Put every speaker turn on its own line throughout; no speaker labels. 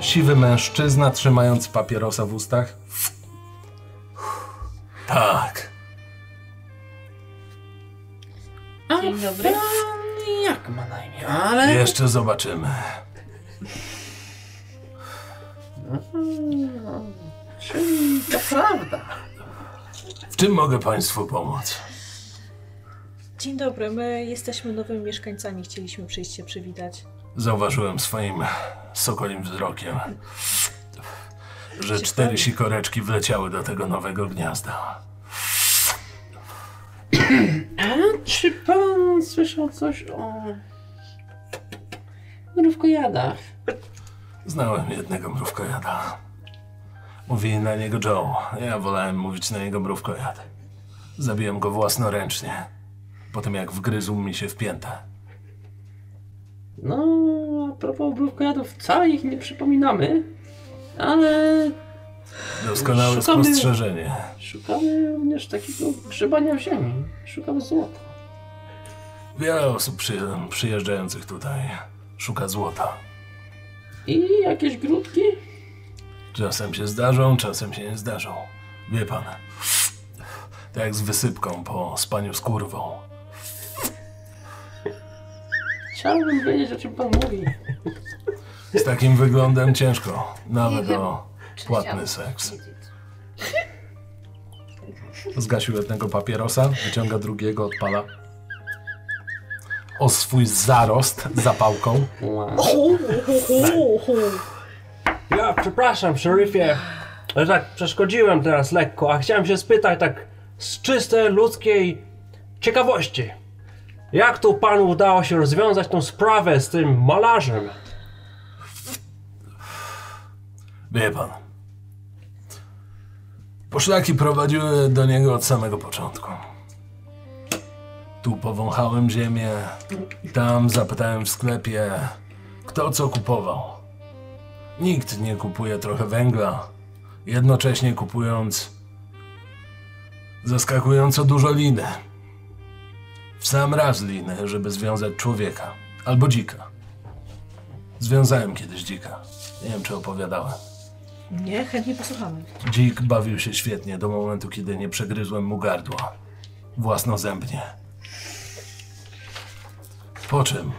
siwy mężczyzna trzymając papierosa w ustach.
Tak.
A
Dzień dobry.
Pan jak ma na imię? Ale...
Jeszcze zobaczymy.
Czyli to prawda.
W czym mogę Państwu pomóc?
Dzień dobry, my jesteśmy nowymi mieszkańcami, chcieliśmy przyjść się przywitać.
Zauważyłem swoim sokolim wzrokiem, że cztery sikoreczki wleciały do tego nowego gniazda.
A czy pan słyszał coś o... mrówkojadach?
Znałem jednego mrówkojada. Mówili na niego Joe. Ja wolałem mówić na niego mrówkojad. Zabiłem go własnoręcznie. Po tym jak wgryzł mi się w piętę.
No, a propos mrówkojadów, wcale ich nie przypominamy, ale
Doskonałe
Szukamy-
spostrzeżenie.
szukamy również takiego grzebania w ziemi. Szukamy złota.
Wiele osób przy, przyjeżdżających tutaj szuka złota.
I jakieś grudki?
Czasem się zdarzą, czasem się nie zdarzą. Wie pan, tak jak z wysypką po spaniu z kurwą.
Chciałbym wiedzieć, o czym pan mówi.
Z takim wyglądem ciężko, nawet
wiem,
o
Czy
płatny
chciałam
seks.
wiedzieć?
Zgasił jednego papierosa, wyciąga drugiego, odpala. O swój zarost zapałką.
Wow.
Ja przepraszam, szeryfie, że tak przeszkodziłem teraz lekko, a chciałem się spytać tak z czystej ludzkiej ciekawości. Jak tu panu udało się rozwiązać tą sprawę z tym malarzem?
Wie pan. Poszlaki prowadziły do niego od samego początku. Tu powąchałem ziemię, tam zapytałem w sklepie, kto co kupował. Nikt nie kupuje trochę węgla, jednocześnie kupując zaskakująco dużo liny. W sam raz liny, żeby związać człowieka albo dzika. Związałem kiedyś dzika. Nie wiem, czy opowiadałem.
Nie, chętnie posłuchamy.
Dzik bawił się świetnie do momentu, kiedy nie przegryzłem mu gardła. Własnozębnie. Po czym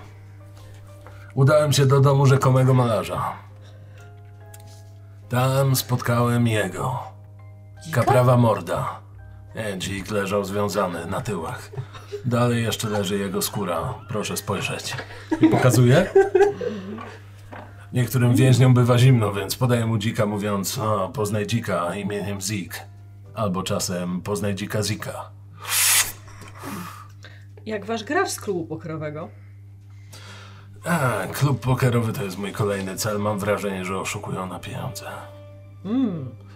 udałem się do domu rzekomego malarza. Tam spotkałem jego. Kaprawa morda. Nie, dzik leżał związany na tyłach. Dalej jeszcze leży jego skóra. Proszę spojrzeć.
I pokazuje.
Niektórym więźniom bywa zimno, więc podaję mu dzika mówiąc o, poznaj dzika imieniem Zik. Albo czasem poznaj dzika Zika.
Jak wasz gracz z klubu pokerowego?
A, klub pokerowy to jest mój kolejny cel. Mam wrażenie, że oszukują na pieniądze.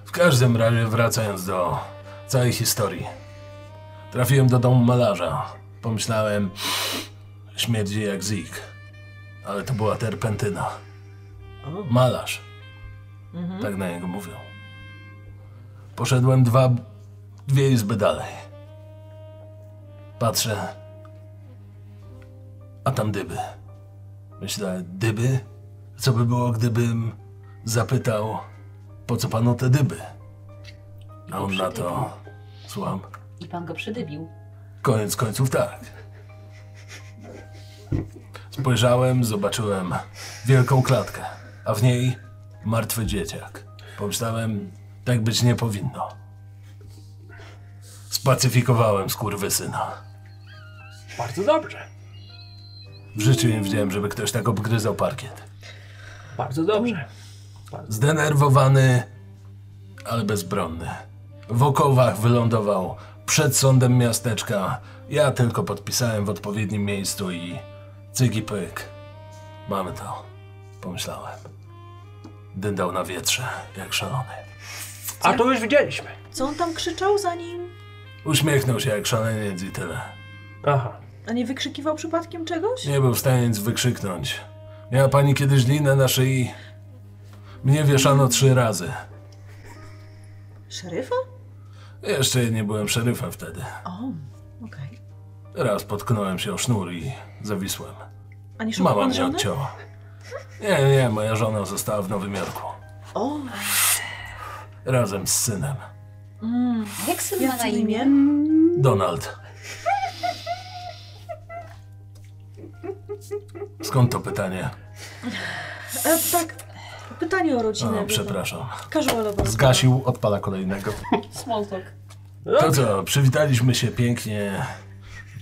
W każdym razie wracając do całej historii. Trafiłem do domu malarza. Pomyślałem, śmierdzi jak Zik. Ale to była terpentyna. Malarz. Tak na niego mówią. Poszedłem dwa, dwie izby dalej. Patrzę, a tam dyby. Myślę, dyby? Co by było, gdybym zapytał, po co panu te dyby? A on na to, słucham,
I pan go przydybił.
koniec końców tak. Spojrzałem, zobaczyłem wielką klatkę, a w niej martwy dzieciak. Pomyślałem, tak być nie powinno. Spacyfikowałem skurwysyna.
Bardzo dobrze,
W życiu nie widziałem, żeby ktoś tak obgryzał parkiet.
bardzo dobrze.
Mm.
Zdenerwowany, ale bezbronny. W okowach wylądował przed sądem miasteczka. Ja tylko podpisałem w odpowiednim miejscu i cygi pyk. Mamy to, pomyślałem. Dyndał na wietrze, jak szalony.
A to już widzieliśmy.
Co on tam krzyczał zanim...
Uśmiechnął się jak szaleniec i tyle.
Aha.
A nie wykrzykiwał przypadkiem czegoś?
Nie był w stanie nic wykrzyknąć. Miała pani kiedyś linę na szyi? Mnie wieszano trzy razy.
Szeryfa?
Jeszcze nie byłem szeryfem wtedy.
O, okej.
Raz potknąłem się o sznur i zawisłem.
A nie szukał
Mama
pan
mnie
żony?
odcięła.
Nie, nie, moja żona została w Nowym Jorku.
O,
Razem z synem.
Jak syn ma
mm. jak
na
to
imię?
imię?
Donald. Skąd to pytanie?
E, tak, pytanie o rodzinę.
O, przepraszam.
Casualowo.
Zgasił, odpala kolejnego.
Small talk.
To co, przywitaliśmy się pięknie.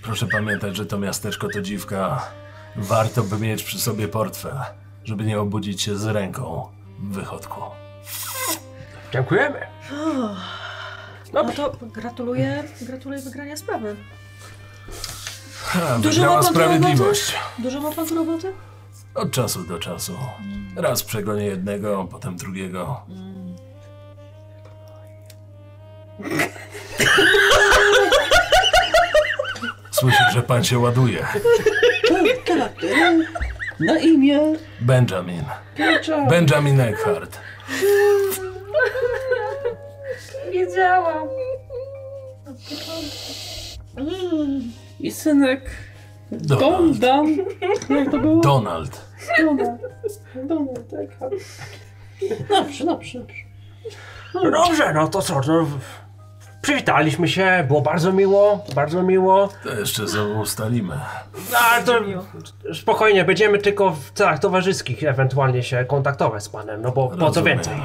Proszę pamiętać, że to miasteczko to dziwka. Warto by mieć przy sobie portfel, żeby nie obudzić się z ręką w wychodku.
Dziękujemy.
No to gratuluję, gratuluję wygrania sprawy.
Ha,
Dużo
wygrała
ma pan tu roboty?
sprawiedliwość.
Dużo ma pan tu roboty?
Od czasu do czasu. Raz przegonię jednego, potem drugiego. Słyszę, że pan się ładuje.
Na imię
Benjamin.
Piecza.
Benjamin Eckhart.
Wiedziałam.
I synek
Donald.
Gondam. Jak to było?
Donald.
Donald. Donald, tak. Dobrze, dobrze, dobrze.
No dobrze, no to co, no, przywitaliśmy się, było bardzo miło, bardzo miło.
To jeszcze za- ustalimy.
No, ale to spokojnie, będziemy tylko w celach towarzyskich ewentualnie się kontaktować z panem, no bo po co
Rozumiem.
więcej.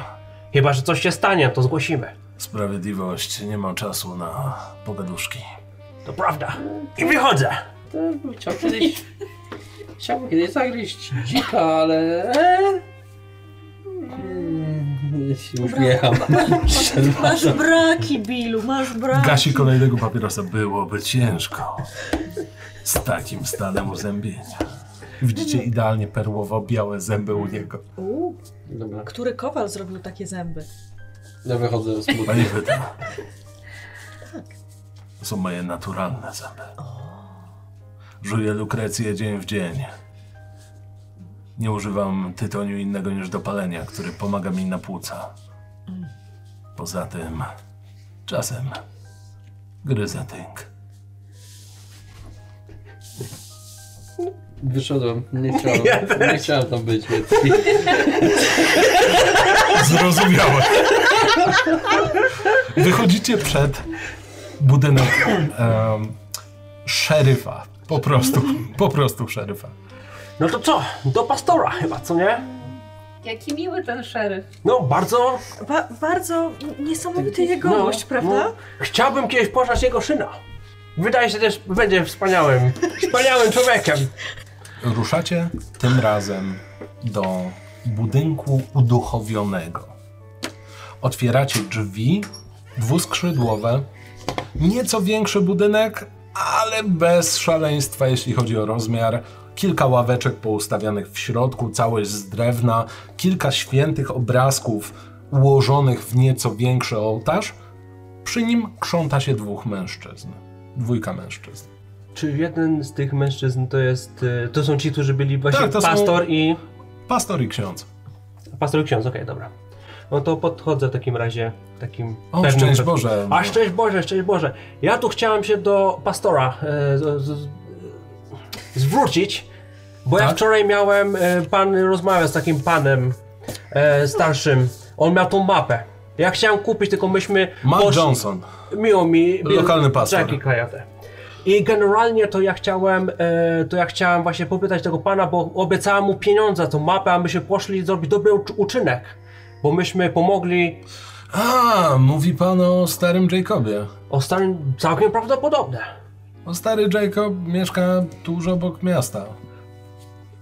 Chyba, że coś się stanie, to zgłosimy.
Sprawiedliwość. Nie mam czasu na pogaduszki.
To prawda. I wychodzę.
To
Tak,
bym chciał kiedyś... Chciałbym kiedyś zagryźć dzika, ale... e, mm, się Uśmiecham.
Masz braki, Bilu, masz braki.
Gasi kolejnego papierosa. Byłoby ciężko. Z takim stanem uzębienia.
Widzicie idealnie perłowo-białe zęby u niego.
U,
Dobra,
który kowal zrobił takie zęby?
ja wychodzę z budki.
Pani pyta. To są moje naturalne zęby. Żuję lukrecję dzień w dzień. Nie używam tytoniu innego niż do palenia, który pomaga mi na płuca. Poza tym, czasem gryzę tynk.
Wyszedłem. Nie chciałem, nie chciałem tam być, więc...
Zrozumiałe. Wychodzicie przed budynek em, szeryfa. Po prostu, po prostu szeryfa.
No to co, do pastora chyba, co nie?
Jaki miły ten szeryf.
No bardzo...
Ba bardzo niesamowity jegomość, prawda?
no, chciałbym kiedyś poznać jego syna. Wydaje się też, będzie wspaniałym, wspaniałym człowiekiem.
Ruszacie tym razem do budynku uduchowionego. Otwieracie drzwi dwuskrzydłowe, nieco większy budynek, ale bez szaleństwa, jeśli chodzi o rozmiar. Kilka ławeczek poustawianych w środku, całość z drewna, kilka świętych obrazków ułożonych w nieco większy ołtarz. Przy nim krząta się dwóch mężczyzn. Dwójka mężczyzn.
Czy jeden z tych mężczyzn to jest... y, To są ci, którzy byli właśnie
Tak, to są-
pastor i...
Pastor i ksiądz.
Pastor i ksiądz, okej, dobra. No to podchodzę w takim razie, takim
O, szczęść Boże.
A szczęść Boże, szczęść Boże. Ja tu chciałem się do pastora e, z, z, zwrócić, bo ja
Tak?
wczoraj miałem, e, pan rozmawiał z takim panem e, starszym. On miał tą mapę. Ja chciałem kupić, tylko myśmy...
Matt
poszli-
Johnson.
Miło mi...
Lokalny pastor.
Jackie Kajate. I generalnie to ja chciałem, e, to ja chciałem właśnie popytać tego pana, bo obiecałem mu pieniądze za tą mapę, a myśmy poszli zrobić dobry uczy- uczynek. Bo myśmy pomogli
A, mówi pan o starym Jacobie.
o starym, całkiem prawdopodobne.
O stary Jacob mieszka tuż obok miasta.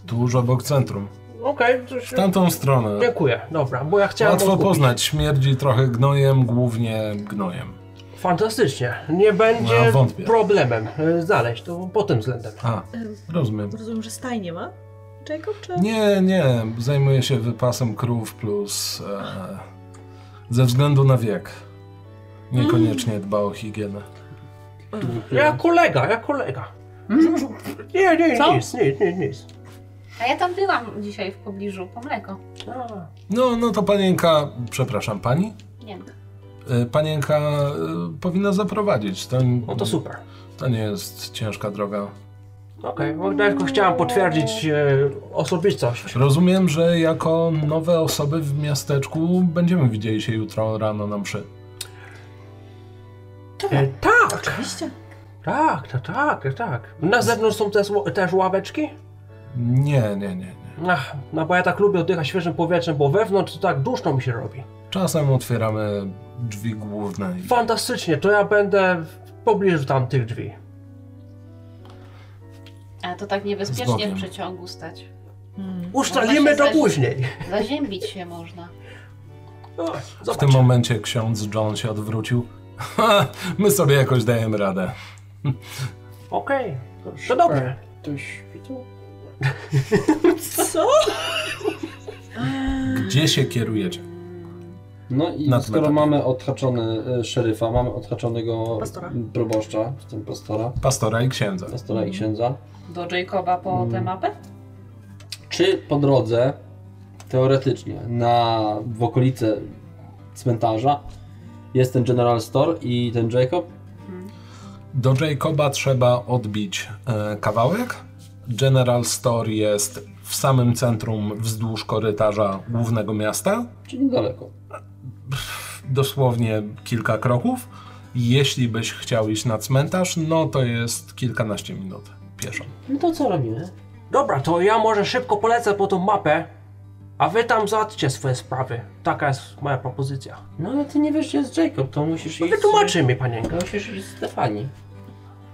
Tuż obok centrum.
Okej, coś-
W tamtą stronę.
dziękuję, dobra, bo ja chciałem...
Tak. Łatwo
odkupić.
poznać. Śmierdzi trochę gnojem, głównie gnojem.
Fantastycznie, nie będzie
No, wątpię.
problemem e, znaleźć, to pod tym względem.
A, rozumiem.
Rozumiem, że stajnie ma? Jacob, czy...
Nie, nie. Zajmuje się wypasem krów plus... E, ze względu na wiek. Niekoniecznie
Mm.
dba o higienę. Hmm.
Ja kolega, ja kolega. Nie, nie, nic, nic, nic, nic.
A ja tam byłam dzisiaj w pobliżu po mleko.
A,
No, no to panienka... Przepraszam, pani?
Nie wiem.
E, Panienka e, powinna zaprowadzić. To,
No to super.
To nie jest ciężka droga.
Okej, okay. tylko chciałam potwierdzić e, osobistość.
Rozumiem, że jako nowe osoby w miasteczku będziemy widzieli się jutro rano na mszy.
E, tak,
Oczywiście.
tak, tak, tak, tak. Na zewnątrz są też, ł- też ławeczki?
Nie, nie, nie, nie.
Ach, no bo ja tak lubię oddychać świeżym powietrzem, bo wewnątrz to tak duszno mi się robi.
Czasem otwieramy drzwi główne i
Fantastycznie, to ja będę w pobliżu tamtych drzwi.
A to tak niebezpiecznie
Zgodnie.
w przeciągu stać.
Hmm.
Ustalimy to
Można się
później.
Zaziębić się można.
O,
w tym momencie ksiądz John się odwrócił. Ha, my sobie jakoś dajemy radę.
Okej, to dobrze.
E, Ktoś widział?
Co?
Gdzie się kierujecie?
No i
Na tym
skoro
etapie.
mamy odhaczony e, szeryfa, mamy odhaczonego
Pastora.
proboszcza, w tym pastora,
Pastora i księdza.
pastora i księdza,
Do Jacoba po
Mm.
tę mapę?
czy po drodze, teoretycznie, na, w okolice cmentarza jest ten General Store i ten Jacob?
Do Jacoba trzeba odbić e, kawałek. General Store jest w samym centrum wzdłuż korytarza głównego miasta.
Czyli niedaleko.
Dosłownie kilka kroków. Jeśli byś chciał iść na cmentarz, no to jest kilkanaście minut pieszo.
No to co robimy?
Dobra, to ja może szybko polecę po tą mapę, a wy tam załatwcie swoje sprawy. Taka jest moja propozycja.
No ale ty nie wiesz, gdzie jest Jacob, to musisz
No
iść...
Wytłumaczy mi panienka.
Musisz iść z Stefanii.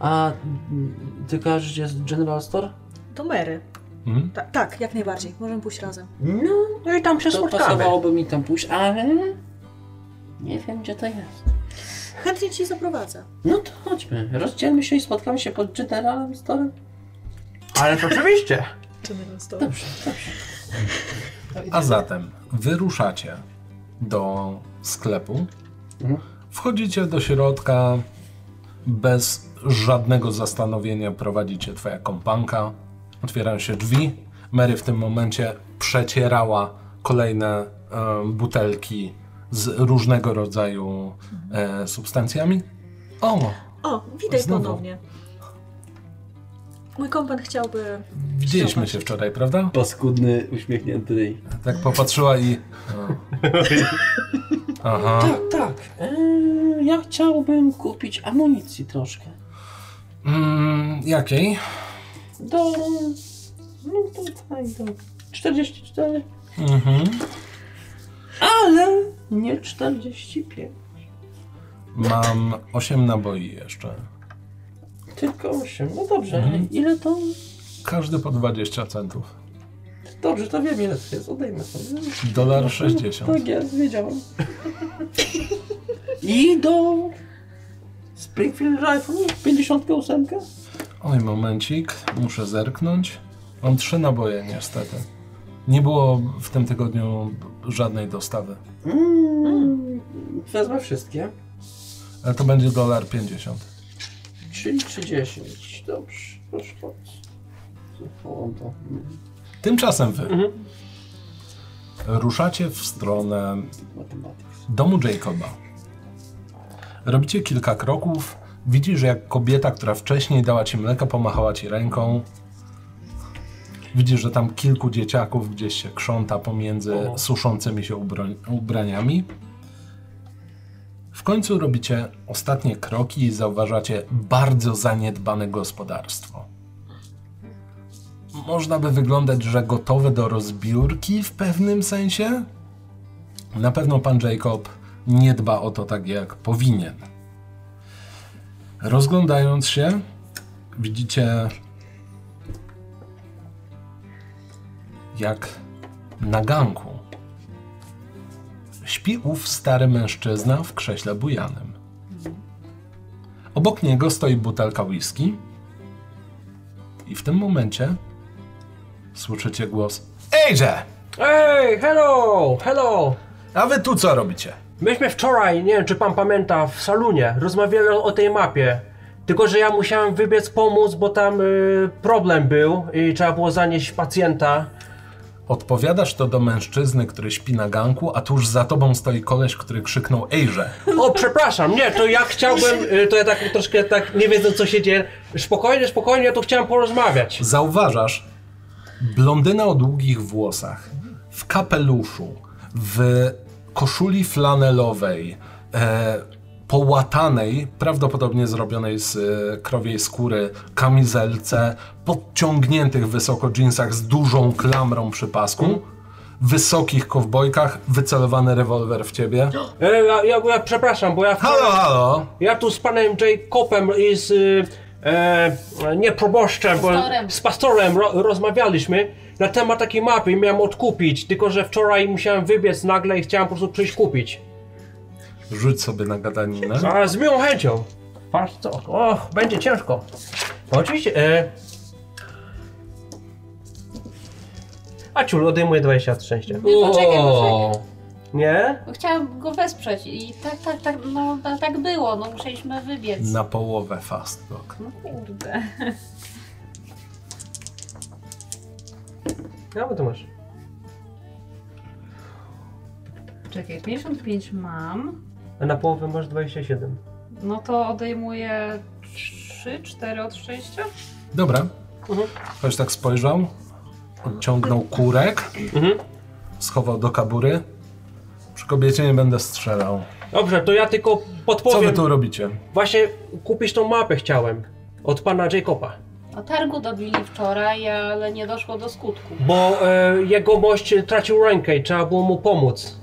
A mm, ty kojarzysz, gdzie jest General Store?
Do Mary.
Mhm.
Ta, tak, jak najbardziej. Możemy pójść razem.
No,
No i tam się
to
spotkamy.
pasowałoby mi tam pójść, ale nie wiem, gdzie to jest.
Chętnie ci zaprowadzę.
No to chodźmy, rozdzielmy się i spotkamy się pod Generalem Storem.
Ale to oczywiście.
Czy my nas to?
Dobrze, dobrze.
A zatem wyruszacie do sklepu,
Mhm.
wchodzicie do środka, bez żadnego zastanowienia prowadzicie twoja kompanka, otwierają się drzwi, Mary w tym momencie przecierała kolejne e, butelki z różnego rodzaju e, substancjami. O,
O, witaj
Znowu.
ponownie. Mój kompan chciałby...
widzieliśmy
Zobacz.
się wczoraj, prawda?
Paskudny, uśmiechnięty ryj.
Tak popatrzyła i... Aha.
Tak, tak. Eee, ja chciałbym kupić amunicji troszkę.
Mm, jakiej?
Do... No tutaj, do... 44.
Mhm.
Ale nie 45.
Mam 8 naboi jeszcze.
Tylko 8. No dobrze,
Mhm.
ile to?
Każdy po 20 centów.
Dobrze, to wiem ile to jest. Odejmę sobie.
Dolar 60.
Tak, ja wiedziałam. I do Springfield Rifle 58.
Oj, momencik, muszę zerknąć. Mam 3 naboje niestety. Nie było w tym tygodniu żadnej dostawy.
Mm, wezmę wszystkie.
Ale to będzie dolar 50.
Czyli 30. Dobrze, proszę bardzo. Zachołam to. Mm,
Tymczasem wy ruszacie w stronę
Mathematics.
domu Jacoba. Robicie kilka kroków. Widzisz, jak kobieta, która wcześniej dała ci mleko, pomachała ci ręką. Widzisz, że tam kilku dzieciaków gdzieś się krząta pomiędzy suszącymi się ubroń- ubraniami. W końcu robicie ostatnie kroki i zauważacie bardzo zaniedbane gospodarstwo. Można by wyglądać, że gotowe do rozbiórki w pewnym sensie, na pewno pan Jacob nie dba o to tak, jak powinien. Rozglądając się, widzicie, jak na ganku śpi ów stary mężczyzna w krześle bujanym. Obok niego stoi butelka whisky i w tym momencie słyszycie głos Ejże!
Ej, hello, hello.
A wy tu co robicie?
Myśmy wczoraj, nie wiem czy pan pamięta, w salonie rozmawiali o tej mapie. Tylko, że ja musiałem wybiec pomóc, bo tam y, problem był i trzeba było zanieść pacjenta.
Odpowiadasz to do mężczyzny, który śpi na ganku, a tuż za tobą stoi koleś, który krzyknął Ejże.
O, przepraszam, nie, to ja chciałbym, y, to ja tak troszkę tak, nie wiedząc co się dzieje, spokojnie, spokojnie, ja tu chciałem porozmawiać.
Zauważasz blondynę o długich włosach, w kapeluszu, w koszuli flanelowej, e, połatanej, prawdopodobnie zrobionej z e, krowiej skóry, kamizelce, podciągniętych wysoko dżinsach z dużą klamrą przy pasku, wysokich kowbojkach, wycelowany rewolwer w ciebie.
E, ja, ja, ja przepraszam, bo ja,
Halo, halo!
ja tu z panem Jacobem i z, y, e, nie proboszczem, bo,
Pastorem.
z pastorem ro, rozmawialiśmy na temat takiej mapy i miałem odkupić, tylko że wczoraj musiałem wybiec nagle i chciałem po prostu przyjść kupić.
Rzuć sobie na gadaninę.
A z miłą chęcią. Patrz co, och, będzie ciężko. No oczywiście, e... A ciul, odejmuje 20 od szczęścia.
Nie, poczekaj, poczekaj.
O,
Nie?
Bo Chciałam go wesprzeć i tak, tak, tak, no ta- tak było, no musieliśmy wybiec.
Na połowę fast block.
No kurde.
Ja bo to masz.
Czekaj, 55 mam,
A na połowę masz 27.
no to odejmuję 3, 4 od szczęścia?
Dobra.
Mhm.
Ktoś tak spojrzał, odciągnął kurek,
Mhm.
schował do kabury. Przy kobiecie nie będę strzelał.
Dobrze, to ja tylko
Co
podpowiem.
wy tu robicie?
Właśnie kupić tą mapę chciałem. Od pana Jacoba.
No targu dobili wczoraj, ale nie doszło do skutku.
Bo e, jego mość tracił rękę i trzeba było mu pomóc.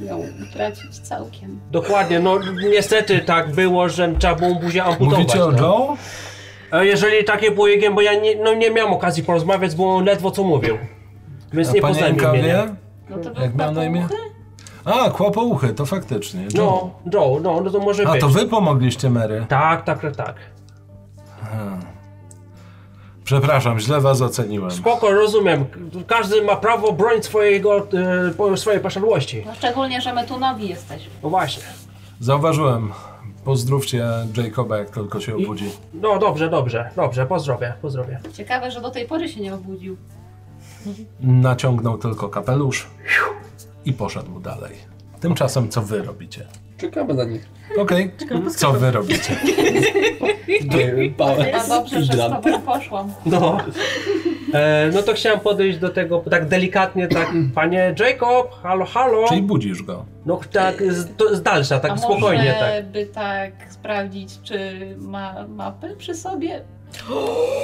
Miał utracić całkiem.
Dokładnie, no niestety tak było, że trzeba było mu buzię amputować.
Mówicie o
no.
Joe?
E, Jeżeli takie było jego, bo ja nie, no nie miałem okazji porozmawiać, bo on ledwo co mówił. Więc
A
nie poznałem
panienka
imienia.
wie?
No to był
Jak miał na imię?
kłopot.
A, kłopouchy, to faktycznie. Joe.
No, Joe, no, no to może
A
być.
to wy pomogliście Mary.
Tak, tak, tak, tak.
Przepraszam, źle was oceniłem.
Spoko, rozumiem. Każdy ma prawo bronić swojego, e, po- swojej posiadłości.
No, szczególnie, że my tu nowi jesteśmy.
No właśnie.
Zauważyłem. Pozdrówcie Jacoba, jak tylko się
I-
obudzi.
No dobrze, dobrze, dobrze, pozdrowie, pozdrowie.
Ciekawe, że do tej pory się nie obudził.
Naciągnął tylko kapelusz i poszedł dalej. Tymczasem co wy robicie?
czekamy na nich.
Okej, co wy robicie?
Tak
A dobrze, że z tobą poszłam.
No. E, no to chciałem podejść do tego tak delikatnie, tak, panie Jacob, halo, halo.
Czyli budzisz go.
No tak z, to, z dalsza, tak
A
spokojnie,
może
tak.
by tak sprawdzić, czy ma mapy przy sobie?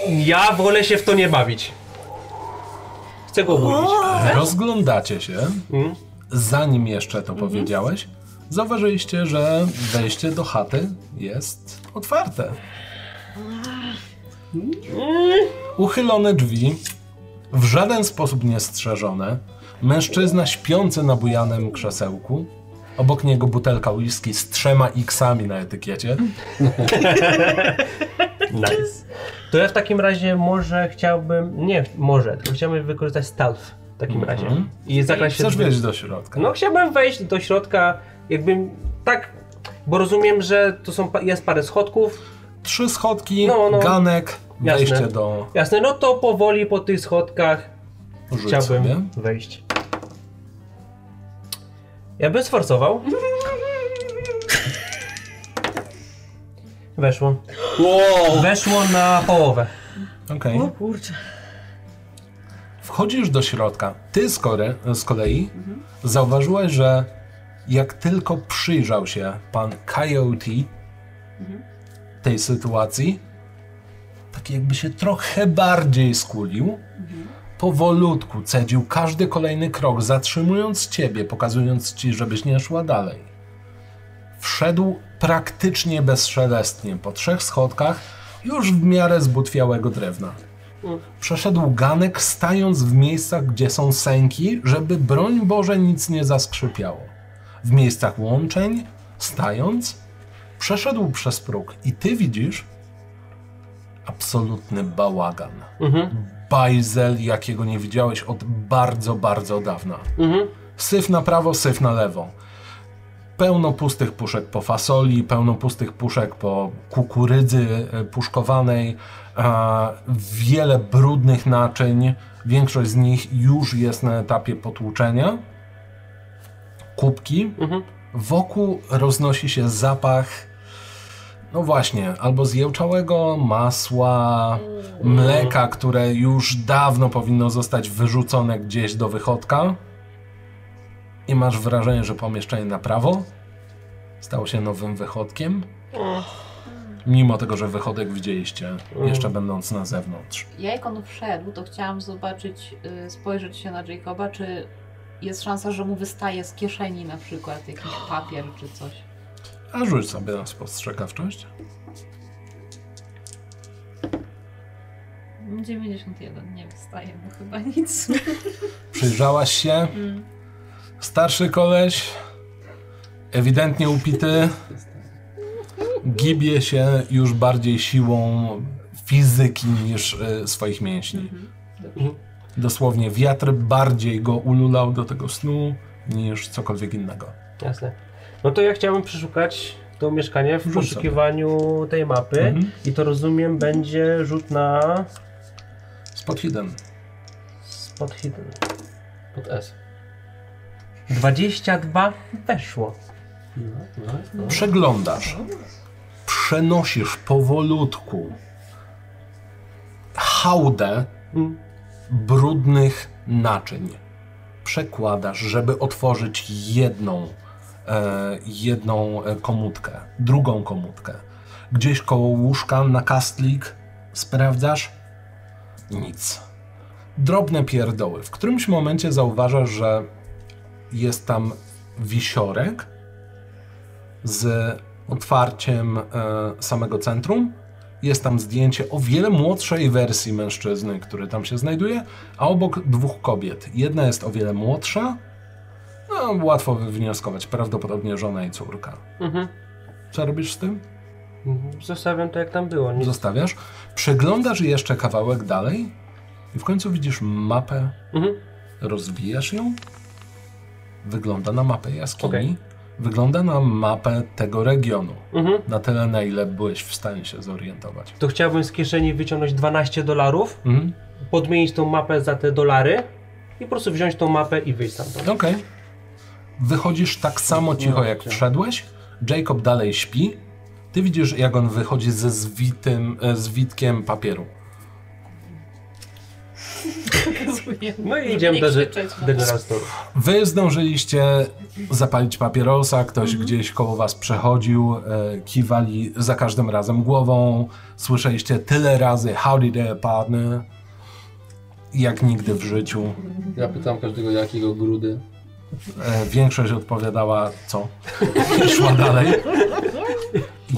Ja wolę się w to nie bawić. Chcę go obudzić.
Rozglądacie się.
Mm.
Zanim jeszcze to
Mhm.
powiedziałeś, zauważyliście, że wejście do chaty jest otwarte.
Mm.
Uchylone drzwi, w żaden sposób niestrzeżone. Mężczyzna śpiący na bujanym krzesełku. Obok niego butelka whisky z trzema X-ami na etykiecie.
Mhm. Nice. To ja w takim razie może chciałbym, nie może, tylko chciałbym wykorzystać stealth w takim razie. I zakraść się
Chcesz wejść do środka?
No chciałbym wejść do środka, jakbym tak, bo rozumiem, że tu są, pa- jest parę schodków.
Trzy schodki,
No, no.
ganek,
Jasne.
wejście do...
Jasne, no to powoli po tych schodkach
Rzuć
chciałbym
sobie.
wejść. Ja bym sforcował. Weszło.
Wow!
Weszło na połowę.
Okej.
No.
O kurczę.
Wchodzisz do środka. Ty z, kore, z kolei zauważyłeś, że jak tylko przyjrzał się pan Coyote tej sytuacji, tak jakby się trochę bardziej skulił, powolutku cedził każdy kolejny krok, zatrzymując ciebie, pokazując ci, żebyś nie szła dalej. Wszedł praktycznie bezszelestnie po trzech schodkach, już w miarę zbutwiałego drewna przeszedł ganek, stając w miejscach, gdzie są sęki, żeby broń Boże nic nie zaskrzypiało. W miejscach łączeń, stając, przeszedł przez próg i ty widzisz absolutny bałagan. Bajzel, jakiego nie widziałeś od bardzo, bardzo dawna. Syf na prawo, syf na lewo. Pełno pustych puszek po fasoli, pełno pustych puszek po kukurydzy e, puszkowanej, a, wiele brudnych naczyń, Większość z nich już jest na etapie potłuczenia. Kubki. Wokół roznosi się zapach, no właśnie, albo zjełczałego masła, mleka, które już dawno powinno zostać wyrzucone gdzieś do wychodka. I masz wrażenie, że pomieszczenie na prawo stało się nowym wychodkiem. Mimo tego, że wychodek widzieliście, jeszcze będąc na zewnątrz.
Ja jak on wszedł, to chciałam zobaczyć, y, spojrzeć się na Jacoba, czy jest szansa, że mu wystaje z kieszeni na przykład jakiś papier czy coś.
A rzuć sobie na spostrzegawczość.
91, nie wystaje mu chyba nic.
Przyjrzałaś się. Starszy koleś, ewidentnie upity, gibie się już bardziej siłą fizyki niż y, swoich mięśni. Dosłownie wiatr bardziej go ululał do tego snu niż cokolwiek innego.
Jasne. No to ja chciałbym przeszukać to mieszkanie w
No
Rzuć
poszukiwaniu tej mapy
Mhm.
i to rozumiem będzie rzut na
Spot hidden.
spot hidden.
Pod S.
22 weszło.
Przeglądasz. Przenosisz powolutku hałdę brudnych naczyń. Przekładasz, żeby otworzyć jedną, e, jedną e, komutkę, drugą komutkę. Gdzieś koło łóżka na kastlik sprawdzasz? Nic. Drobne pierdoły. W którymś momencie zauważasz, że jest tam wisiorek, z otwarciem e, samego centrum. Jest tam zdjęcie o wiele młodszej wersji mężczyzny, który tam się znajduje, a obok dwóch kobiet. Jedna jest o wiele młodsza, no łatwo wywnioskować, prawdopodobnie żona i córka.
Mhm.
Co robisz z tym?
Mhm. Zostawiam to jak tam było. Nie...
Zostawiasz, przeglądasz jeszcze kawałek dalej i w końcu widzisz mapę,
Mhm.
rozwijasz ją, wygląda na mapę jaskini,
Okej.
wygląda na mapę tego regionu.
Mhm.
Na tyle, na ile byłeś w stanie się zorientować.
To chciałbym z kieszeni wyciągnąć 12 dolarów,
Mhm.
podmienić tą mapę za te dolary i po prostu wziąć tą mapę i wyjść stamtąd.
Okej. Wychodzisz tak samo cicho, jak wszedłeś. Jacob dalej śpi. Ty widzisz, jak on wychodzi ze zwitym, e, zwitkiem papieru.
No i idziemy do,
krzyczeć, no.
do General Store.
Wy zdążyliście zapalić papierosa, ktoś gdzieś koło was przechodził, e, kiwali za każdym razem głową, słyszeliście tyle razy howdy there partner, jak nigdy w życiu.
Ja pytam każdego jakiego grudy.
E, Większość odpowiadała co? I szła dalej.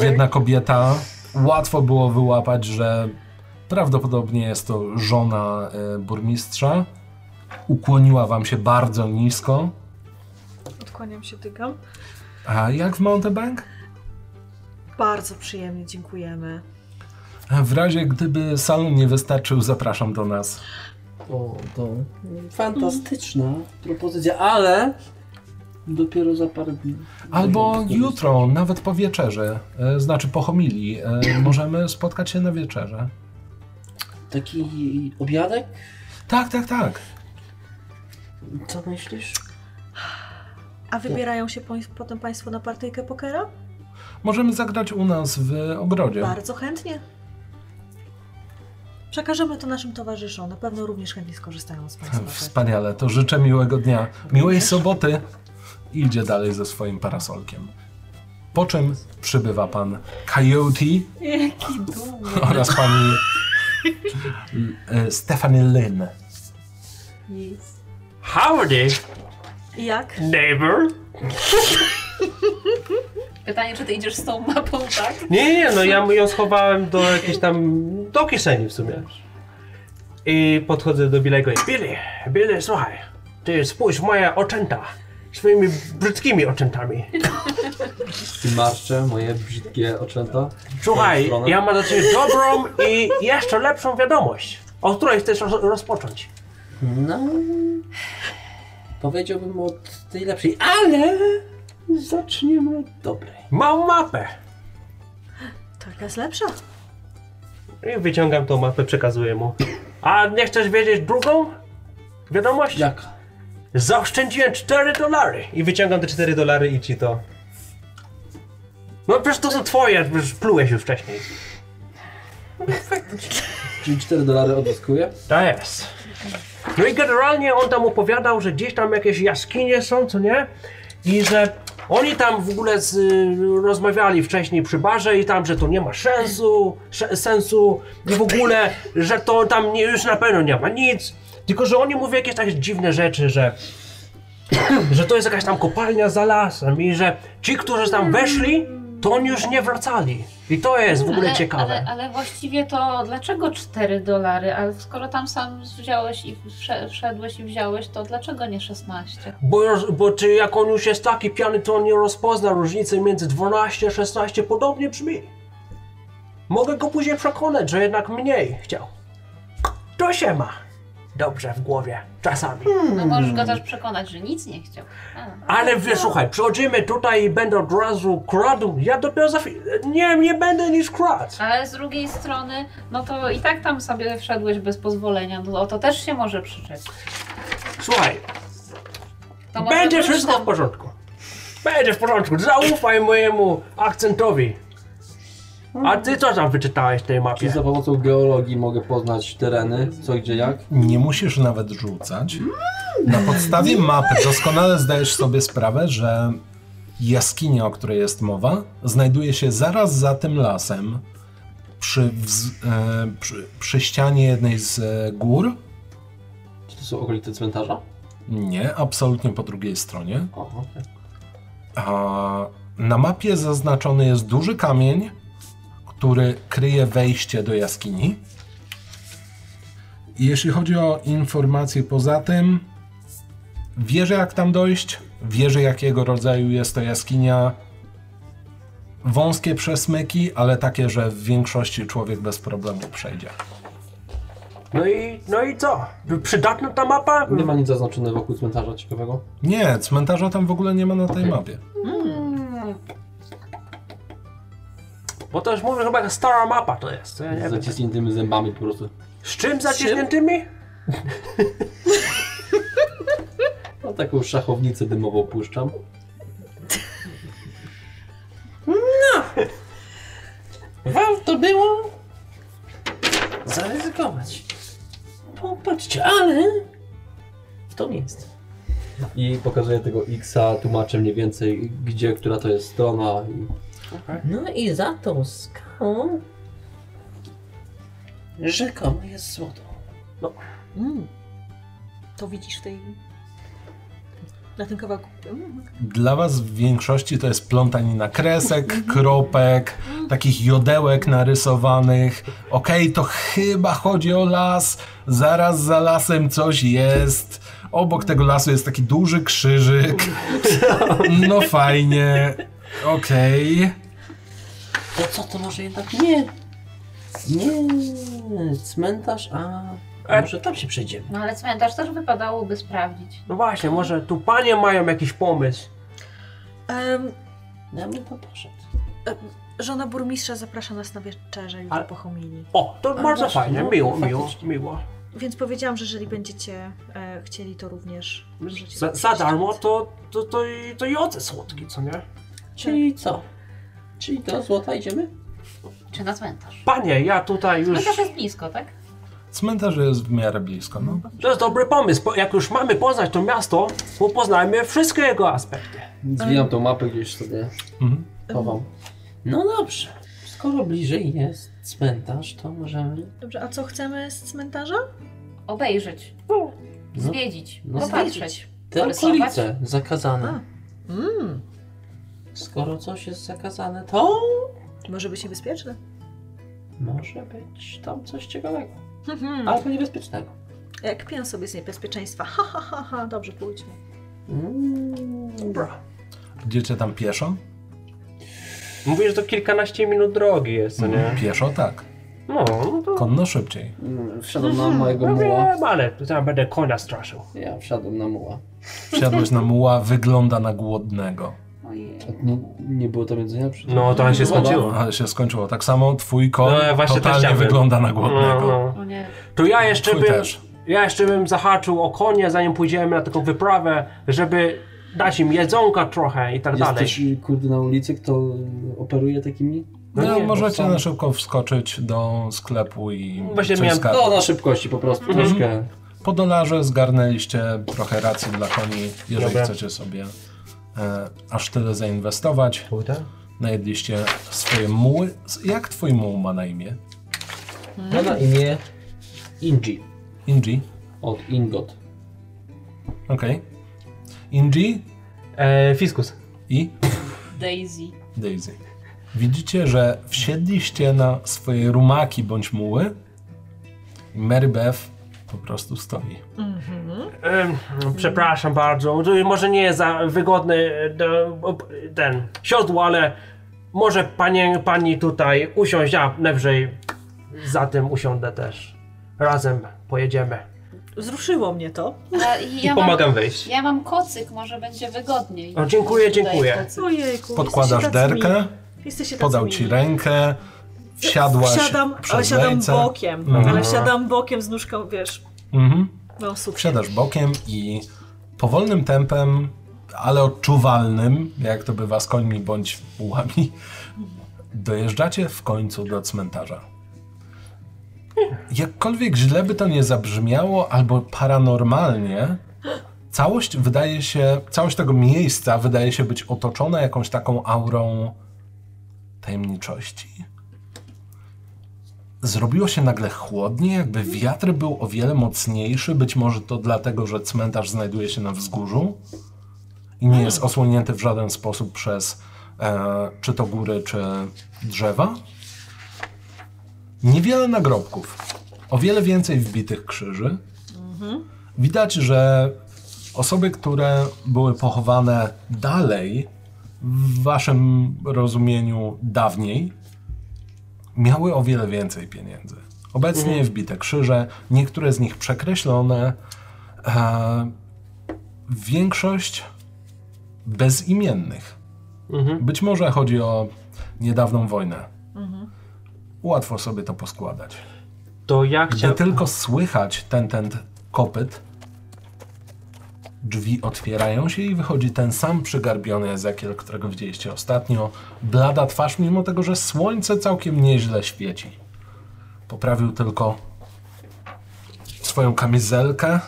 Jedna kobieta, łatwo było wyłapać, że prawdopodobnie jest to żona e, burmistrza. Ukłoniła wam się bardzo nisko.
Odkłaniam się, tykam.
A jak w Mountebank?
Bardzo przyjemnie, dziękujemy.
W razie gdyby salon nie wystarczył, zapraszam do nas.
O, to fantastyczna propozycja, ale dopiero za parę dni.
Albo jutro, nawet po wieczerze, e, znaczy po homilii, e, możemy spotkać się na wieczerze.
Taki obiadek?
Tak, tak, tak.
Co myślisz?
A wybierają się poń- potem Państwo na partyjkę pokera?
Możemy zagrać u nas w ogrodzie.
Bardzo chętnie. Przekażemy to naszym towarzyszom. Na pewno również chętnie skorzystają z Państwa. oferty.
Wspaniale, to życzę miłego dnia, miłej soboty. Idzie dalej ze swoim parasolkiem. Po czym przybywa pan Coyote oraz pani e, Stephanie Lynn.
Howdy,
Jak?
neighbor!
Pytanie, czy ty idziesz z tą mapą, tak?
Nie, nie, nie, no ja ją schowałem do jakiejś tam. do kieszeni w sumie. I podchodzę do Bilego i. Billy, Billy, słuchaj, ty spójrz w moje oczęta. Swoimi brzydkimi oczętami.
I marszczę moje brzydkie oczęta.
Słuchaj,
stronę?
ja mam dla ciebie dobrą i jeszcze lepszą wiadomość, o której chcesz roz- rozpocząć.
No. Powiedziałbym od tej lepszej, ale zaczniemy od dobrej.
Mam mapę.
Taka jest lepsza.
I wyciągam tą mapę, przekazuję mu. A nie chcesz wiedzieć drugą? Wiadomość?
Jaka?
Zaoszczędziłem 4 dolary.
I wyciągam te 4 dolary i ci to.
No przecież to są twoje, przecież plułeś już wcześniej.
Czyli 4 dolary odzyskuje.
To Tak jest. No i generalnie on tam opowiadał, że gdzieś tam jakieś jaskinie są, co nie? I że oni tam w ogóle z, rozmawiali wcześniej przy barze i tam, że to nie ma sensu, sze- sensu i w ogóle, że to tam nie, już na pewno nie ma nic. Tylko, że oni mówią jakieś takie dziwne rzeczy, że że to jest jakaś tam kopalnia za lasem i że ci, którzy tam weszli, to oni już nie wracali. I to jest w ogóle
ale,
ciekawe.
Ale, ale właściwie to dlaczego 4 dolary? Ale skoro tam sam wziąłeś i wsze- wszedłeś i wziąłeś, to dlaczego nie 16?
Bo, roz- bo czy jak on już jest taki piany, to on nie rozpozna różnicy między 12 a 16, podobnie brzmi. Mogę go później przekonać, że jednak mniej chciał. To się ma. Dobrze w głowie, czasami.
No możesz
Hmm.
go też przekonać, że nic nie chciał. A.
Ale wie, słuchaj, przychodzimy tutaj i będę od razu kradł. Ja dopiero za chwilę. Nie, nie będę nic kradł.
Ale z drugiej strony, no to i tak tam sobie wszedłeś bez pozwolenia, no to też się może przyczepić.
Słuchaj,
To może
będzie
wróć
wszystko
tam.
w porządku. Będzie w porządku, zaufaj mojemu akcentowi. A ty co tam wyczytałeś w tej
Czy
mapie?
za pomocą geologii mogę poznać tereny, co gdzie jak?
Nie musisz nawet rzucać. Na podstawie mapy doskonale zdajesz sobie sprawę, że jaskinia, o której jest mowa, znajduje się zaraz za tym lasem, przy, wz- e, przy, przy ścianie jednej z e, gór.
Czy to są okolice cmentarza?
Nie, absolutnie po drugiej stronie.
O, okej.
A na mapie zaznaczony jest duży kamień, który kryje wejście do jaskini. Jeśli chodzi o informacje poza tym, wierzę jak tam dojść, wierzę jakiego rodzaju jest to jaskinia. Wąskie przesmyki, ale takie, że w większości człowiek bez problemu przejdzie.
No i, no i co? Przydatna ta mapa?
Nie ma nic zaznaczone wokół cmentarza ciekawego.
Nie, cmentarza tam w ogóle nie ma na tej mapie.
Hmm.
Bo to już mówię, chyba jaka stara mapa to jest. co Ja nie
Z
wiem.
zaciśniętymi zębami po prostu.
Z czym zaciśniętymi?
No taką szachownicę dymową puszczam.
Warto było zaryzykować. Popatrzcie, ale w to nie jest.
I pokazuję tego X-a, tłumaczę mniej więcej gdzie, która to jest strona i
No i za tą skałą rzekomo jest złoto.
To widzisz w tej... Na tym kawałku. Mm.
Dla was w większości to jest plątanina kresek, kropek, takich jodełek narysowanych. Okej, to chyba chodzi o las. Zaraz za lasem coś jest. Obok tego lasu jest taki duży krzyżyk. No fajnie. Okej.
To co to może jednak nie? Nie cmentarz, a
E.
może tam się przejdziemy.
No ale cmentarz też wypadałoby sprawdzić.
No właśnie, może tu panie mają jakiś pomysł.
Em,
Ja bym tam poszedł.
żona burmistrza zaprasza nas na wieczerze już
Ale-
po homilii.
O, to bardzo
właśnie,
fajnie,
no,
miło, miło,
faktycznie.
miło.
Więc powiedziałam, że jeżeli będziecie e, chcieli, to również możecie
Za, za darmo to, to, to, i- to i oce słodki, co nie?
Czyli co? Czyli do złota idziemy?
Czy na cmentarz?
Panie, ja tutaj już...
Cmentarz jest blisko, tak?
Cmentarz jest w miarę blisko. No.
To jest dobry pomysł, bo jak już mamy poznać to miasto, to poznajmy wszystkie jego aspekty.
No
zwijam tą mapę gdzieś sobie
Mhm.
chowam.
No dobrze. Skoro bliżej jest cmentarz, to możemy.
Dobrze, a co chcemy z cmentarza?
Obejrzeć,
No.
zwiedzić,
no
popatrzeć.
Te
Porysować?
okolice zakazane.
Mm,
Skoro coś jest zakazane, to
może być niebezpieczne.
może być tam coś ciekawego.
Mhm.
Albo niebezpiecznego.
Jak piję sobie z niebezpieczeństwa. Ha, ha, ha, ha. Dobrze, pójdźmy.
Mm,
Dobra.
Idziecie tam pieszo?
Mówisz, że to kilkanaście minut drogi jest, co nie?
Pieszo tak.
No, no to...
Konno szybciej.
Mm, Wszedłem na mojego
No
muła.
wiem, ale teraz będę konia straszył.
Ja wszedłem na muła.
Wsiadłeś na muła, wygląda na głodnego.
Ojej.
A Nie, nie było tam jedzenia przy tym?
No, to on się skończyło.
Ale się skończyło. Tak samo twój kon
No, ja właśnie też
totalnie
chciałbym.
wygląda na głodnego.
No, no.
O nie.
To ja jeszcze
Twój
bym...
też.
Ja jeszcze bym zahaczył o konie, zanim pójdziemy na taką wyprawę, żeby dać im jedzonka trochę i tak dalej.
Jesteś kurde na ulicy, kto operuje takimi?
No,
nie, bo
możecie
są-
na szybko wskoczyć do sklepu i
Właśnie
coś
miałem- no.
skarpić.
No, na szybkości po prostu, troszkę.
Po dolarze zgarnęliście trochę racji dla koni, jeżeli
Dobra.
chcecie sobie e, aż tyle zainwestować.
Buda?
Najedliście swoje muły. Jak twój muł ma na imię?
Ma na imię
Inji.
Inji?
Od Ingot.
Okej. Inji
E, fiskus.
i
Daisy.
Daisy. Widzicie, że wsiedliście na swoje rumaki bądź muły i Mary Beth po prostu stoi.
Em, Przepraszam bardzo, to może nie jest za wygodny e, do- ob- ten siodło, ale może panie, pani tutaj usiąść, ja najwyżej za tym usiądę też. Razem pojedziemy.
Wzruszyło mnie to.
A ja,
I
mam,
pomagam wejść.
ja mam kocyk, może będzie wygodniej.
O, dziękuję,
Tutaj
dziękuję.
kocyk.
Ojejku.
Podkładasz
jesteście tacy
derkę,
mili. Jesteście tacy
podał
mili.
ci rękę, wsiadłaś
Wsiadam, ale
przez
siadam
lejce.
bokiem.
Mhm.
Ale siadam bokiem z nóżką, wiesz,
Mhm.
no super.
Wsiadasz bokiem i powolnym tempem, ale odczuwalnym, jak to bywa z końmi bądź mułami, dojeżdżacie w końcu do cmentarza. Jakkolwiek źle by to nie zabrzmiało, albo paranormalnie, całość wydaje się, całość tego miejsca wydaje się być otoczona jakąś taką aurą tajemniczości. Zrobiło się nagle chłodnie, jakby wiatr był o wiele mocniejszy, być może to dlatego, że cmentarz znajduje się na wzgórzu i nie jest osłonięty w żaden sposób przez e, czy to góry, czy drzewa. Niewiele nagrobków, o wiele więcej wbitych krzyży. Widać, że osoby, które były pochowane dalej, w waszym rozumieniu dawniej, miały o wiele więcej pieniędzy. Obecnie wbite krzyże, niektóre z nich przekreślone, e, większość bezimiennych. Być może chodzi o niedawną wojnę. Łatwo sobie to poskładać.
To ja
Gdy
chciałem...
tylko słychać ten, ten kopyt, drzwi otwierają się i wychodzi ten sam przygarbiony Ezekiel, którego widzieliście ostatnio. Blada twarz, mimo tego, że słońce całkiem nieźle świeci. Poprawił tylko swoją kamizelkę,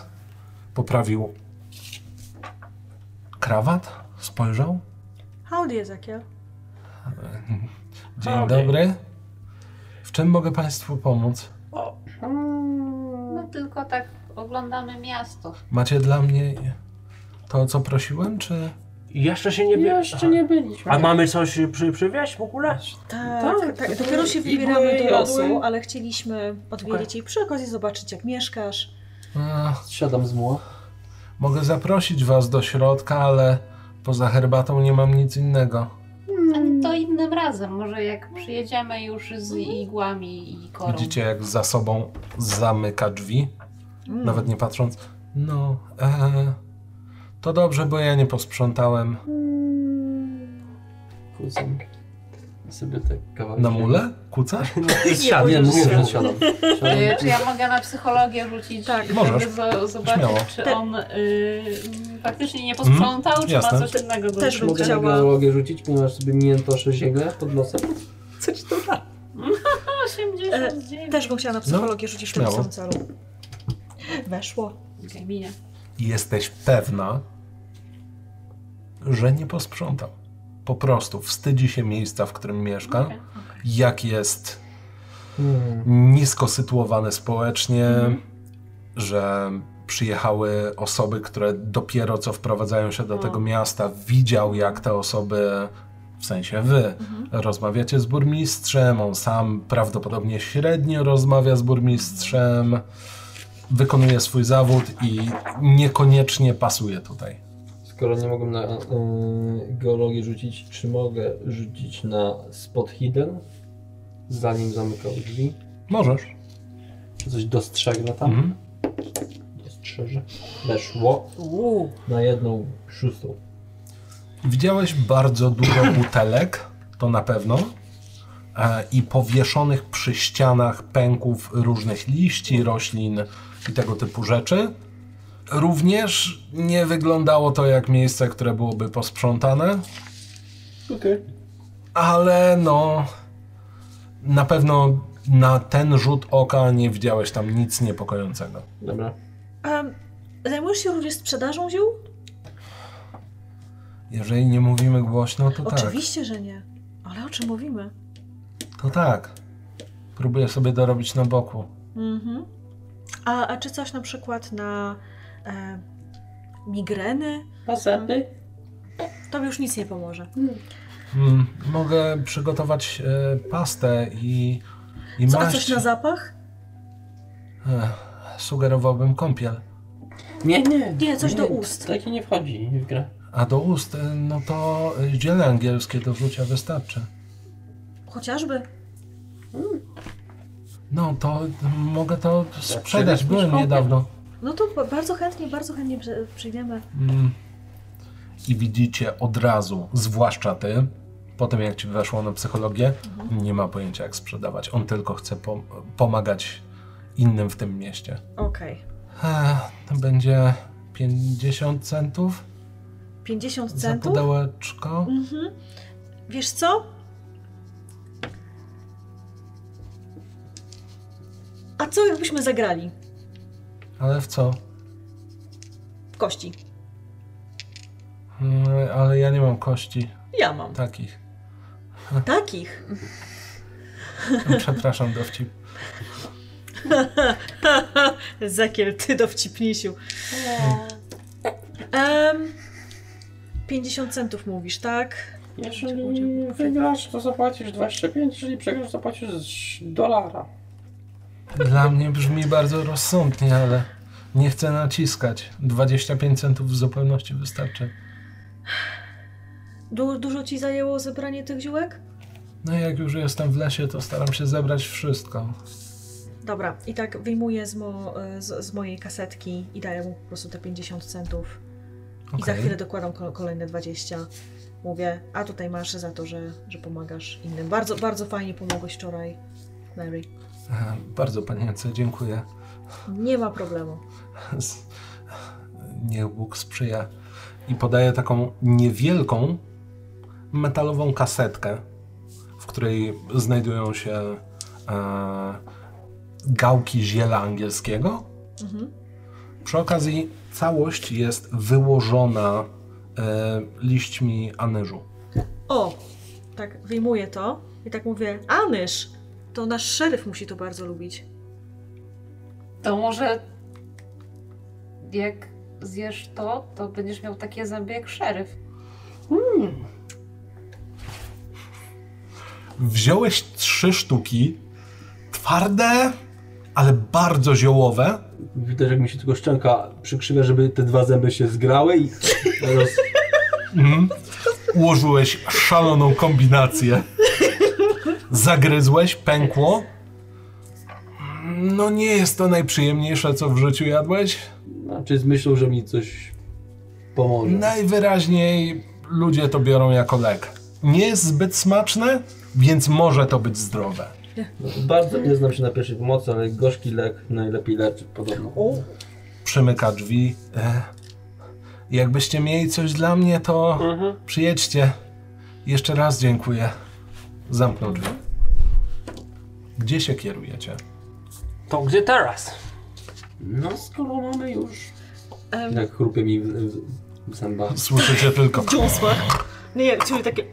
poprawił krawat, spojrzał.
Howdy, Ezekiel.
Dzień
Okej.
dobry. W czym mogę Państwu pomóc?
No tylko tak oglądamy miasto.
Macie dla mnie to, o co prosiłem, czy...
Jeszcze się nie... bie-
Jeszcze nie byliśmy.
A mamy coś przy, przywieźć w ogóle?
Tak, tak,
tak,
dopiero się
i
wybieramy
były
do
jodły.
lasu, ale chcieliśmy odwiedzić jej przy okazji, zobaczyć jak mieszkasz.
Ach,
Siadam z muła.
Mogę zaprosić was do środka, ale poza herbatą nie mam nic innego.
Ale to innym razem, może jak przyjedziemy już z igłami i korą.
Widzicie, jak za sobą zamyka drzwi, nawet nie patrząc. No, e, to dobrze, bo ja nie posprzątałem.
Kłócam. Sobie tak kawałek.
Na mule? Kucasz?
siadam,
Nie, mów,
siadam.
siadam. siadam.
Y, Czy ja mogę na psychologię rzucić,
Tak.
żeby
Możesz.
zo- zobaczyć,
Śmiało.
czy on y, m, faktycznie nie posprzątał, czy
Mhm. Jasne.
ma coś innego do
Też bym
zrobienia?
chciała.
Mogę geologię rzucić, ponieważ sobie miętoszę ziemię pod nosem.
Coś to da.
89.
Też bym chciała na psychologię rzucić w tym
No, śmiało.
samym celu. Weszło.
Okej, minie.
Jesteś pewna, że nie posprzątał. Po prostu wstydzi się miejsca, w którym mieszka.
Okej,
jak jest nisko sytuowane społecznie, że przyjechały osoby, które dopiero co wprowadzają się do tego miasta, widział jak te osoby, w sensie wy, rozmawiacie z burmistrzem, on sam prawdopodobnie średnio rozmawia z burmistrzem, wykonuje swój zawód i niekoniecznie pasuje tutaj.
Skoro nie mogłem na y, geologię rzucić, czy mogę rzucić na spot hidden? Zanim zamykał drzwi.
Możesz.
Czy coś dostrzegnę tam?
Mhm.
Dostrzeże. Weszło
Uuu.
na jedną szóstą.
Widziałeś bardzo dużo butelek, to na pewno, e, i powieszonych przy ścianach pęków różnych liści, roślin i tego typu rzeczy. Również nie wyglądało to jak miejsce, które byłoby posprzątane,
Okej.
ale no na pewno na ten rzut oka nie widziałeś tam nic niepokojącego.
Dobra.
A zajmujesz się również sprzedażą ziół?
Jeżeli nie mówimy głośno, to tak.
Oczywiście, że nie. Ale o czym mówimy?
To tak. Próbuję sobie dorobić na boku.
Mhm. A, a czy coś na przykład na e, migreny?
Pasety?
Tobie już nic nie pomoże.
Mm, mogę przygotować e, pastę i, i
Co, a
maść.
coś na zapach?
Ech, sugerowałbym kąpiel.
Nie, nie.
Nie, coś do
t-
ust.
Takie nie wchodzi w grę.
A do ust, e, no to e, ziele angielskie do rzucia wystarczy.
Chociażby.
No to m, mogę to sprzedać,
przyniosłeś
byłem
kąpiel?
niedawno.
No to ba- bardzo chętnie, bardzo chętnie przy- przyjmiemy.
Mm. I widzicie od razu, zwłaszcza ty, po tym jak ci weszło na psychologię,
Mhm.
nie ma pojęcia jak sprzedawać. On tylko chce pom- pomagać innym w tym mieście.
Okej.
Ech, to będzie 50 centów,
50
za
centów?
pudełeczko.
Mhm. Wiesz co? A co jakbyśmy zagrali?
Ale w co?
W kości.
Mm, Ale ja nie mam kości
Ja mam.
takich.
Takich?
Przepraszam, dowcip.
Zakiel, ty dowcipnisiu. Um, 50 centów mówisz, tak?
Jeżeli wygrasz, to zapłacisz 25, jeżeli przegrasz, zapłacisz dolara.
Dla mnie brzmi bardzo rozsądnie, ale nie chcę naciskać. 25 centów w zupełności wystarczy.
Du dużo ci zajęło zebranie tych ziółek?
No i jak już jestem w lesie, to staram się zebrać wszystko.
Dobra, i tak wyjmuję z, mo z, z mojej kasetki i daję mu po prostu te 50 centów. I za
Okej.
chwilę dokładam ko- kolejne 20. Mówię, a tutaj masz za to, że, że pomagasz innym. Bardzo, bardzo fajnie pomogłeś wczoraj, Mary.
E, Bardzo panience, dziękuję.
Nie ma problemu.
Z- Niech Bóg sprzyja. I podaje taką niewielką metalową kasetkę, w której znajdują się e, gałki ziela angielskiego.
Mhm.
Przy okazji całość jest wyłożona e, liśćmi anyżu.
O, tak wyjmuję to i tak mówię, Anysz, to nasz szeryf musi to bardzo lubić.
To może jak zjesz to, to będziesz miał takie zęby jak szeryf.
Wziąłeś trzy sztuki, twarde, ale bardzo ziołowe.
Widać jak mi się tylko szczęka przykrzywia, żeby te dwa zęby się zgrały i roz...
Mhm. Ułożyłeś szaloną kombinację. Zagryzłeś, pękło. No nie jest to najprzyjemniejsze, co w życiu jadłeś.
Znaczy z myślą, że mi coś pomoże.
Najwyraźniej ludzie to biorą jako lek. Nie jest zbyt smaczne, więc może to być zdrowe.
Bardzo nie znam się na pierwszej pomocy, ale gorzki lek najlepiej leczy podobno.
Przymyka drzwi. E, jakbyście mieli coś dla mnie, to przyjedźcie. Jeszcze raz dziękuję. Zamknął drzwi. Gdzie się kierujecie?
To gdzie teraz?
No skoro mamy już...
Em,
Jak chrupie mi w, w, w zębach.
Słyszycie tylko.
Dziąsła. Nie, czyli takie...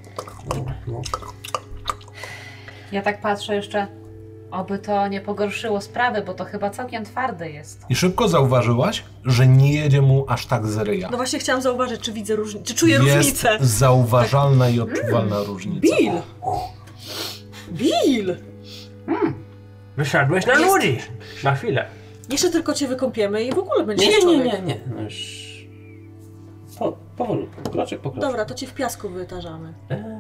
Ja tak patrzę jeszcze, oby to nie pogorszyło sprawy, bo to chyba całkiem twarde jest.
I szybko zauważyłaś, że nie jedzie mu aż tak z ryja.
No właśnie chciałam zauważyć, czy widzę różnicę, czy czuję
Jest
różnicę. Tak. Mm.
zauważalna i odczuwalna różnica.
Bill! Bill!
Wysiadłeś na ludzi! Na chwilę.
Jeszcze tylko cię wykąpiemy i w ogóle będzie
Nie, nie,
człowiek.
nie, nie. No już... Po, powoli, kroczek po kroczku.
Dobra, to cię w piasku wytarzamy.
E,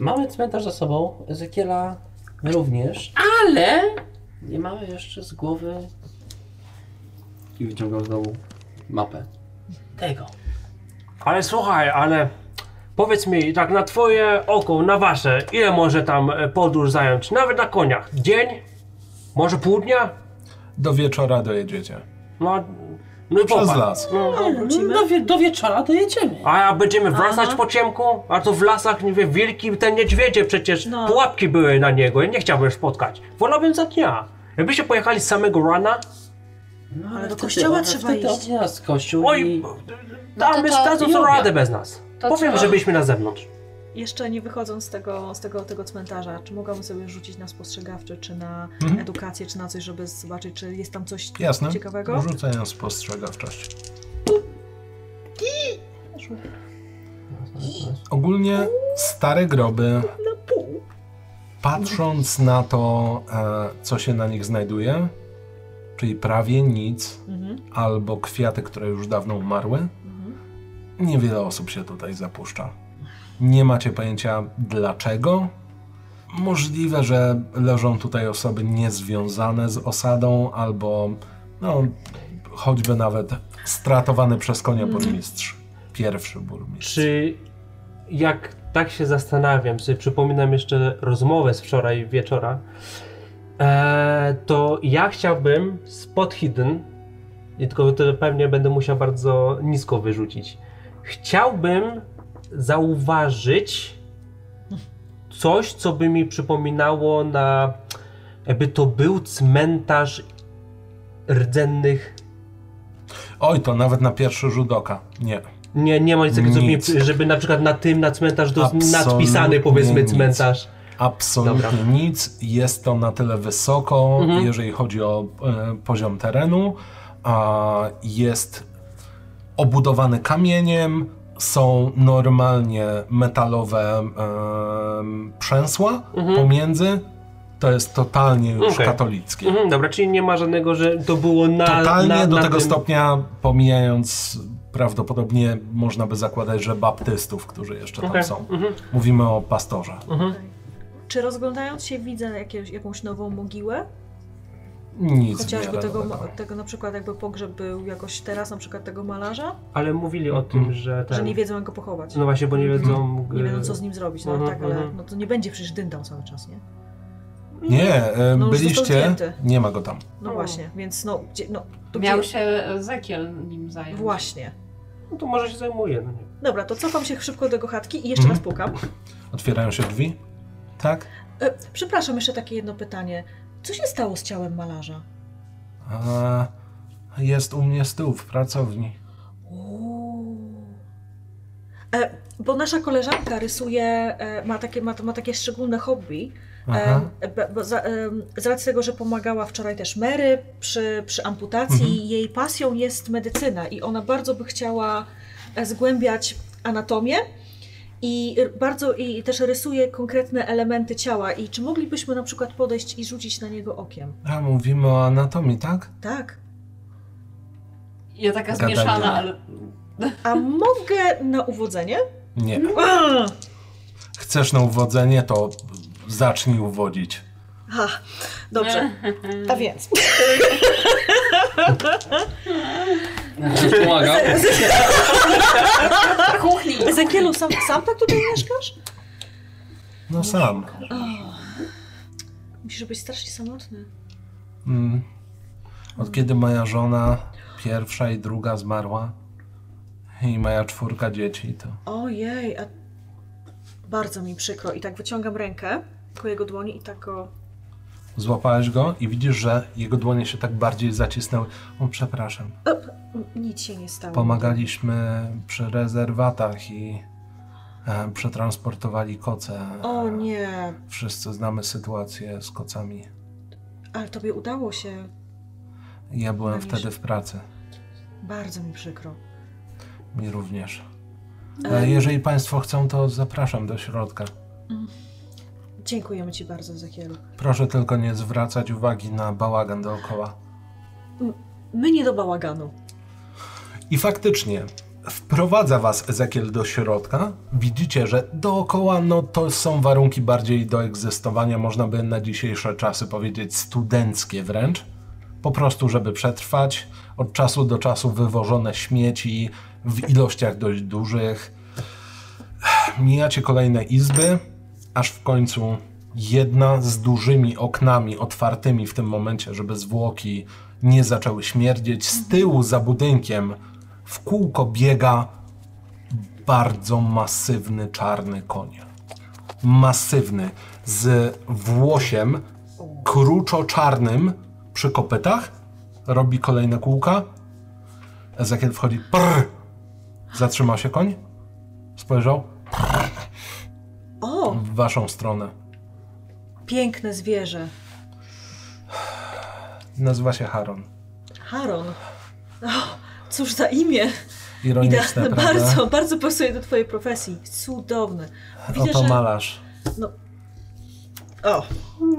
Mamy cmentarz za sobą, Ezekiela również, ale nie mamy jeszcze z głowy. I wyciągam znowu mapę. Tego.
Ale słuchaj, ale powiedz mi, tak na twoje oko, na wasze, ile może tam e, podróż zająć? Nawet na koniach. Dzień? Może pół dnia?
Do wieczora dojedziecie.
No, no i
Przez
popatrz.
las.
No.
Wrócimy.
Do, wie, do wieczora dojedziemy.
A jak będziemy wracać
Aha.
po ciemku? A to w lasach, nie wiem, wilki, te niedźwiedzie przecież,
No.
pułapki były na niego, ja nie chciałbym spotkać. Wolałbym za dnia. Jakbyście pojechali z samego rana,
No,
Ale do
wtedy-
kościoła
ale
trzeba
wtedy
iść.
od nas kościół
oj,
i...
no
to
damy
to
dadzą sobie
Julia.
radę bez nas.
To
Powiem,
trzeba-
że byliśmy na zewnątrz.
Jeszcze nie wychodząc z tego, z tego, tego cmentarza, czy mogłabym sobie rzucić na spostrzegawczy, czy na
Mhm.
edukację, czy na coś, żeby zobaczyć, czy jest tam coś
Jasne.
ciekawego?
Rzucę ją spostrzegawczość. Ogólnie stare groby,
Na pół.
patrząc na to, e, co się na nich znajduje, czyli prawie nic,
Mhm.
albo kwiaty, które już dawno umarły, niewiele osób się tutaj zapuszcza. Nie macie pojęcia dlaczego. Możliwe, że leżą tutaj osoby niezwiązane z osadą, albo no, choćby nawet stratowany przez konia burmistrz. Pierwszy burmistrz.
Czy jak tak się zastanawiam, sobie przypominam jeszcze rozmowę z wczoraj wieczora, e, to ja chciałbym spot hidden, i tylko to pewnie będę musiał bardzo nisko wyrzucić. Chciałbym zauważyć coś, co by mi przypominało na, jakby to był cmentarz rdzennych.
Oj, to nawet na pierwszy rzut oka. Nie.
Nie, nie ma nic takiego, co by mi,
Nic.
żeby na przykład na tym, na cmentarz, do,
Absolutnie
nadpisany powiedzmy
nic.
cmentarz.
Absolutnie
Dobra.
nic. Jest to na tyle wysoko,
Mhm.
jeżeli chodzi o e, poziom terenu. A jest obudowany kamieniem, są normalnie metalowe em, przęsła pomiędzy. To jest totalnie już
Mhm. Okej.
katolickie.
Mhm, dobra, czyli nie ma żadnego, że to było na.
Totalnie
na,
do
na
tego
tym...
stopnia, pomijając prawdopodobnie można by zakładać, że baptystów, którzy jeszcze tam
Okej,
są.
mhm.
Mówimy o pastorze.
Czy rozglądając się widzę jakieś, jakąś nową mogiłę?
Nic
Chociażby
w miarę
tego,
nowego.
tego na przykład jakby pogrzeb był jakoś teraz, na przykład tego malarza,
Ale mówili o tym,
Mhm.
że ten.
że nie wiedzą jak go pochować.
Tak. No właśnie, bo nie wiedzą.
Nie
e,
wiedzą co z nim zrobić, no
Mhm,
tak, ale
mhm.
no to nie będzie przecież dyndał cały czas, nie?
Nie, e,
No już został
byliście.
zdjęty.
Nie ma go tam.
No właśnie, więc no, gdzie, no to
Miał
gdzie...
się e, Zekiel nim zająć.
Właśnie.
No to może się zajmuje. No nie.
Dobra, to cofam się szybko do chatki i jeszcze
Mhm.
raz pukam.
Otwierają się drzwi? Tak?
E, przepraszam, jeszcze takie jedno pytanie. Co się stało z ciałem malarza?
A, jest u mnie z tyłu w pracowni.
Uuu. E, bo nasza koleżanka rysuje, e, ma, takie, ma, ma takie szczególne hobby.
Aha.
E, b, bo za, em, z racji tego, że pomagała wczoraj też Mary przy, przy amputacji, jej pasją jest medycyna i ona bardzo by chciała e, zgłębiać anatomię. I r- bardzo i też rysuje konkretne elementy ciała. I czy moglibyśmy na przykład podejść i rzucić na niego okiem?
A, mówimy o anatomii, tak?
Tak.
Ja taka
Gadanie.
zmieszana, ale...
A mogę na uwodzenie?
Nie.
Mhm.
Chcesz na uwodzenie, to zacznij uwodzić.
Ha, dobrze. A więc.
Ktoś pomaga?
Kuchni!
Ezekielu, sam, sam tak tutaj mieszkasz?
No sam.
Musisz być strasznie samotny.
Mm. Od kiedy moja żona, pierwsza i druga zmarła, i moja czwórka dzieci, to
Ojej, a bardzo mi przykro. I tak wyciągam rękę ku jego dłoni i tak go...
złapałeś go i widzisz, że jego dłonie się tak bardziej zacisnęły. O, przepraszam.
Op, nic się nie stało.
Pomagaliśmy przy rezerwatach i e, przetransportowali koce.
O nie,
Wszyscy znamy sytuację z kocami.
ale tobie udało się.
Ja byłem
Mariusz.
wtedy w pracy.
Bardzo mi przykro.
Mi również. E, jeżeli Państwo chcą, to zapraszam do środka.
Dziękujemy ci bardzo, Ezekielu.
Proszę tylko nie zwracać uwagi na bałagan dookoła.
My nie do bałaganu.
I faktycznie wprowadza was Ezekiel do środka. Widzicie, że dookoła no to są warunki bardziej do egzystowania, można by na dzisiejsze czasy powiedzieć studenckie wręcz. Po prostu, żeby przetrwać. Od czasu do czasu wywożone śmieci w ilościach dość dużych. Mijacie kolejne izby, aż w końcu jedna z dużymi oknami otwartymi w tym momencie, żeby zwłoki nie zaczęły śmierdzieć. Z tyłu za budynkiem w kółko biega bardzo masywny czarny konie. Masywny, z włosiem kruczo-czarnym przy kopytach. Robi kolejne kółka. Ezekiel wchodzi. Prr! Zatrzymał się koń. Spojrzał
O,
w waszą stronę.
piękne zwierzę.
Nazywa się Haron.
Haron. O, cóż za imię.
Ironiczne,
Idealne,
prawda?
bardzo, bardzo pasuje do twojej profesji. Cudowne. Widzę,
Oto
że...
malarz.
O,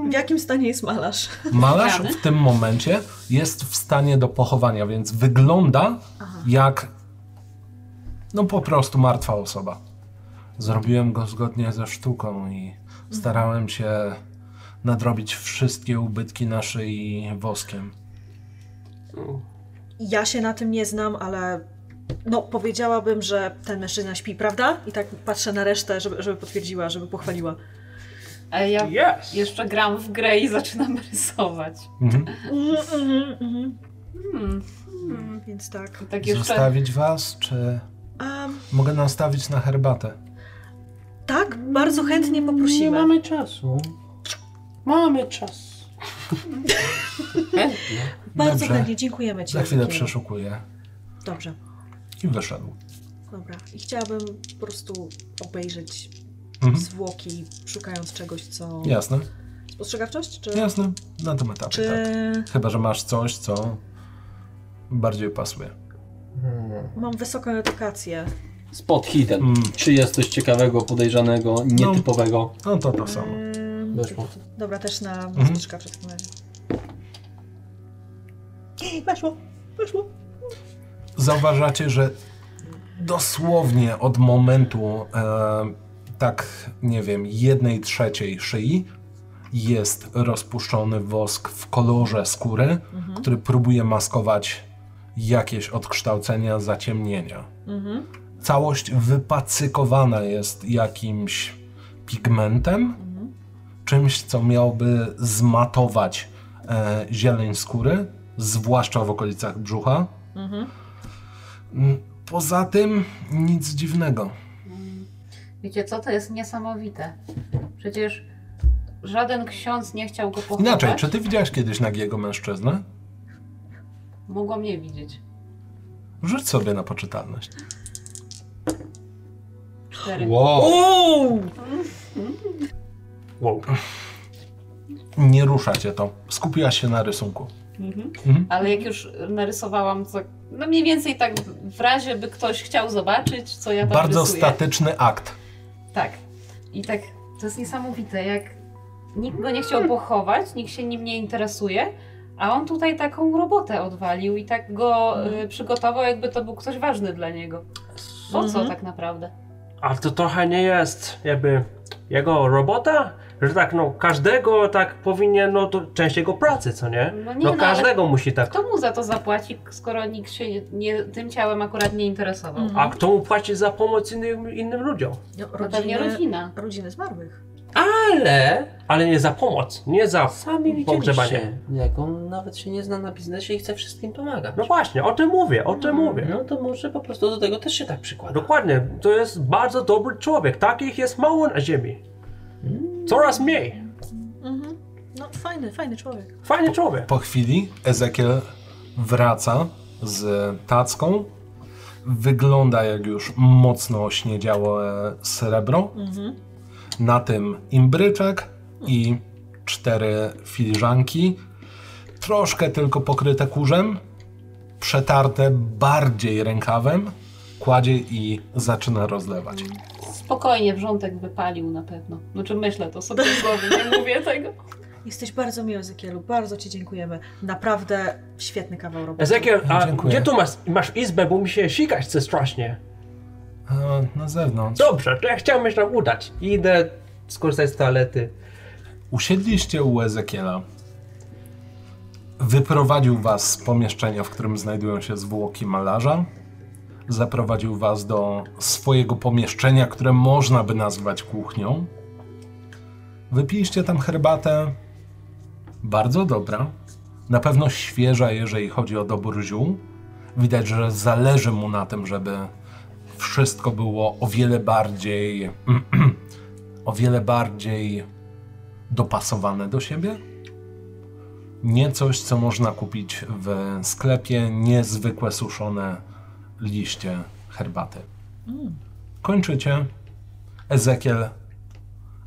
w jakim stanie jest malarz?
Malarz
Rany?
w tym momencie jest w stanie do pochowania, więc wygląda jak no po prostu martwa osoba. Zrobiłem go zgodnie ze sztuką i
Mhm.
starałem się nadrobić wszystkie ubytki na szyi woskiem.
Ja się na tym nie znam, ale no powiedziałabym, że ten mężczyzna śpi, prawda? I tak patrzę na resztę, żeby, żeby potwierdziła, żeby pochwaliła.
A ja
Yes!
jeszcze gram w grę i zaczynam rysować.
Mhm.
Mm, mhm, mhm.
Hmm. hmm.
Więc tak.
I Tak jeszcze
Zostawić was, czy
Em,
mogę nastawić na herbatę?
tak, bardzo chętnie poprosimy.
Nie mamy czasu. Mamy czas.
Bardzo
Dobrze.
chętnie, dziękujemy ci.
Za chwilę
Ezekielu.
przeszukuję.
Dobrze,
I wyszedł.
dobra. I chciałabym po prostu obejrzeć
Mhm.
zwłoki, szukając czegoś, co...
Jasne,
Spostrzegawczość? Czy...
jasne. Na tym etapie,
Czy...
tak. Chyba, że masz coś, co bardziej pasuje.
Hmm.
Mam wysoką edukację.
Spot hidden.
Mm,
Czy jest coś ciekawego, podejrzanego, nietypowego?
no to to samo.
Ym,
Weszło.
Mm, Dobra, też na
Mhm.
spostrzegawczość w takim razie. Weszło, weszło.
Zauważacie, że dosłownie od momentu e, tak, nie wiem, jednej trzeciej szyi jest rozpuszczony wosk w kolorze skóry, który próbuje maskować jakieś odkształcenia, zaciemnienia.
Mhm.
Całość wypacykowana jest jakimś pigmentem, czymś, co miałoby zmatować e, zieleń skóry, zwłaszcza w okolicach brzucha.
Mhm.
Mm, Poza tym nic dziwnego.
Wiecie co, to jest niesamowite. Przecież żaden ksiądz nie chciał go pochować.
Inaczej, czy ty widziałaś kiedyś nagiego mężczyznę?
Mogło mnie widzieć.
Rzuć sobie na poczytalność.
Cztery.
Wow!
Uuu!
Wow.
Nie rusza cię to. Skupiłaś się na rysunku.
Mhm.
Mhm.
Ale jak już narysowałam, co... No mniej więcej tak w razie, by ktoś chciał zobaczyć, co ja tam
Bardzo
rysuję.
statyczny akt.
Tak. I tak, to jest niesamowite, jak nikt go nie chciał pochować, nikt się nim nie interesuje, a on tutaj taką robotę odwalił i tak go
Mhm.
y, przygotował, jakby to był ktoś ważny dla niego. Po co
Mhm.
tak naprawdę?
Ale to trochę nie jest jakby jego robota, że tak no każdego tak powinien, no to część jego pracy, co nie?
No nie,
No
no, ale
każdego musi tak.
Kto mu za to zapłaci, skoro nikt się nie, nie, tym ciałem akurat nie interesował?
Mhm.
A kto mu płaci za pomoc innym, innym ludziom?
No,
To pewnie
rodziny,
rodzina.
rodziny zmarłych.
Ale
Ale nie za pomoc, nie za
sami
pogrzebanie.
widzieliście, jak on nawet się nie zna na biznesie i chce wszystkim pomagać.
No właśnie, o tym mówię, o tym
Mm.
mówię.
No to może po prostu do tego też się tak przykłada.
Dokładnie, to jest bardzo dobry człowiek. Takich jest mało na ziemi. Coraz mniej.
Mhm. No fajny, fajny człowiek.
Fajny człowiek.
Po chwili Ezekiel wraca z tacką. Wygląda jak już mocno ośniedziałe srebro.
Mhm.
Na tym imbryczek i cztery filiżanki. Troszkę tylko pokryte kurzem, przetarte bardziej rękawem. Kładzie i zaczyna rozlewać.
Spokojnie wrzątek wypalił na pewno. Znaczy myślę to sobie w głowie, nie mówię tego.
Jesteś bardzo miły, Ezekielu. Bardzo ci dziękujemy. Naprawdę świetny kawał roboty.
Ezekiel, a
Dziękuję.
gdzie tu masz, masz izbę, bo mi się sikać chce strasznie.
E, na zewnątrz.
Dobrze, to ja chciałem się tam udać.
Idę skorzystać z toalety.
Usiedliście u Ezekiela. Wyprowadził was z pomieszczenia, w którym znajdują się zwłoki malarza. Zaprowadził was do swojego pomieszczenia, które można by nazwać kuchnią. Wypiliście tam herbatę. Bardzo dobra. Na pewno świeża, jeżeli chodzi o dobór ziół. Widać, że zależy mu na tym, żeby wszystko było o wiele bardziej o wiele bardziej dopasowane do siebie. Nie coś, co można kupić w sklepie, niezwykłe suszone liście herbaty. Kończycie. Ezekiel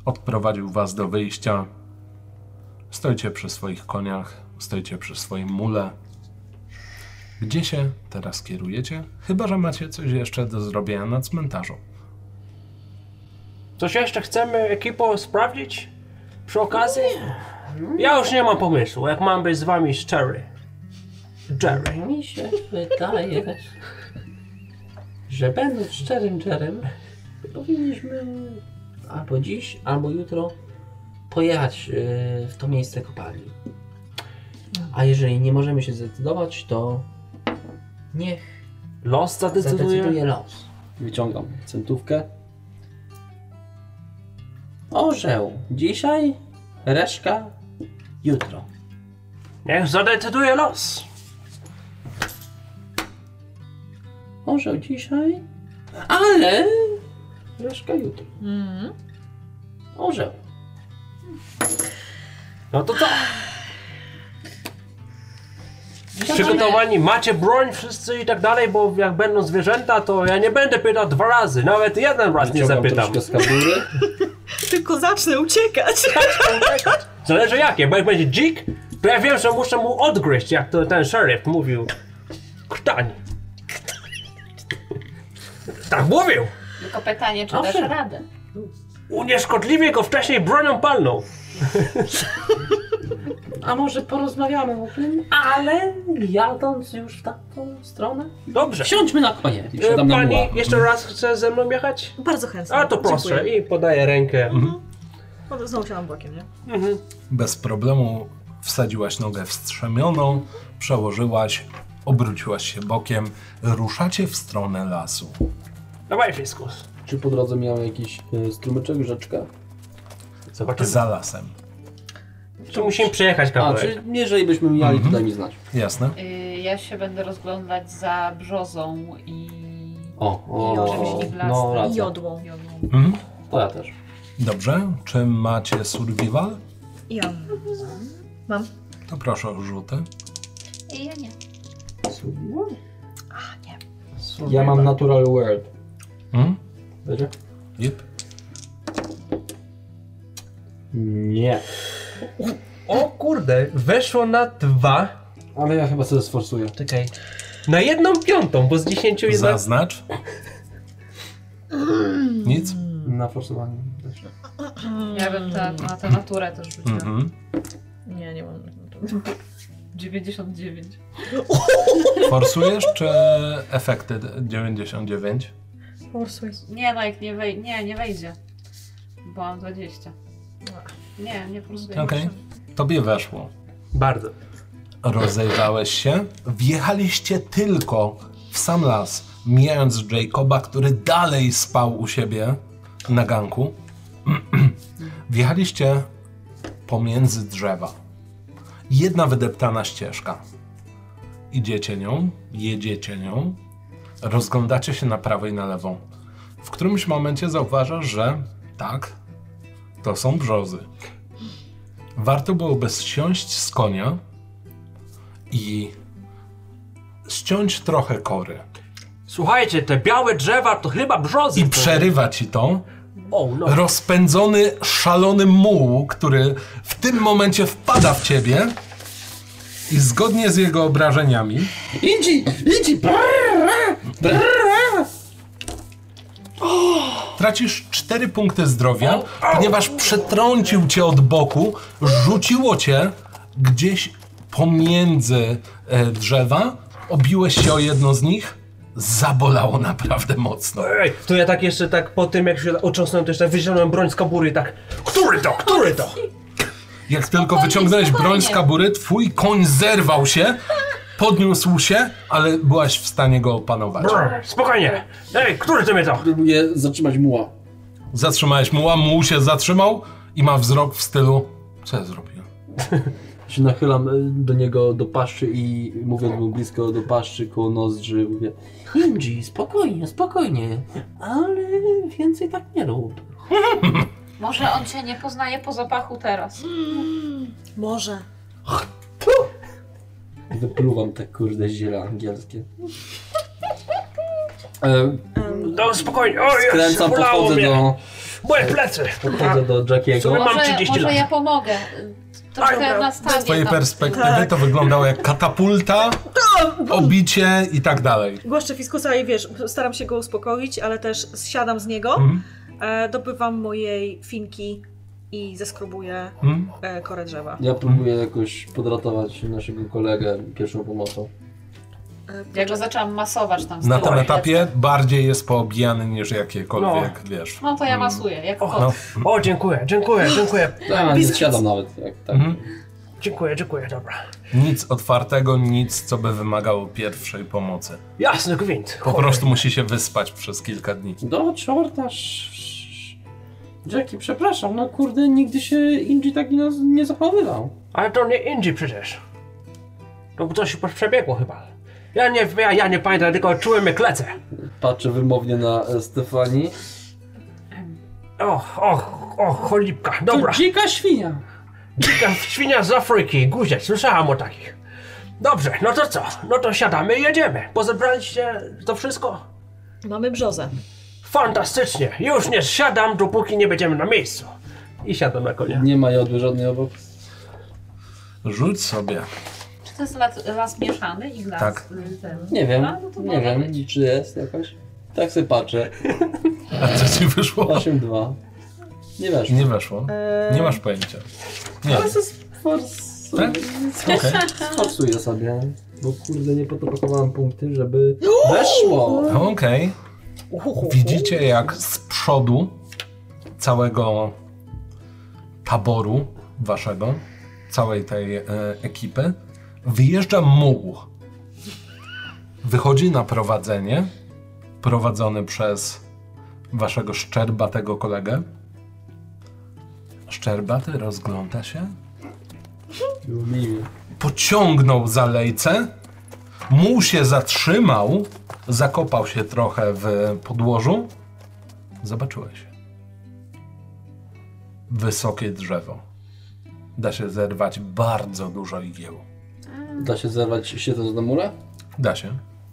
odprowadził was do wyjścia. Stoicie przy swoich koniach, stoicie przy swoim mule. Gdzie się teraz kierujecie? Chyba, że macie coś jeszcze do zrobienia na cmentarzu.
Coś jeszcze chcemy, ekipo, sprawdzić? Przy okazji? Ja już nie mam pomysłu, jak mam być z wami szczery. Jerry.
Mi się wydaje, że będąc szczerym Jerem, powinniśmy albo dziś, albo jutro pojechać e, w to miejsce kopalni. A jeżeli nie możemy się zdecydować, to niech
Los zadecyduje.
zadecyduje los.
Wyciągam centówkę.
Orzeł dzisiaj, reszka jutro.
Niech zadecyduje los.
Orzeł dzisiaj, ale reszka jutro.
Mhm.
Orzeł.
No to co? Przygotowani, macie broń wszyscy i tak dalej, bo jak będą zwierzęta, to ja nie będę pytał dwa razy, nawet jeden raz nie
Wyciągam
zapytam.
troszkę z kabury.
Tylko zacznę uciekać.
Zależy jakie, bo jak będzie dzik, to ja wiem, że muszę mu odgryźć, jak to ten szeryf mówił. Ktań. Tak mówił!
Tylko pytanie, czy
Owszem.
dasz radę?
Unieszkodliwie go wcześniej bronią palną.
A może porozmawiamy o tym, ale jadąc już w taką stronę,
Dobrze.
Tak. siądźmy na konie.
E,
Siadam na muła.
Pani jeszcze raz chce ze mną jechać?
Bardzo chętnie.
A to proszę. I podaję rękę. Mhm.
Dziękuję. Znowu siadam bokiem, nie?
Bez problemu wsadziłaś nogę wstrzemioną, przełożyłaś, obróciłaś się bokiem. Ruszacie w stronę lasu.
Dawaj, Fiskus.
Czy po drodze miałem jakiś y, strumyczek, rzeczkę?
Zobaczymy.
Za lasem.
Czy musimy przejechać
A,
kawałek?
czy jeżeli byśmy mieli, to daj mi znać.
Jasne?
Y, ja się będę rozglądać za brzozą i...
O,
I
o,
oczywiście w las.
no
I
racja.
Jodłą.
Jodłą.
Mhm.
To ja też.
Dobrze. Czy macie survival?
Ja. Mam.
To proszę o rzuty.
I ja nie.
Ja mam Natural World.
Mhm.
Będzie?
Yep.
Nie.
O kurde, weszło na dwa,
Ale ja chyba sobie sforsuję.
czekaj, na jedną piątą, bo z dziesięciu jedna...
Zaznacz. Nic?
Hmm.
Na forsowanie. też.
Ja bym tak. ta, na tę naturę też rzuciła.
Mhm.
Mm. Nie, nie mam.
99.
Forsujesz czy efekty 99?
Forsuj.
Nie no, jak nie, wej- nie, nie wejdzie. Bo mam 20. Nie, nie porozumiem.
Okej. Tobie weszło.
Bardzo.
Rozejrzałeś się. Wjechaliście tylko w sam las, mijając Jacoba, który dalej spał u siebie na ganku. Wjechaliście pomiędzy drzewa. Jedna wydeptana ścieżka. Idziecie nią, jedziecie nią, rozglądacie się na prawo i na lewą. W którymś momencie zauważasz, że tak, to są brzozy. Warto byłoby zsiąść z konia i ściąć trochę kory.
Słuchajcie, te białe drzewa to chyba brzozy.
I przerywa ci to
O, no.
rozpędzony, szalony muł, który w tym momencie wpada w ciebie i zgodnie z jego obrażeniami
Idzi! Idzi! Brrr!
tracisz 4 punkty zdrowia, ponieważ przetrącił cię od boku, rzuciło cię gdzieś pomiędzy e, drzewa, obiłeś się o jedno z nich, zabolało naprawdę mocno.
Ej, to ja tak jeszcze tak po tym, jak się otrząsnąłem, to jeszcze wyciągnąłem broń z kabury i tak... Który to? Który to?
Jak tylko wyciągnąłeś broń z
spokojnie.
kabury, twój koń zerwał się, podniósł się, ale byłaś w stanie go opanować.
Brr, spokojnie. Ej, który to mnie to?
Próbuję zatrzymać muła.
Zatrzymałeś muła, muł się zatrzymał i ma wzrok w stylu co ja zrobiłem?
się nachylam e, do niego do paszczy i mówiąc mu blisko do paszczy koło nozdrzy mówię
Inji, spokojnie, spokojnie. Ale więcej tak nie rób.
Może on cię nie poznaje po zapachu teraz.
Może.
Wypluwam te kurde ziele angielskie. E,
Em,
No spokojnie, o jest,
Skręcam,
bolało
podchodzę
no.
mnie.
do,
Moje plecy.
podchodzę do
No,
Jackiego.
Słuchaj,
Może,
mam 30
może
lat.
ja pomogę. Y, Trochę nastawię.
Z twojej
tam-
perspektywy
Tak.
to wyglądało jak katapulta, obicie i tak dalej.
Głaszczę fiskusa i wiesz, staram się go uspokoić, ale też zsiadam z niego,
Mhm.
e, dobywam mojej finki i zeskrubuję
Mhm.
e, korę drzewa.
Ja próbuję jakoś podratować naszego kolegę pierwszą pomocą.
E,
Ja go zaczęłam masować tam z
Na
tyłu.
tym etapie bardziej jest poobijany niż jakiekolwiek, wiesz.
No to ja masuję, jak
Och,
kot.
No.
O, dziękuję, dziękuję, dziękuję,
Tak,
Ja nie
Biznes.
siadam nawet. Jak, tak.
Mhm.
dziękuję, dziękuję, dobra.
Nic otwartego, nic, co by wymagało pierwszej pomocy.
Jasny gwint.
Po
Cholera.
prostu musi się wyspać przez kilka dni.
Do czorta. Jackie, przepraszam, no kurde, nigdy się Inji tak nie, nie zachowywał.
Ale to nie Indii przecież. To coś się przebiegło chyba. Ja nie, ja, ja nie pamiętam, tylko czułem jak lecę.
Patrzę wymownie na e, Stefani.
Och, och, och, cholipka, dobra.
To dzika świnia.
Dzika świnia z Afryki, guziec, słyszałam o takich. Dobrze, no to co? No to siadamy i jedziemy. Pozebraliście to wszystko?
Mamy brzozę.
Fantastycznie, już nie siadam, dopóki nie będziemy na miejscu. I siadam na konia.
Nie ma jodły żadnej obok.
Rzuć sobie.
Czy to jest las, las mieszany i las
Tak.
y, ten?
Nie wiem,
A, no to
nie
może
wiem,
być.
czy jest jakaś. Tak sobie patrzę.
A co ci wyszło?
8-2. Nie wiesz.
Nie weszło. Nie masz pojęcia. Nie. Tak?
Forsuję,
Okej.
forsuję sobie. Bo kurde, nie potrapowałem punkty, żeby weszło.
Okej. Widzicie, jak z przodu całego taboru waszego, całej tej e, ekipy, wyjeżdża muł. Wychodzi na prowadzenie, prowadzony przez waszego szczerbatego kolegę. Szczerbaty rozgląda się,
Miły.
pociągnął za lejce, muł się zatrzymał, zakopał się trochę w podłożu. Zobaczyłeś. Wysokie drzewo. Da się zerwać bardzo dużo igieł.
Da się zerwać siedząc na murę?
Da się.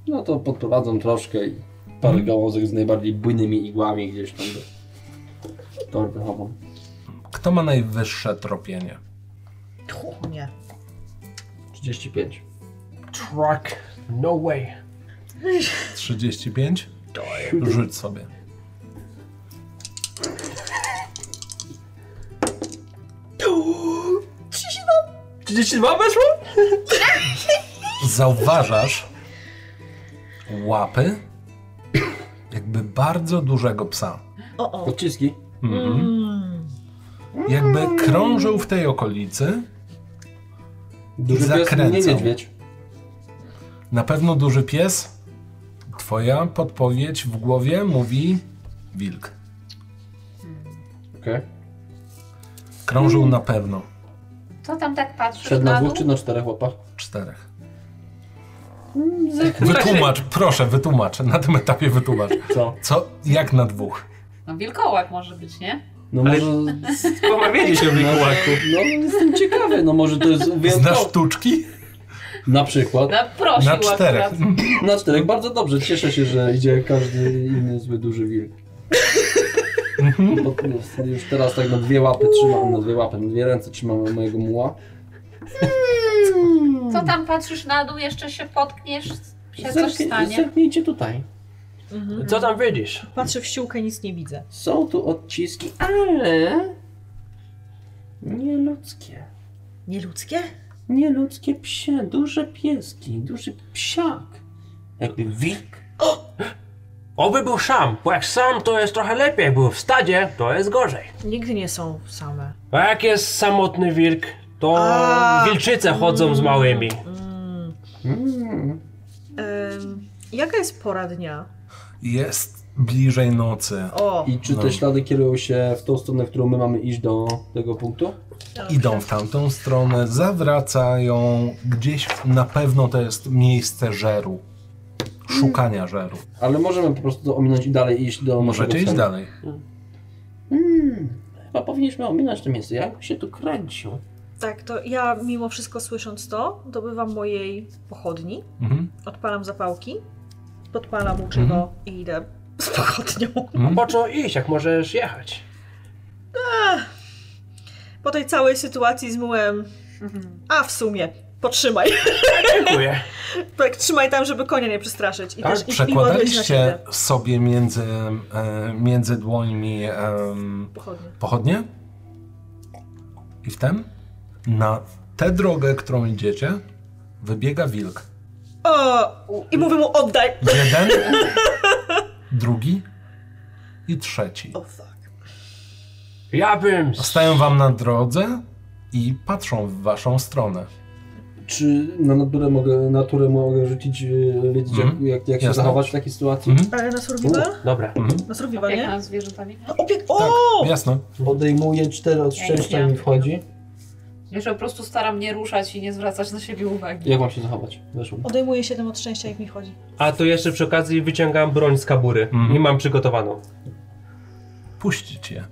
No to podprowadzą troszkę i parę
Mhm.
gałązek z najbardziej bujnymi igłami gdzieś tam do torby chowam.
Kto ma najwyższe tropienie?
Tchu, nie.
35.
Truck, no way.
35? Rzuć sobie. Zauważasz łapy jakby bardzo dużego psa.
O, o.
Odciski?
Jakby krążył w tej okolicy.
Duży pies, nie
Zakręcał.
niedźwiedź.
Na pewno duży pies. Twoja podpowiedź w głowie mówi wilk.
Okej.
Krążył na pewno
To tam tak patrzysz
Szedł na
na dół?
dwóch czy na czterech łapach?
czterech. Wytłumacz, proszę, wytłumacz. Na tym etapie wytłumacz.
Co?
Co? Jak na dwóch?
No wilkołak może być, nie?
No
Ale-
może...
Pomawiali się w Mikołaku.
No jestem ciekawy, no może to jest
Znasz
wyjątkowe.
sztuczki?
Na przykład.
Na prosił
Na czterech. Hmm.
akurat.
Na czterech, bardzo dobrze. Cieszę się, że idzie każdy inny zły duży wilk. Bo no, już teraz tak na dwie łapy trzymam, na dwie łapy, na dwie ręce trzymam mojego muła.
To tam patrzysz na dół, jeszcze się potkniesz, się coś
Zerknij-
stanie.
Zerknijcie tutaj.
Mhm.
Co tam widzisz?
Patrzę w ściółkę, nic nie widzę.
Są tu odciski, ale nieludzkie.
Nieludzkie?
Nieludzkie psie, duże pieski, duży psiak. Jakby wilk.
Oby był sam, bo jak sam to jest trochę lepiej, jak był w stadzie, to jest gorzej.
Nigdy nie są same.
A jak jest samotny wilk, to
A.
wilczyce chodzą z małymi.
Em, jaka jest pora dnia?
Jest bliżej nocy
O,
I czy te
No.
ślady kierują się w tą stronę, w którą my mamy iść do tego punktu?
idą w tamtą stronę, zawracają gdzieś, na pewno to jest miejsce żeru, szukania żeru.
Ale możemy po prostu to ominąć i dalej iść do Hmm.
Możecie
naszego
iść
celu.
dalej.
Chyba powinniśmy ominąć to miejsce. Jak się tu kręcił?
tak, to ja mimo wszystko słysząc to, dobywam mojej pochodni,
Mhm.
odpalam zapałki, podpalam łuczywo i idę z pochodnią.
Mhm.
Po co iść, jak możesz jechać?
Po tej całej sytuacji z mułem,
Mhm.
a w sumie, potrzymaj.
Dziękuję.
Tak, trzymaj tam, żeby konia nie przestraszyć. I
Tak,
też i, i ładuję się na
przekładaliście
siebie
sobie między, e, między dłońmi em,
pochodnie.
pochodnie i wtem na tę drogę, którą idziecie, wybiega wilk.
O, i mówię mu oddaj.
Jeden, drugi i trzeci.
O fuck.
Ja bym...
Stają wam na drodze i patrzą w waszą stronę.
Czy na naturę mogę, naturę mogę rzucić, yy, wiedzieć
Mhm.
jak, jak, jak się
Jasne.
zachować w takiej sytuacji?
Mhm.
Ale na survival?
Dobra.
Na survival,
Jak
nie?
na zwierzętami?
Opiek...
Tak.
O!
Jasne.
Odejmuję 4 od
Ja
szczęścia
nie
mi wchodzi.
Ja się po prostu staram nie ruszać i nie zwracać na siebie uwagi.
Jak mam się zachować? Weszło. mi.
Odejmuję 7 od szczęścia, jak mi chodzi.
A to jeszcze przy okazji wyciągam broń z kabury
Mhm.
i mam przygotowaną.
Puścić je.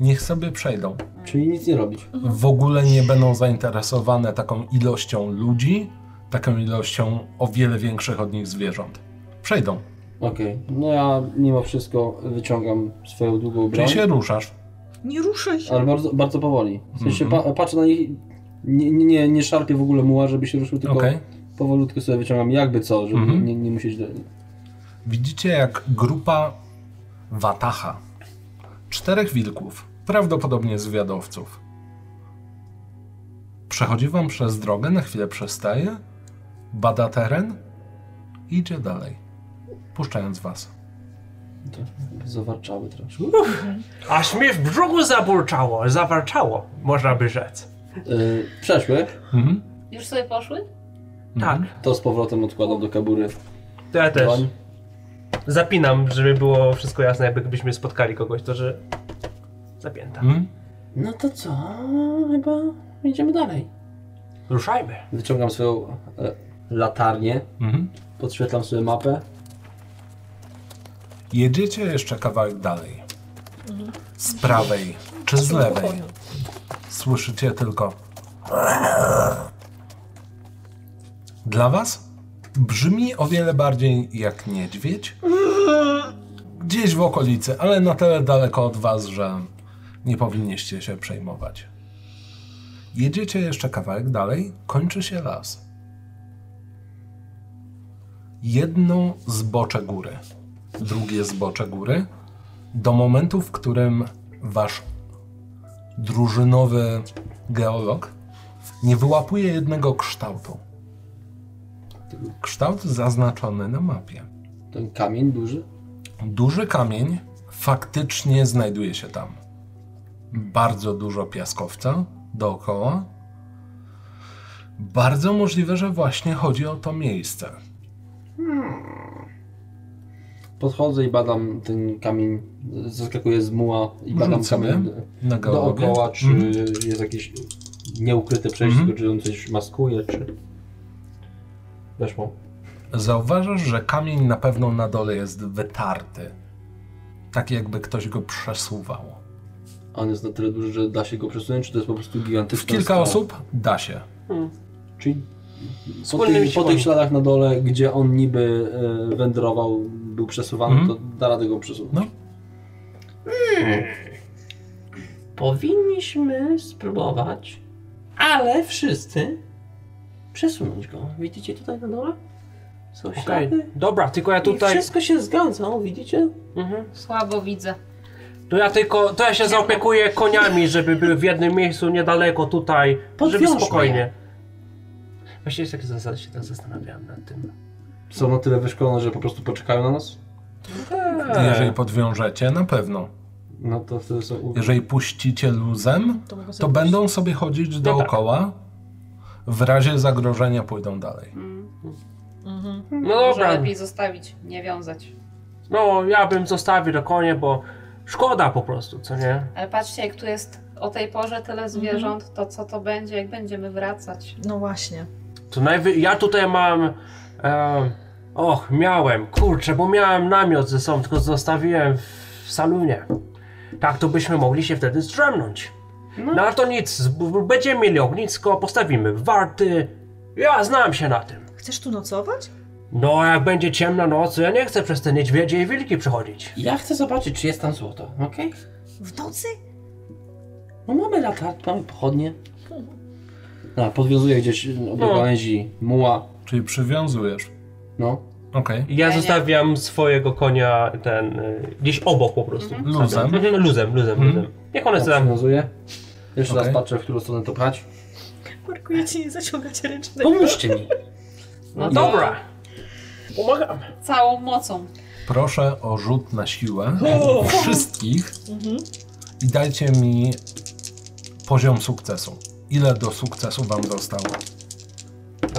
Niech sobie przejdą.
Czyli nic nie robić.
W ogóle nie będą zainteresowane taką ilością ludzi, taką ilością o wiele większych od nich zwierząt. Przejdą.
Okej. No ja mimo wszystko wyciągam swoją długą broń.
Czyli się ruszasz.
Nie ruszaj się.
Ale bardzo, bardzo powoli. W sensie
Mhm.
pa, patrzę na nich, i nie, nie, nie, nie szarpię w ogóle muła, żeby się ruszył, tylko
Okej.
powolutku sobie wyciągam jakby co, żeby
Mhm.
nie, nie musieć... Do...
Widzicie, jak grupa Wataha, czterech wilków, prawdopodobnie zwiadowców, przechodzi wam przez drogę, na chwilę przestaje, bada teren i idzie dalej, puszczając was.
To Zawarczały troszkę.
Aż mi w brzuchu zaburczało, zawarczało, można by rzec.
Yy, przeszły.
Mhm.
Już sobie poszły?
Tak,
To z powrotem odkładam do kabury.
to ja też.
Broń.
Zapinam, żeby było wszystko jasne, jakbyśmy spotkali kogoś, to że... Zapięta.
Mhm.
No to co? Chyba idziemy dalej.
Ruszajmy.
Wyciągam swoją e, latarnię,
Mhm.
podświetlam sobie mapę.
Jedziecie jeszcze kawałek dalej. Z prawej czy z lewej słyszycie tylko. Dla was brzmi o wiele bardziej jak niedźwiedź. Gdzieś w okolicy, ale na tyle daleko od was, że nie powinniście się przejmować. Jedziecie jeszcze kawałek dalej, kończy się las. Jedno zbocze góry drugie zbocze góry, do momentu, w którym wasz drużynowy geolog nie wyłapuje jednego kształtu. Kształt zaznaczony na mapie.
Ten kamień duży.
Duży kamień faktycznie znajduje się tam. Bardzo dużo piaskowca dookoła. Bardzo możliwe, że właśnie chodzi o to miejsce.
Podchodzę i badam ten kamień. Zaskakuję z muła i
Rzuć
badam
sobie
kamień
Na
do-
geologię.
dookoła, czy
Mhm.
jest jakieś nieukryte przejście,
Mhm.
czy on coś maskuje, czy... Weszło.
Zauważasz, że kamień na pewno na dole jest wytarty. Tak jakby ktoś go przesuwał.
A On jest na tyle duży, że da się go przesunąć, czy to jest po prostu
W
gigantyczny
kilka osób da się.
Czyli po,
Wspólnymi
tych, po
siłami.
tych śladach na dole, gdzie on niby e, wędrował, był przesuwany,
Mhm.
to da radę go przesunąć.
No.
Powinniśmy spróbować, ale wszyscy przesunąć go. Widzicie tutaj na dole? Są
Okej,
ślady.
dobra, tylko ja
I
tutaj...
wszystko się zgadza, o, widzicie?
Mhm.
Słabo widzę.
To ja tylko, to ja się zaopiekuję koniami, żeby były w jednym miejscu, niedaleko tutaj,
Podwiążmy
żeby spokojnie. Właśnie tak zas- się tak zastanawiałem nad tym.
Są na tyle wyszkolone, że po prostu poczekają na nas?
Tak. Eee.
Jeżeli podwiążecie, na pewno.
No to wtedy są... u-
Jeżeli puścicie luzem,
To, mogę sobie
to będą sobie chodzić dookoła. W razie zagrożenia pójdą dalej.
Mm.
Mhm.
No
Może
dobra,
lepiej zostawić, nie wiązać.
No, ja bym zostawił do konie, bo szkoda po prostu, co nie?
Ale patrzcie, jak tu jest o tej porze tyle zwierząt, to co to będzie, jak będziemy wracać?
No właśnie.
To najwy... Ja tutaj mam... E... Och, miałem, kurczę, bo miałem namiot ze sobą, tylko zostawiłem w salonie. Tak to byśmy mogli się wtedy zdrzemnąć. No, ale to nic, z- będziemy mieli ognisko, postawimy warty. Ja znam się na tym.
Chcesz tu nocować?
No, jak będzie ciemna noc, to ja nie chcę przez te niedźwiedzie i wilki przechodzić.
Ja chcę zobaczyć, czy jest tam złoto, okej?
W nocy?
No mamy latarkę, mamy pochodnie.
A, podwiązuję gdzieś obie
No.
gałęzi, muła,
Czyli przywiązujesz.
no.
Okej.
Ja
Ja nie.
zostawiam swojego konia ten y, gdzieś obok po prostu.
Luzem.
Mhm, Luzem, luzem, luzem. Niech one
Ja
sobie tam.
przywiązuję. Jeszcze
Okej.
raz patrzę, w którą stronę to pchać.
Markuję ci, nie zaciągacie ręcznego.
Pomóżcie mi.
No
Dobra. Pomagam.
Całą mocą.
Proszę o rzut na siłę wszystkich i dajcie mi poziom sukcesu. Ile do sukcesu wam zostało?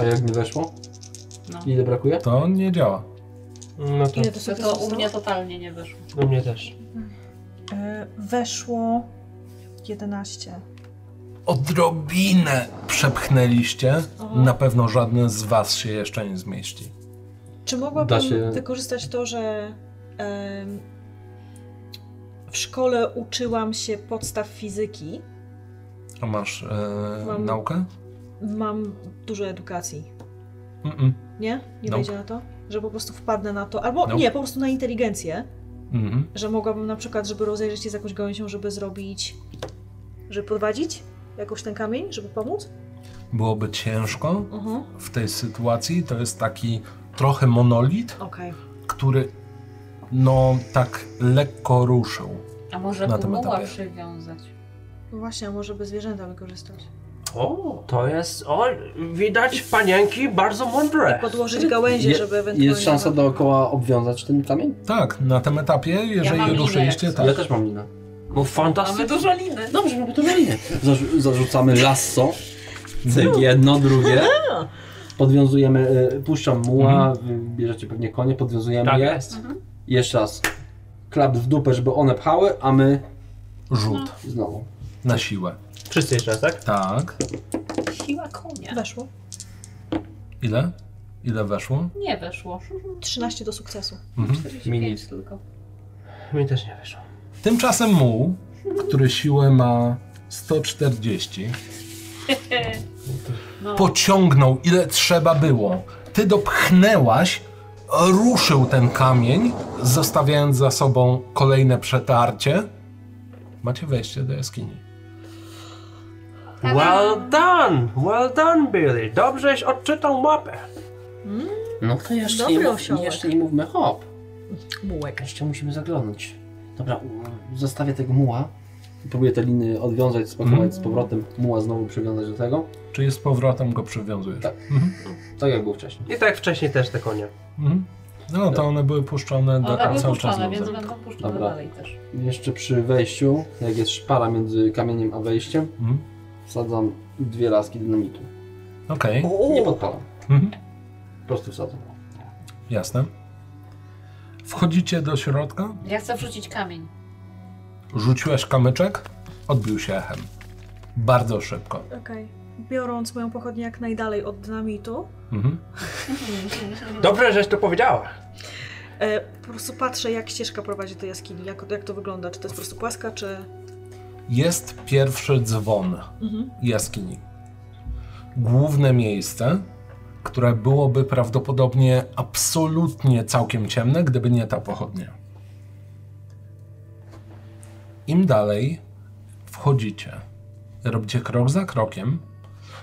A jak nie weszło?
No.
Ile brakuje?
To nie działa.
No to
Ile to
To,
sobie
to u mnie totalnie nie wyszło.
do mnie też.
E, Weszło 11.
Odrobinę przepchnęliście. Na pewno żadne z was się jeszcze nie zmieści.
Czy mogłabym
Da się-
wykorzystać to, że em, w szkole uczyłam się podstaw fizyki?
A masz e,
Mam-
naukę?
Mam dużo edukacji.
Mm-mm.
Nie? Nie
No.
Nope.
wejdzie na to? Że po prostu wpadnę na to. Albo
Nope.
nie, po prostu na inteligencję.
Mhm.
Że mogłabym na przykład, żeby rozejrzeć się z jakąś gałęzią, żeby zrobić. żeby prowadzić jakoś ten kamień, żeby pomóc?
Byłoby ciężko
Mhm.
w tej sytuacji. To jest taki trochę monolit,
Okej.
który no tak lekko ruszył.
A może
Na
na
tym
muła
etapie.
przywiązać?
No Właśnie, a może by zwierzęta wykorzystać.
O, to jest. O, widać panienki bardzo mądre.
Podłożyć gałęzie,
Tak. Je-
żeby ewentualnie.
Jest szansa dookoła obwiązać ten kamień?
Tak, na tym etapie, jeżeli
mam linę,
ruszyliście,
jak
tak.
Ja też mam linę.
No
Mamy No,
fantastycznie.
dużo liny.
Dobrze, mamy to linę. Zarzu- zarzucamy lasso. Cyk, jedno, drugie. Podwiązujemy, y, puszczam muła, y, bierzecie pewnie konie, podwiązujemy
Tak
je.
jest.
Mhm.
Jeszcze raz. Klap w dupę, żeby one pchały, a my
Rzut
znowu.
na siłę.
Wszyscy jeszcze raz, tak?
Tak.
Siła konia.
Weszło.
Ile? Ile weszło?
Nie wyszło.
13 do sukcesu.
Pięć tylko.
Mi też nie wyszło.
Tymczasem muł, który siłę ma 140,
No.
pociągnął ile trzeba było. Ty dopchnęłaś, ruszył ten kamień, zostawiając za sobą kolejne przetarcie. Macie wejście do jaskini.
Tak.
Well done! Well done, Billy. Dobrześ odczytał mapę.
No to jeszcze,
Dobry
nie, mów-
osiołek.
jeszcze nie mówmy hop.
Mułek.
Jeszcze musimy zaglądać. Dobra, u- zostawię tego muła. Próbuję te liny odwiązać, spakować z powrotem. Muła znowu przywiązać do tego.
Czyli z powrotem go przywiązujesz.
Tak. Tak jak było wcześniej.
I tak wcześniej też te konie.
Mhm. No to one były puszczone do
One były
cały czas.
puszczone,
luzem.
więc będą puszczone
Dobra.
dalej też.
Jeszcze przy wejściu, jak jest szpara między kamieniem a wejściem,
Mhm.
wsadzam dwie laski dynamitu.
Okej,
Nie podpalam,
mhm.
po prostu wsadzam.
jasne. Wchodzicie do środka,
Ja chcę wrzucić kamień.
rzuciłeś kamyczek, odbił się echem. Bardzo szybko.
Okej. Biorąc moją pochodnię jak najdalej od dynamitu,
Mhm.
Dobrze, żeś to powiedziała.
e, po prostu patrzę, jak ścieżka prowadzi do jaskini, jak, jak to wygląda. Czy to jest po prostu płaska, czy.
Jest pierwszy dzwon
Mhm.
jaskini. Główne miejsce, które byłoby prawdopodobnie absolutnie całkiem ciemne, gdyby nie ta pochodnia. Im dalej wchodzicie, robicie krok za krokiem,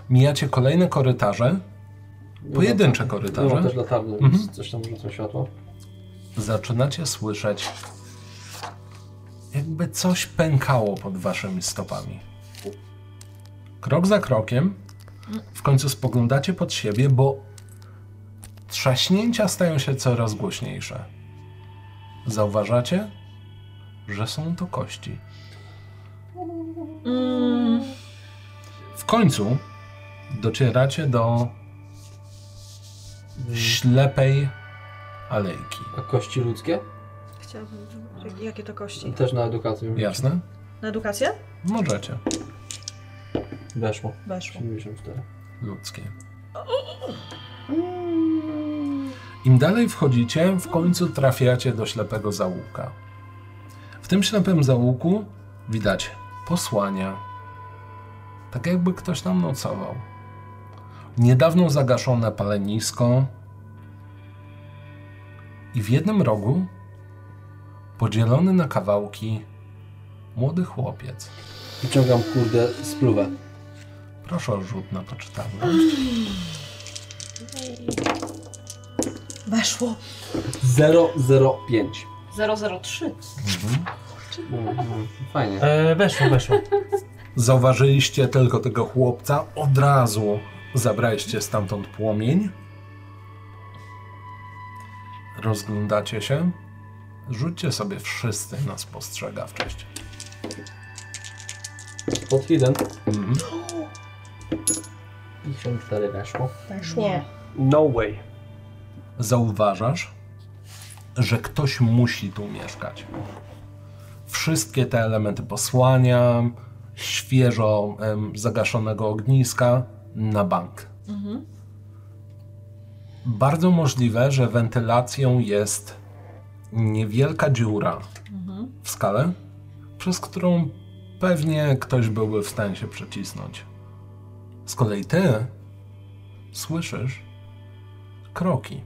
mijacie kolejne korytarze, pojedyncze
Ja mam
korytarze,
też latarnię, więc coś tam rzucam światło.
zaczynacie słyszeć, jakby coś pękało pod waszymi stopami. Krok za krokiem w końcu spoglądacie pod siebie, bo trzaśnięcia stają się coraz głośniejsze. Zauważacie, że są to kości.
Mm.
W końcu docieracie do ślepej alejki.
A kości ludzkie?
Chciałabym, jak- jakie to kości?
Też na edukację.
Jasne?
Na edukację?
Możecie.
Weszło.
Weszło.
74.
Ludzkie. Im dalej wchodzicie, w końcu trafiacie do ślepego załuka. W tym ślepym załuku widać posłania. Tak jakby ktoś tam nocował. Niedawno zagaszone palenisko. I w jednym rogu podzielony na kawałki młody chłopiec.
Wyciągam kurde spluwę.
Proszę o rzut na poczytanie.
Weszło.
005.
003.
Fajnie.
E, weszło, weszło.
Zauważyliście tylko tego chłopca, od razu zabraliście stamtąd płomień. Rozglądacie się. Rzućcie sobie wszyscy na spostrzegawczość.
Pod hidden.
Mhm.
54 weszło.
Weszło.
No way.
Zauważasz, że ktoś musi tu mieszkać. Wszystkie te elementy posłania, świeżo em, zagaszonego ogniska na bank. Bardzo możliwe, że wentylacją jest niewielka dziura w skale, przez którą pewnie ktoś byłby w stanie się przecisnąć. Z kolei ty słyszysz kroki.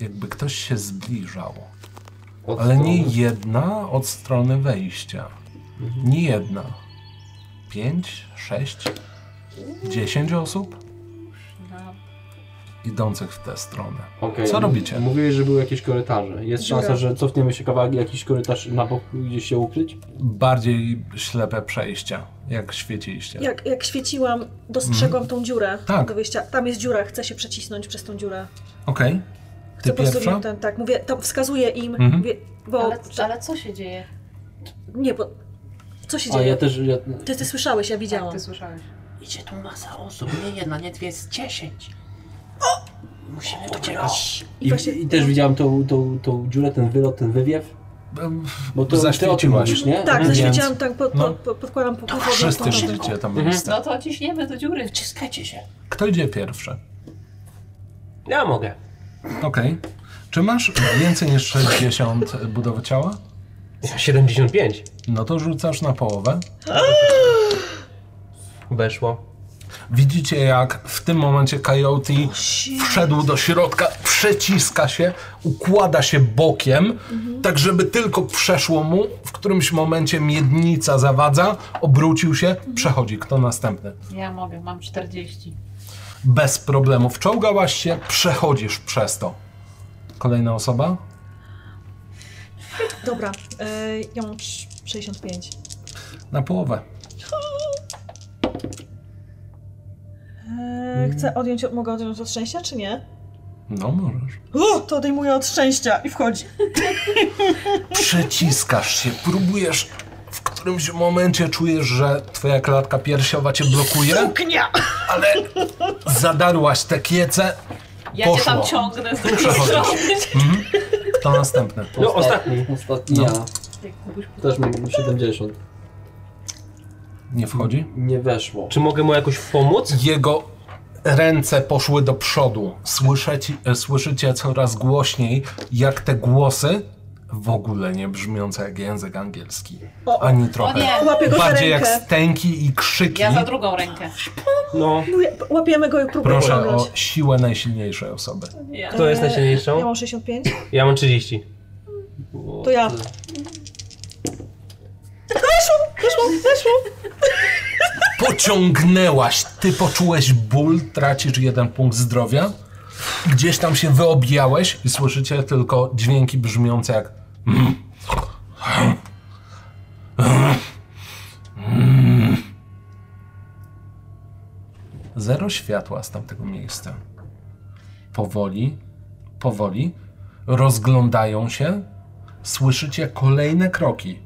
Jakby ktoś się zbliżał.
Od
Ale nie
strony.
jedna od strony wejścia.
Mhm.
Nie jedna. Pięć, sześć, dziesięć osób idących w tę stronę.
Okej.
Co robicie?
Mówiłeś, że były jakieś korytarze. Jest
Dziura.
szansa, że cofniemy się kawałek jakiś korytarz na bok gdzieś się ukryć?
Bardziej ślepe przejścia, jak świeciliście.
Jak, jak świeciłam, dostrzegłam tą dziurę
Tak.
do wyjścia. Tam jest dziura, chcę się przecisnąć przez tą dziurę.
Okej. Ty
Chcę po prostu
pierwsza?
ten, tak, mówię, tam wskazuję im,
Mhm.
mówię, bo,
Ale, ale co się dzieje?
nie, bo, co się
A
dzieje?
ja też. Ja...
Ty, ty słyszałeś, ja widziałam.
Tak, ty słyszałeś.
Idzie tu masa osób, nie jedna, nie dwie, jest 10. Musimy to czegoś.
I,
właśnie-
I też widziałem tą, tą, tą dziurę, ten wylot, ten wywiew.
Em,
Bo to ty o tym
Zaświeciłaś.
mówisz, nie?
Tak,
Więc-
zaświeciłam, tak, po,
no.
po, po, podkładam po po-
Wszyscy
po-
widzicie to
Mhm.
miejsce.
No to ciśniemy do dziury.
Wciskajcie się.
Kto idzie pierwszy?
Ja mogę.
Okej. Czy masz więcej niż 60 budowy ciała?
Ja 75.
No to rzucasz na połowę.
Weszło.
Widzicie, jak w tym momencie Coyote wszedł do środka, przeciska się, układa się bokiem, tak żeby tylko przeszło mu. W którymś momencie miednica zawadza, obrócił się, przechodzi. Kto następny?
Ja mogę, mam 40.
Bez problemów. Czołgałaś się, przechodzisz przez to. Kolejna osoba?
Dobra, y, ja mam trz- E, 65.
Na połowę.
E,
Mhm.
chcę odjąć, mogę odjąć od szczęścia, czy nie?
No możesz.
O, to odejmuję od szczęścia i wchodzi.
Przeciskasz się, próbujesz. W którymś momencie czujesz, że twoja klatka piersiowa cię blokuje,
Knia!
ale zadarłaś te kiece.
Ja cię
Poszło.
tam ciągnę z tej
Przechodzisz.
strony.
Mhm. Kto następny?
No, ostatni.
Ostatni
No.
ja.
Jak Kubuś po-
Też mam 70.
Nie wchodzi?
Nie weszło.
Czy mogę mu jakoś pomóc?
Jego ręce poszły do przodu. Słyszycie, e, słyszycie coraz głośniej, jak te głosy, w ogóle nie brzmiące jak język angielski,
O,
ani
O
trochę.
nie,
Łapię go za
Bardziej jak
rękę.
stęki i krzyki.
ja za drugą rękę.
No.
Mówię, Łapiemy go i próbuję
Proszę o
ściągnąć.
siłę najsilniejszej osoby.
Ja.
Kto jest
E, Ja
najsilniejszą?
mam 65.
Ja mam 30.
To ja. Weszło, weszło, weszło.
pociągnęłaś, ty poczułeś ból, tracisz jeden punkt zdrowia, gdzieś tam się wyobijałeś i słyszycie tylko dźwięki brzmiące jak Zero światła z tamtego miejsca. Powoli, powoli rozglądają się, słyszycie kolejne kroki.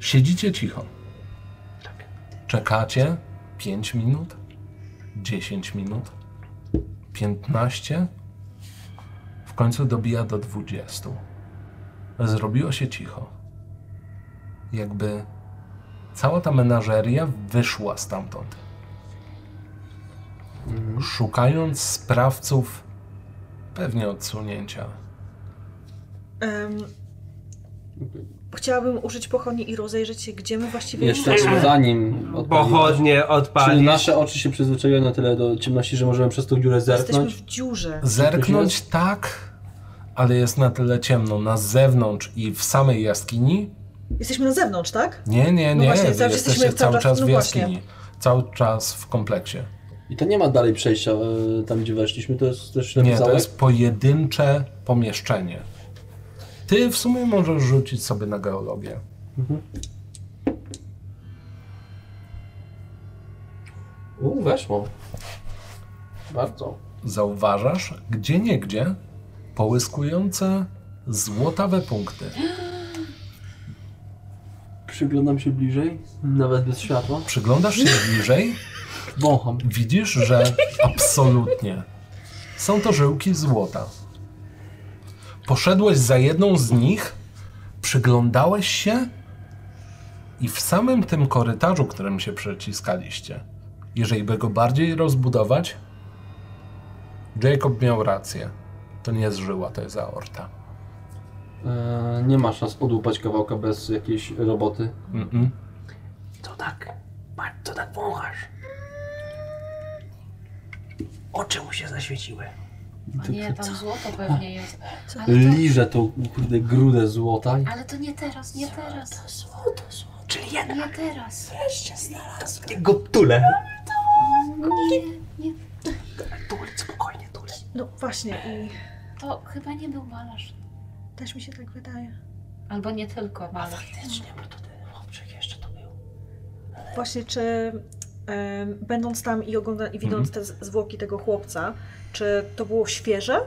Siedzicie cicho. Czekacie 5 minut, 10 minut, 15. W końcu dobija do 20. Zrobiło się cicho. Jakby cała ta menażeria wyszła stamtąd. Szukając sprawców, pewnie odsunięcia.
Em, chciałabym użyć pochodni i rozejrzeć się, gdzie my właściwie
Jeszcze
jesteśmy.
zanim odpalisz.
Pochodnie
Czy
odpalisz.
nasze oczy się przyzwyczaiły na tyle do ciemności, że możemy przez tą dziurę
Jesteśmy
zerknąć?
w dziurze.
Zerknąć tak, ale jest na tyle ciemno na zewnątrz i w samej jaskini.
Jesteśmy na zewnątrz, tak?
Nie, nie, nie.
No właśnie,
wy
cały czas
jesteście
jesteśmy
cały
cały
czas
czas-
w
no właśnie.
jaskini. Cały czas w kompleksie.
I to nie ma dalej przejścia e, tam, gdzie weszliśmy, to jest też
Nie, to
napisałeś?
jest pojedyncze pomieszczenie. Ty w sumie możesz rzucić sobie na geologię.
U, weszło. Bardzo.
Zauważasz gdzie niegdzie połyskujące złotawe punkty.
Przyglądam się bliżej, nawet bez światła.
Przyglądasz się bliżej,
Wącham.
widzisz, że absolutnie są to żyłki złota. Poszedłeś za jedną z nich, przyglądałeś się i w samym tym korytarzu, którym się przeciskaliście, jeżeli by go bardziej rozbudować, Jacob miał rację. To nie jest żyła, to jest aorta.
E, nie ma szans odłupać kawałka bez jakiejś roboty.
Mm-mm.
To tak, Mar- to tak wąchasz. Oczy mu się zaświeciły.
Nie, tam złoto pewnie jest.
Liżę tą kurde grudę złota. i-
Ale to nie teraz, nie teraz.
Czyli jednak
Nie teraz.
go tule.
Nie, nie.
Tule, spokojnie, tule.
No właśnie, i
To chyba nie był malarz.
też mi się tak wydaje.
Albo nie tylko malarz.
Faktycznie, bo to ten chłopczyk jeszcze to był.
Właśnie, czy em, będąc tam i, ogląda, i widząc te z- zwłoki tego chłopca, czy to było świeże?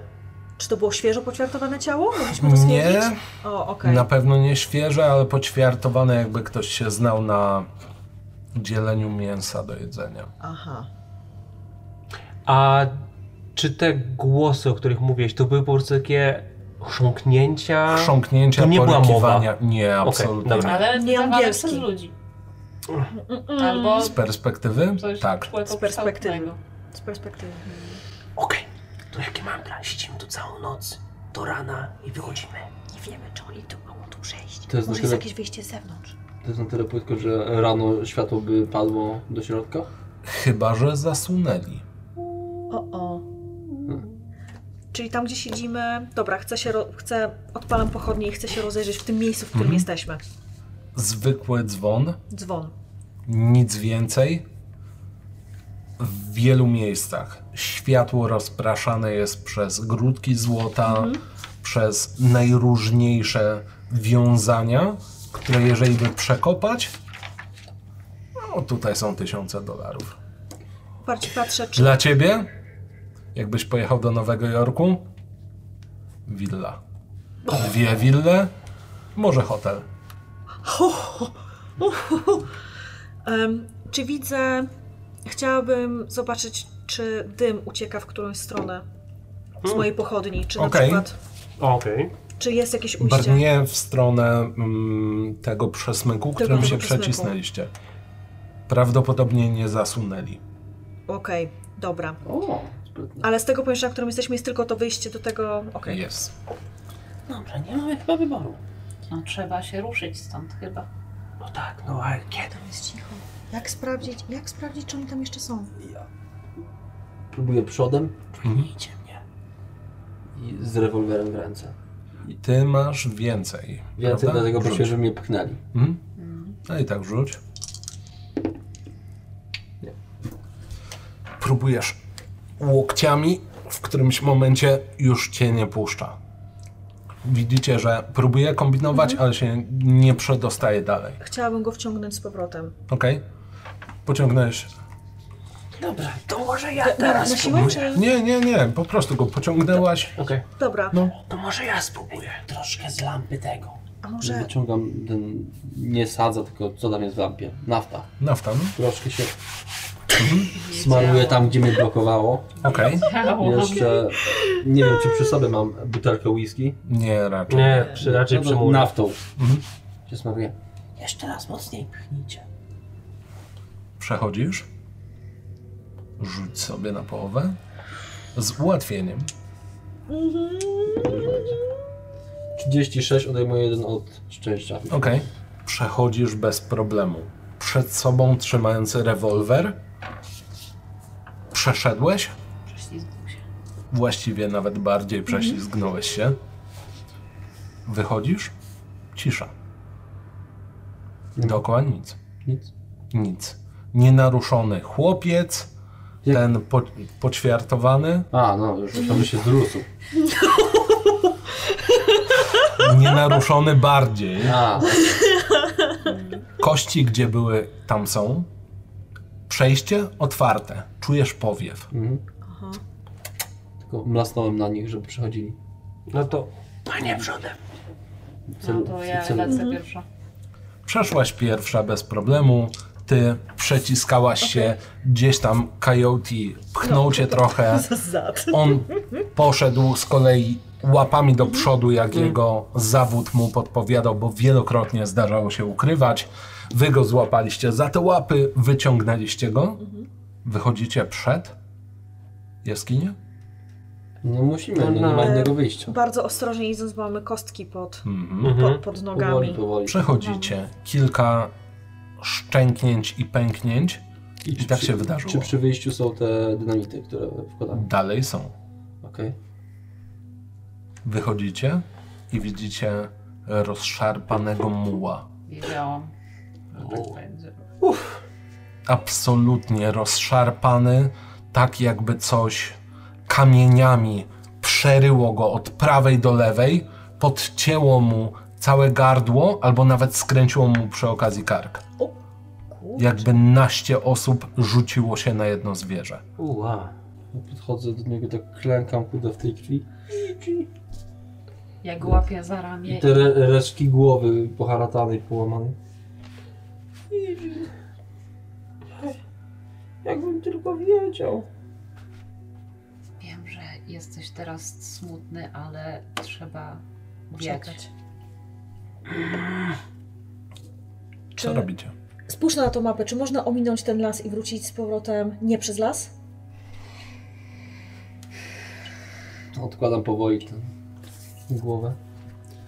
Czy to było świeżo poćwiartowane ciało? Mogliśmy to
Nie,
stwierdzić? O, okej.
na pewno nie świeże, ale poćwiartowane, jakby ktoś się znał na dzieleniu mięsa do jedzenia.
Aha.
A czy te głosy, o których mówiłeś, to były po prostu takie chrząknięcia?
chrząknięcia,
To nie była
porykiwania. Nie, absolutnie.
dobra.
Ale
Nie
dawany
angielski.
przez ludzi.
Mm-mm.
Albo
Z perspektywy?
coś
Tak.
Z perspektywy. Z perspektywy.
Okej, to jaki mam plan? Siedzimy tu całą noc, do rana i wychodzimy.
Nie wiemy, czy oni tu mogą tu przejść.
To jest
Może jest
na tyle-
jakieś wyjście z zewnątrz.
To jest na tyle płytko, że rano światło by padło do środka?
Chyba, że zasunęli.
O, o. Czyli tam, gdzie siedzimy... Dobra, chcę się... Ro... Chcę... Odpalam pochodnie i chcę się rozejrzeć w tym miejscu, w którym
Mhm.
jesteśmy.
Zwykły dzwon,
Dzwon.
nic więcej. W wielu miejscach światło rozpraszane jest przez grudki złota, przez najróżniejsze wiązania, które jeżeli by przekopać, no tutaj są tysiące dolarów.
Patrz, patrzę, czy...
Dla ciebie, jakbyś pojechał do Nowego Jorku, willa. Dwie wille, może hotel.
Em, czy widzę. Chciałabym zobaczyć, czy dym ucieka w którąś stronę z mojej pochodni. Czy na
Hmm. Okej.
przykład.
Okej.
Czy jest jakieś ujście?
Brnie w stronę mm, tego przesmyku, którym
tego
się
przesmyku.
przecisnęliście. Prawdopodobnie nie zasunęli.
Okej, dobra.
O, sprytnie.
Ale z tego pomieszczenia, w którym jesteśmy, jest tylko to wyjście do tego. Okej.
Jest.
Dobrze, nie mamy chyba wyboru.
No trzeba się ruszyć stąd chyba.
No tak, no ale kiedy?
Tam jest cicho. Jak sprawdzić, jak sprawdzić, czy oni tam jeszcze są?
Próbuję przodem
Mhm.
Wyjdzie mnie.
i z rewolwerem w ręce.
Ty masz więcej.
Więcej
prawda?
dlatego prosiłem,
Rzuć.
żeby mnie pchnęli.
Mhm. No i tak rzuć. Próbujesz łokciami, w którymś momencie już cię nie puszcza. Widzicie, że próbuje kombinować, ale się nie przedostaje dalej.
Chciałabym go wciągnąć z powrotem.
Ok? Pociągnąłeś.
Dobra, to może ja teraz
Na siłę,
spróbuję.
No czy...
Nie, nie, nie, po prostu go pociągnęłaś.
Okej.
Dobra.
To może ja spróbuję. Troszkę z lampy tego.
A może.
Wyciągam ten, nie sadza, tylko co tam jest w lampie? Nafta.
Nafta. no.
Troszkę się Smaruję tam, gdzie mnie blokowało.
Okej.
Jeszcze nie wiem, czy przy sobie mam butelkę whisky.
Nie, raczej.
Nie, przy, raczej
No to
przy muru.
Naftą.
Mhm.
Się smaruję.
Jeszcze raz mocniej pchnijcie.
Przechodzisz. Rzuć sobie na połowę. Z ułatwieniem.
36 odejmuję jeden od szczęścia.
Okej. Przechodzisz bez problemu. Przed sobą trzymając rewolwer. Przeszedłeś?
Prześlizgnął się.
Właściwie nawet bardziej
Mhm.
prześlizgnąłeś się. Wychodzisz? Cisza. Dookoła nic.
Nic.
Nic. Nienaruszony chłopiec,
Jak-
ten po, poćwiartowany,
A, no, już myślałem, że się zrósł.
nienaruszony bardziej.
A,
Kości, gdzie były, tam są. Przejście otwarte. Czujesz powiew.
mhm. Tylko mlasnąłem na nich, żeby przychodzili.
No to
No to ja
celu.
Mhm.
lecę pierwsza.
Przeszłaś pierwsza bez problemu. Ty przeciskałaś się gdzieś tam, Coyote pchnął cię trochę.
Zad.
On poszedł z kolei łapami do przodu, jak jego zawód mu podpowiadał, bo wielokrotnie zdarzało się ukrywać. Wy go złapaliście za te łapy, wyciągnęliście go. Wychodzicie przed jaskinię?
No musimy, no nie ma innego wyjścia.
Bardzo ostrożnie idąc, bo mamy kostki pod,
Mhm.
mhm.
pod, pod
Powoli,
nogami.
powoli.
Przechodzicie kilka szczęknięć i pęknięć. I
czy
tak
przy-
się wydarzyło.
Czy przy wyjściu są te dynamity, które wkładamy?
Dalej są.
Okej.
Wychodzicie i widzicie rozszarpanego muła.
Wiedziałam. że Tak będzie.
Absolutnie rozszarpany, tak jakby coś kamieniami przeryło go od prawej do lewej, podcięło mu całe gardło, albo nawet skręciło mu przy okazji kark. Jakby naście osób rzuciło się na jedno zwierzę.
Uła.
Ja Podchodzę do niego, tak klękam kurde w tej krwi.
Ja go łapię za
I
ramię.
te re resztki głowy poharatanej, połamanej.
Jakbym tylko wiedział.
Wiem, że jesteś teraz smutny, ale trzeba biegać.
Czekać.
Co
Czy-
robicie?
Spójrz na tą mapę, czy można ominąć ten las i wrócić z powrotem nie przez las?
Odkładam powoli tę głowę.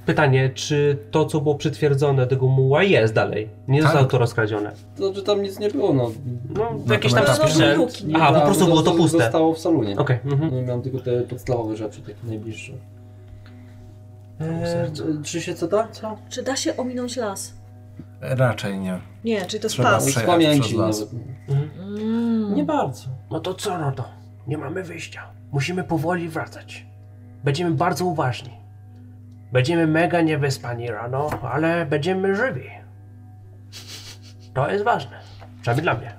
Pytanie, czy to, co było przytwierdzone tego muła jest dalej? Nie
Tak.
zostało to rozkradzione.
To znaczy tam nic nie było, no.
No,
Na
jakieś
tym
tam
etapie.
sprzęt.
Luki.
Nie
Aha, po
brałem,
prostu było to
zostało-
puste.
Tak, Zostało w salonie.
Okej, mhm.
No i miałem tylko te podstawowe rzeczy, takie najbliższe.
Eee,
Czy się co da? Co?
Czy da się ominąć las?
Raczej nie.
Nie, czyli to jest
Trzeba
pas.
przejechać
Pamięci
przez las.
nawet.
Mm.
Nie bardzo.
No to co, Rodo? Nie mamy wyjścia. Musimy powoli wracać. Będziemy bardzo uważni. Będziemy mega niewyspani rano, ale będziemy żywi. To jest ważne. Przynajmniej dla mnie.
Ile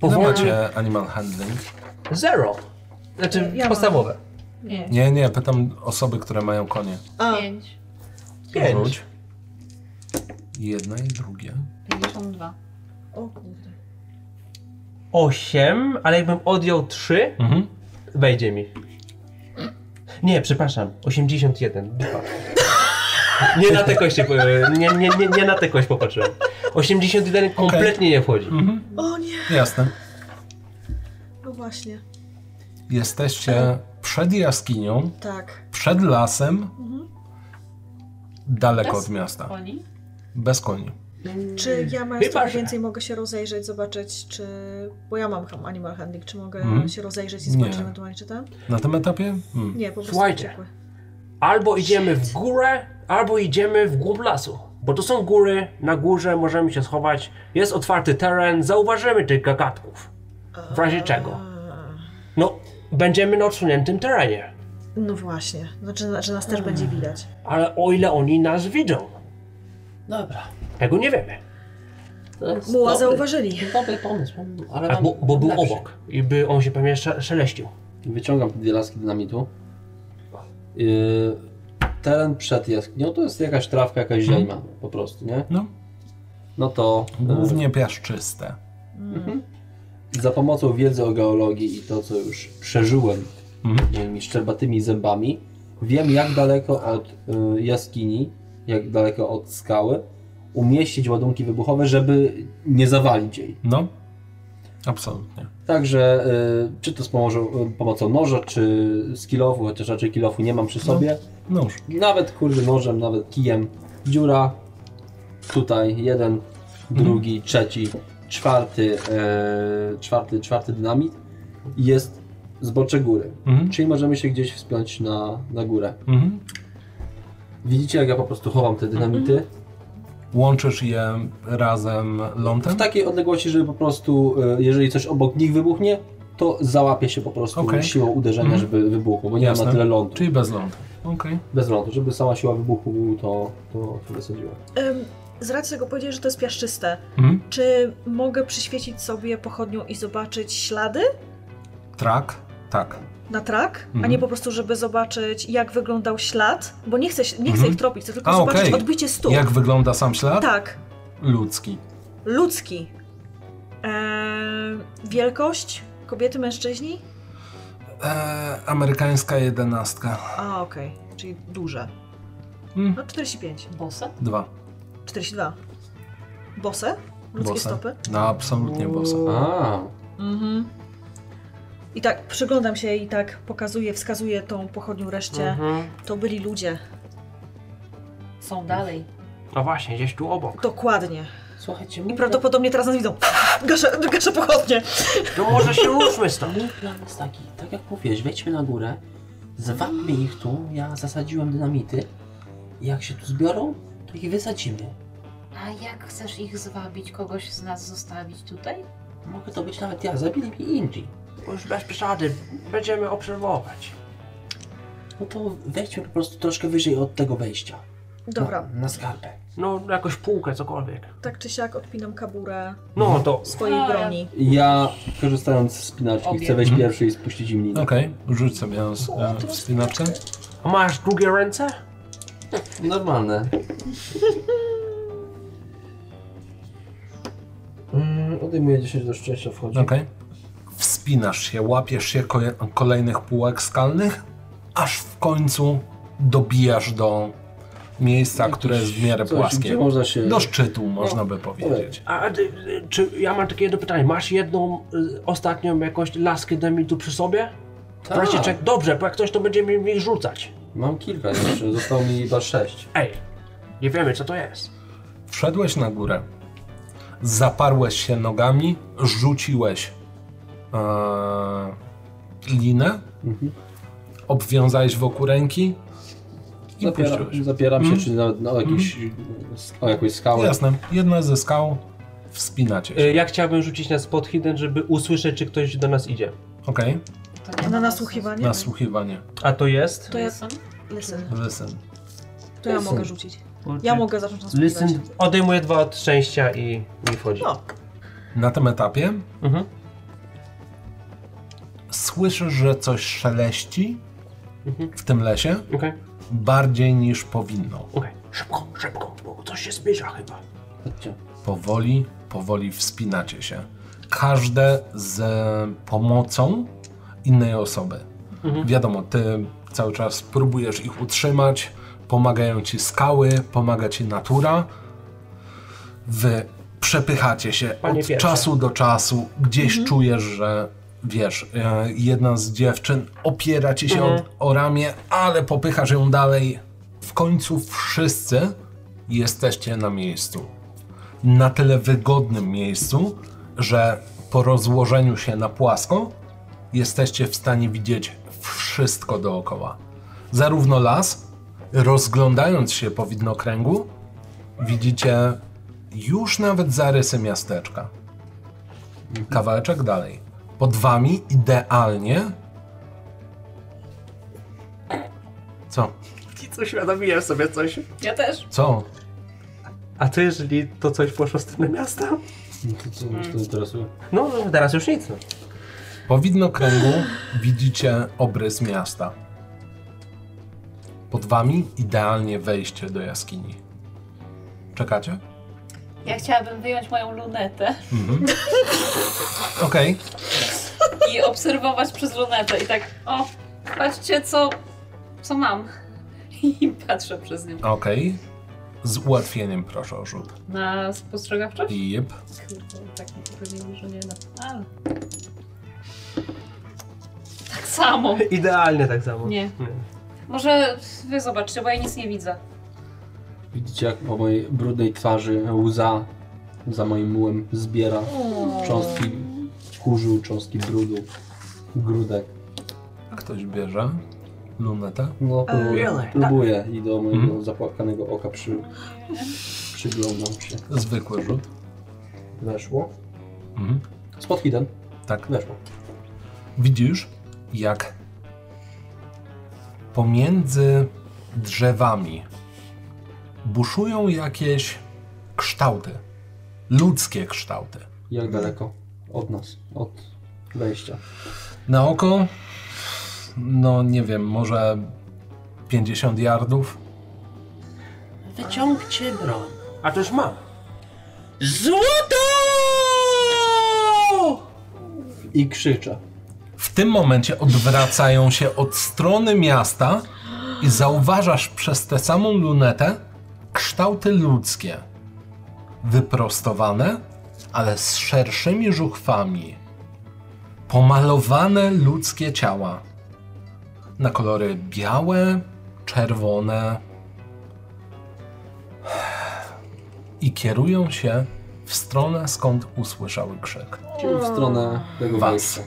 Powoli.
macie animal handling?
Zero. Znaczy
Ja mam.
podstawowe.
Nie.
Nie, nie, pytam osoby, które mają konie.
A,
No. Pięć.
Pięć.
Rzuć. Jedno i drugie.
52.
o kurde.
Osiem, ale jakbym odjął trzy,
Mhm.
wejdzie mi. Nie, przepraszam, 81. Dupa. Nie na tę kość, się po- nie, nie, nie, nie na tę kość popatrzyłem. 81 kompletnie nie wchodzi.
O nie,
Jasne.
no właśnie.
Jesteście przed jaskinią,
Tak.
przed lasem, daleko
Bez
Tak od miasta.
Oni?
Bez koni.
Czy ja mając
Chyba,
trochę
że-
więcej mogę się rozejrzeć, zobaczyć, czy... Bo ja mam ham- animal handling, czy mogę
Mhm.
się rozejrzeć i
Nie.
zobaczyć ewentualnie, czy tam?
Na tym etapie? Mm.
Nie, po prostu
Słuchajcie.
uciekły.
Albo idziemy w górę, albo idziemy w głąb lasu. Bo to są góry, na górze możemy się schować, jest otwarty teren, zauważymy tych gagatków. W razie czego? No, będziemy na odsuniętym terenie.
No właśnie, znaczy, że nas też będzie
Mm.
widać.
Ale o ile oni nas widzą,
Dobra.
tego nie wiemy.
To jest
Muła
dobry-
zauważyli.
Dobry pomysł, ale
A,
mam
bo, bo był
lepszy.
obok i by on się pewnie sze- szeleścił.
Wyciągam te dwie laski dynamitu. Yy, teren przed jaskinią to jest jakaś trawka, jakaś ziemia po prostu, nie?
No,
No to...
głównie piaszczyste.
Mhm. Za pomocą wiedzy o geologii i to, co już przeżyłem
Mhm.
moimi szczerbatymi zębami, wiem, jak daleko od y, jaskini, jak daleko od skały umieścić ładunki wybuchowe, żeby nie zawalić jej.
No, absolutnie.
Także y, czy to z pomocą, pomocą noża, czy z kilofu, chociaż raczej kilofu nie mam przy sobie.
Nóż.
Nawet kurde nożem, nawet kijem. Dziura. Tutaj jeden,
Mhm.
drugi, trzeci, czwarty, e, czwarty, czwarty dynamit jest z bocze góry.
Mhm.
Czyli możemy się gdzieś wspiąć na, na górę.
Mhm.
Widzicie jak ja po prostu chowam te dynamity?
Łączysz je razem
W
lądem?
Tak.
takiej odległości, żeby po prostu, e, jeżeli coś obok nich wybuchnie, to załapie się po prostu
Okej.
siłą uderzenia,
Mhm.
żeby wybuchło, bo nie ma
Jasne.
na tyle lądu.
Czyli bez lądu. Okej.
Bez lądu, żeby sama siła wybuchu to, to, to wysadziła.
Ym, z racji tego powiedzieć, że to jest piaszczyste,
Mhm.
czy mogę przyświecić sobie pochodnią i zobaczyć ślady
Trak? Tak.
na trak, a
Mhm.
nie po prostu, żeby zobaczyć, jak wyglądał ślad? Bo nie chcę, się- nie chcę
Mhm.
ich tropić, chcę tylko
A,
zobaczyć
okej.
odbicie stóp.
Jak wygląda sam ślad?
Tak,
Ludzki.
ludzki. Eee, wielkość kobiety, mężczyźni?
E, amerykańska jedenastka.
A, okej, czyli duże.
Mm.
Mhm.
No 45,
Bosa?
Dwa.
42. Bose? Ludzkie
Bose.
stopy?
No, absolutnie bosa.
A,
Mhm. I tak przyglądam się i tak pokazuję, wskazuję tą pochodnią reszcie.
Mhm.
To byli ludzie.
Są dalej.
No właśnie, gdzieś tu obok.
Dokładnie.
Słuchajcie,
I
mój plan,
prawdopodobnie teraz nas widzą. Gaszę, gaszę pochodnie.
To może się ruszmy stąd.
mój plan jest taki, tak jak mówiłeś, wejdźmy na górę, zwabmy ich tu, ja zasadziłem dynamity, jak się tu zbiorą, to ich wysadzimy.
A jak chcesz ich zwabić, kogoś z nas zostawić tutaj?
Mogę to być nawet ja, zabili mi Indii.
Już bez przesady, będziemy obserwować.
No to wejdźmy po prostu troszkę wyżej od tego wejścia.
Dobra,
Na, na skarpę.
No, jakąś półkę, cokolwiek.
tak czy siak odpinam kaburę
Mhm.
No to
swojej
A, ja-
broni.
ja korzystając z spinaczki
Obie.
chcę wejść
Mhm.
pierwszy i spuścić im linę.
Okej, rzuć sobie e, wspinaczkę.
a masz drugie ręce?
Normalne. Mm, odejmuję 10 do szczęścia, wchodzi.
Okej. Wspinasz się, łapiesz się koje- kolejnych półek skalnych, aż w końcu dobijasz do miejsca, które jest w miarę
Coś,
płaskie.
gdzie można się... No,
Do szczytu, można by powiedzieć.
A, a ty, y, czy ja mam takie jedno pytanie, masz jedną y, ostatnią jakąś laskę demitu przy sobie?
Tak.
Proszę, czek, dobrze, bo jak ktoś to będzie mi, mi rzucać.
Mam kilka jeszcze, zostało mi chyba 6.
Ej, nie wiemy co to jest.
Wszedłeś na górę, zaparłeś się nogami, rzuciłeś e, linę,
Mhm.
obwiązałeś wokół ręki i puściłeś.
zapieram się,
Mhm.
czy nawet no, o, jakiś, o jakąś skałę.
No Jasne, jedna ze skał wspinacie się.
Y, Ja chciałbym rzucić na spot hidden, żeby usłyszeć, czy ktoś do nas idzie.
Okej,
To nie
Na
ma
nasłuchiwanie?
nasłuchiwanie.
A to jest?
To ja,
sensu.
listen,
Listen.
to ja
Listen.
mogę rzucić. Ja mogę zacząć nas
Listen,
posłuchiwać.
odejmuję dwa od szczęścia i mi wchodzi.
No,
Na tym etapie
Mhm.
słyszysz, że coś szeleści w tym lesie
Okej,
bardziej niż powinno.
okej. Szybko, szybko, bo coś się zbliża chyba.
Chodźcie.
Powoli, powoli wspinacie się. Każde z pomocą innej osoby. Wiadomo, ty cały czas próbujesz ich utrzymać, pomagają ci skały, pomaga ci natura. Wy przepychacie się
Panie
od
Pietrze.
czasu do czasu. Gdzieś czujesz, że wiesz, e, jedna z dziewczyn opiera ci się od, o ramię, ale popychasz ją dalej. W końcu wszyscy jesteście na miejscu na tyle wygodnym miejscu, że po rozłożeniu się na płasko jesteście w stanie widzieć wszystko dookoła. Zarówno las, rozglądając się po widnokręgu, widzicie już nawet zarysy miasteczka. Kawałeczek dalej. Pod wami idealnie. Co?
Uświadomiłem sobie coś.
Ja też.
Co?
A co jeżeli to coś poszło w stronę miasta?
No To co
Mm.
nas to interesuje?
No, no, teraz już nic. No.
Po widnokręgu widzicie obrys miasta. Pod wami idealnie wejście do jaskini. Czekacie?
Ja chciałabym wyjąć moją lunetę
Mhm. Okej.
i obserwować przez lunetę i tak, o, patrzcie co, co mam. I patrzę przez nią.
Okej. Z ułatwieniem proszę o rzut.
Na spostrzegawczość?
Jep.
Kurde, tak mi powiedzieli, że nie na... A. Tak samo.
Idealnie tak samo.
Nie. Może wy zobaczcie, bo ja nic nie widzę.
Widzicie, jak po mojej brudnej twarzy łza za moim mułem zbiera cząstki kurzu, cząstki brudu, grudek.
Ktoś bierze lunetę.
No,
E,
próbuję,
Tak.
Really?
próbuję i do mojego
Mhm.
zapłakanego oka przy, przyglądam się.
Zwykły rzut.
Weszło.
Mhm.
Spod hidden.
Tak.
Weszło.
Widzisz, jak pomiędzy drzewami buszują jakieś kształty. Ludzkie kształty.
Jak
Mhm.
daleko? Od nas. Od wejścia.
Na oko, no nie wiem, może 50 yardów.
Wyciągcie broń.
A to już mam.
Złoto!
I krzyczę.
W tym momencie odwracają się od strony miasta i zauważasz przez tę samą lunetę kształty ludzkie. Wyprostowane, ale z szerszymi żuchwami. Pomalowane ludzkie ciała. Na kolory białe, czerwone. I kierują się w stronę, skąd usłyszały krzyk.
Czyli w stronę tego
Was.
wejścia.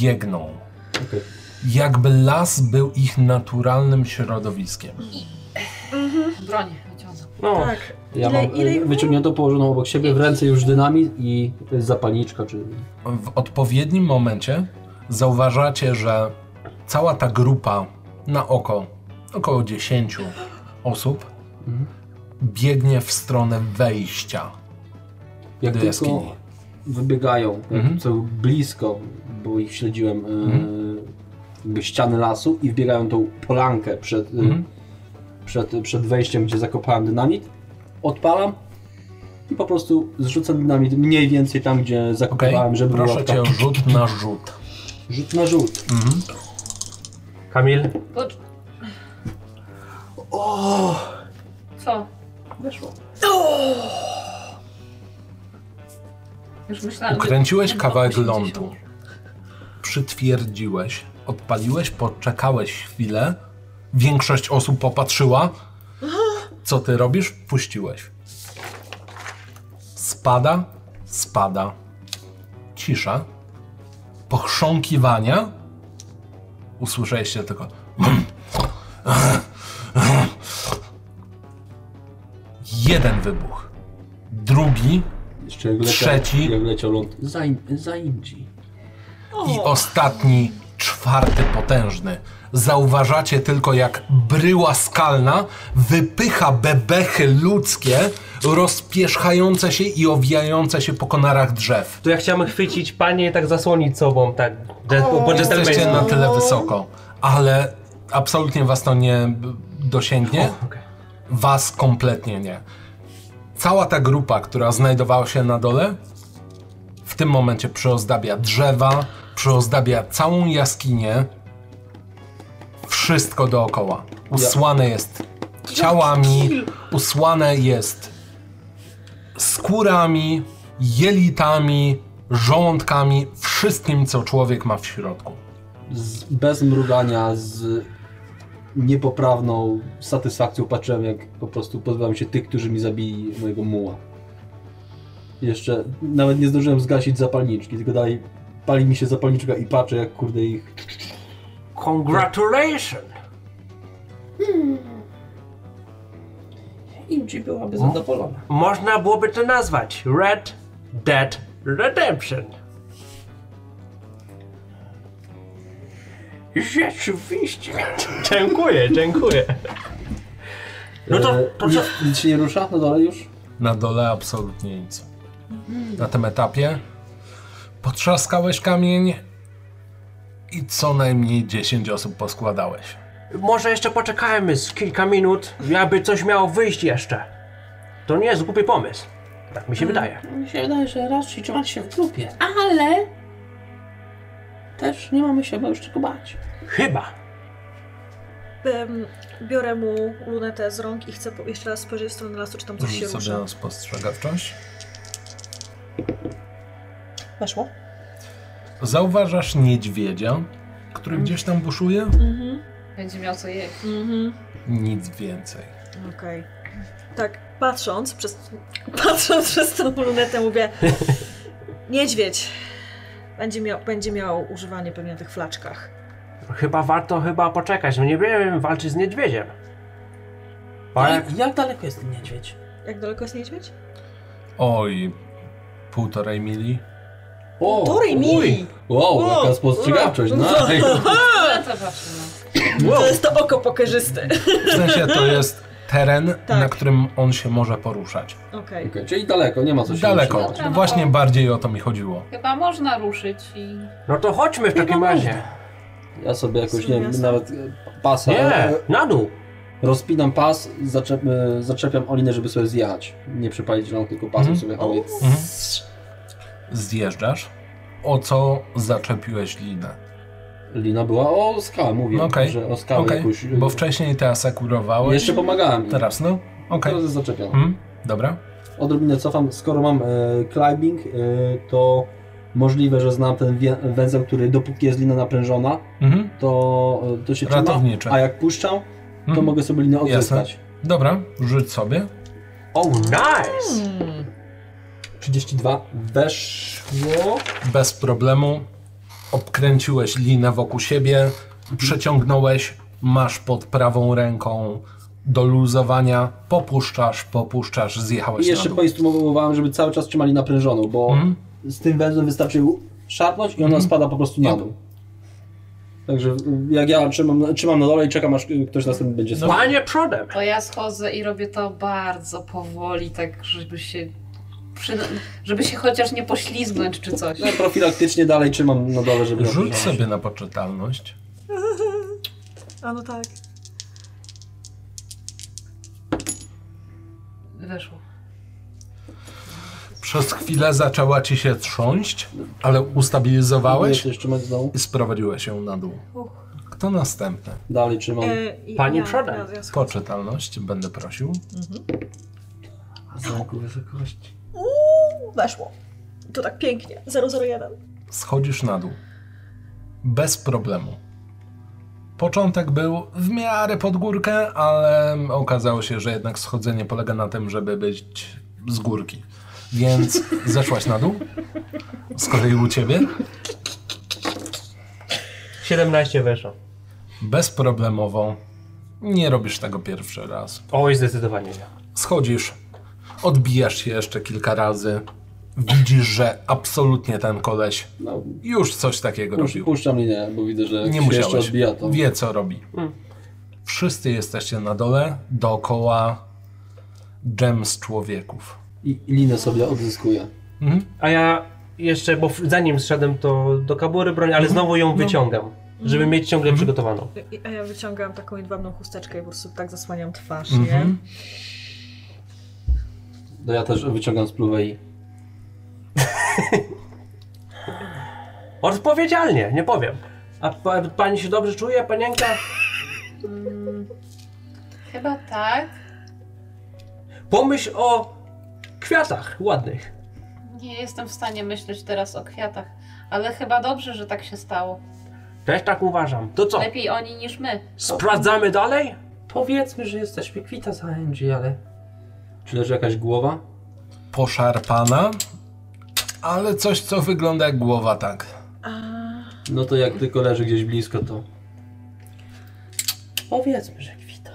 Biegną.
Okej.
Jakby las był ich naturalnym środowiskiem.
Broń wyciągam.
No,
Tak.
Ja
Ile-
mam
ile
ile
ich
wyciągniętą położoną obok siebie, w ręce już dynamit i zapalniczka, czy...
W odpowiednim momencie zauważacie, że cała ta grupa na oko około 10 osób
Mhm.
biegnie w stronę wejścia.
Jak
Do
tylko
jaskini.
wybiegają, jak
Mhm.
są blisko, bo ich śledziłem, e, jakby ściany lasu i wbiegają tą polankę przed, e,
Mhm.
przed, przed wejściem, gdzie zakopałem dynamit, odpalam i po prostu zrzucam dynamit mniej więcej tam, gdzie
Okej?
zakopałem, żeby była
Proszę
taka-
cię o rzut na rzut.
rzut na rzut.
Kamil,
Bo... Co?
Weszło.
Już myślałam, że-
Ukręciłeś
No,
kawałek
80.
lądu. Przytwierdziłeś, odpaliłeś, poczekałeś chwilę. Większość osób popatrzyła. Co ty robisz? Puściłeś. Spada, spada. Cisza. Pochrząkiwania. Usłyszeliście tylko. Jeden wybuch. Drugi
Jeszcze jak leciał,
Trzeci.
Jak leciał ląd.
Zaim, zaimdzi.
I ostatni, czwarty potężny. Zauważacie tylko, jak bryła skalna wypycha bebechy ludzkie, rozpierzchające się i owijające się po konarach drzew.
to ja chciałem chwycić panie i tak zasłonić sobą, tak, dżet, po
Jesteście
dżentelmeńsku.
na tyle wysoko, ale absolutnie was to nie b- dosięgnie.
Okej.
Was kompletnie nie. Cała ta grupa, która znajdowała się na dole, w tym momencie przyozdabia drzewa, przyozdabia całą jaskinię. Wszystko dookoła. Usłane jest ciałami, usłane jest skórami, jelitami, żołądkami, wszystkim, co człowiek ma w środku.
z, bez mrugania, z niepoprawną satysfakcją patrzyłem, jak po prostu pozbyłem się tych, którzy mi zabili mojego muła. Jeszcze nawet nie zdążyłem zgasić zapalniczki, tylko dalej pali mi się zapalniczka i patrzę, jak kurde ich...
Congratulations!
Imji byłaby zadowolona.
Można byłoby to nazwać Red Dead Redemption.
Rzeczywiście.
Dziękuję, dziękuję. No to,
E,
to
nic,
co?
nic się nie rusza? No dalej już?
Na dole absolutnie nic. Na tym etapie potrzaskałeś kamień i co najmniej 10 osób poskładałeś.
Może jeszcze poczekajmy z kilka minut, aby coś miało wyjść jeszcze. To nie jest głupi pomysł. Tak mi się wydaje.
Mi się wydaje, że raczej trzymać się w grupie.
Ale
Też nie mamy się bo już czego bać.
Chyba.
Em, Biorę mu lunetę z rąk i chcę po- jeszcze raz spojrzeć w stronę lasu, czy tam coś się
Rzuć sobie
rusza.
na spostrzegawczość.
Weszło?
Zauważasz niedźwiedzia, który gdzieś tam buszuje?
Mhm.
będzie miał co jeść.
Mhm.
Nic więcej.
Okej. Tak, patrząc przez, patrząc przez tą lunetę mówię niedźwiedź będzie miał, będzie miał używanie pewnie na tych flaczkach.
Chyba warto chyba poczekać. No nie wiem, walczyć z niedźwiedziem. Bo jak
Jak, jak daleko jest ten niedźwiedź?
Jak daleko jest niedźwiedź?
Oj, półtorej mili.
Półtorej mili!
Wow, jaka spostrzegawczość, no. Ej,
No to patrzymy.
To jest to oko pokerzyste.
W sensie to jest teren,
Tak.
na którym on się może poruszać.
Okej.
okej, czyli daleko, nie ma co się
Daleko.
ruszyć.
ruszyło.
Właśnie bardziej o to mi chodziło.
Chyba można ruszyć i...
No to chodźmy w takim razie.
Ja sobie jakoś, nie wiem,
Jasne.
nawet e, pasa,
Nie,
e,
na dół.
rozpinam pas, zaczep, e, zaczepiam Olinę, żeby sobie zjechać. Nie przypalić rąk, tylko pasem
Mhm.
sobie hałuję.
Mhm. Zjeżdżasz. O co zaczepiłeś linę?
Lina była o skałę, mówię,
No okej,
że o skałę
Okej,
jakąś. e,
bo wcześniej te asekurowałeś.
Jeszcze pomagałem. Teraz.
Teraz no? Okej.
Teraz zaczepiam.
Mm, dobra.
Odrobinę cofam. Skoro mam e, climbing, e, to możliwe, że znam ten wie- węzeł, który dopóki jest lina naprężona,
Mhm.
to, e, to się trzyma.
Ratowniczy.
A jak puszczam, to
Mhm.
mogę sobie linę odzyskać.
Dobra, rzuć sobie.
Oh,
Hmm.
nice.
32 weszło.
Bez problemu. Obkręciłeś linę wokół siebie,
Mhm.
przeciągnąłeś, masz pod prawą ręką do luzowania, popuszczasz, popuszczasz, zjechałeś
I jeszcze
na dół.
poinstruowałem, żeby cały czas trzymali naprężoną, bo
Mhm.
z tym węzłem wystarczy szarpnąć i ona spada po prostu
No.
na dół. Także jak ja trzymam, trzymam na dole i czekam aż ktoś następny będzie
No.
No.
spadł.
Panie przodem.
To ja schodzę i robię to bardzo powoli, tak żeby się... Przy... Żeby się chociaż nie poślizgnąć czy coś.
No, profilaktycznie dalej trzymam na dole, żeby...
Rzuć sobie na poczytalność.
A no tak.
Weszło.
Przez chwilę zaczęła ci się trząść, ale ustabilizowałeś
Próbuję coś trzymać znowu.
i sprowadziłeś ją na dół. Kto następny?
Dalej trzymam.
E, i-
Pani
ja-
przodem.
ja- ja schodzę.
Poczytalność będę prosił.
A znaku wysokości.
Weszło. To tak pięknie. 001.
Schodzisz na dół. Bez problemu. Początek był w miarę pod górkę, ale okazało się, że jednak schodzenie polega na tym, żeby być z górki. Więc zeszłaś na dół. Z kolei u ciebie.
17 weszło.
Bezproblemowo. Nie robisz tego pierwszy raz.
Oj, zdecydowanie nie.
Schodzisz, odbijasz się jeszcze kilka razy. Widzisz, że absolutnie ten koleś
No,
już coś takiego
pusz,
robił.
puszczam linię, bo widzę, że
Nie
się jeszcze
musiałeś.
odbija to.
Wie, co robi. Wszyscy jesteście na dole, dookoła dżem z człowieków.
I i linę sobie odzyskuje.
A ja jeszcze, bo w- zanim zszedłem to do kabury broń, ale znowu ją wyciągam, żeby mieć ciągle przygotowaną.
E, I- A ja wyciągam taką jedwabną chusteczkę i po prostu tak zasłaniam twarz, nie?
Mhm.
To No ja też wyciągam spluwę i...
Odpowiedzialnie, nie powiem. A pa, pani się dobrze czuje, panienka?
Chyba tak.
Pomyśl o kwiatach ładnych.
Nie jestem w stanie myśleć teraz o kwiatach, ale chyba dobrze, że tak się stało.
Też tak uważam. To co,
Lepiej oni niż my.
sprawdzamy dalej?
Powiedzmy, że jesteśmy kwita za Angie, ale
Czy leży jakaś głowa?
Poszarpana, ale coś, co wygląda jak głowa, tak.
No to jak tylko leży gdzieś blisko, to...
powiedzmy, że kwita.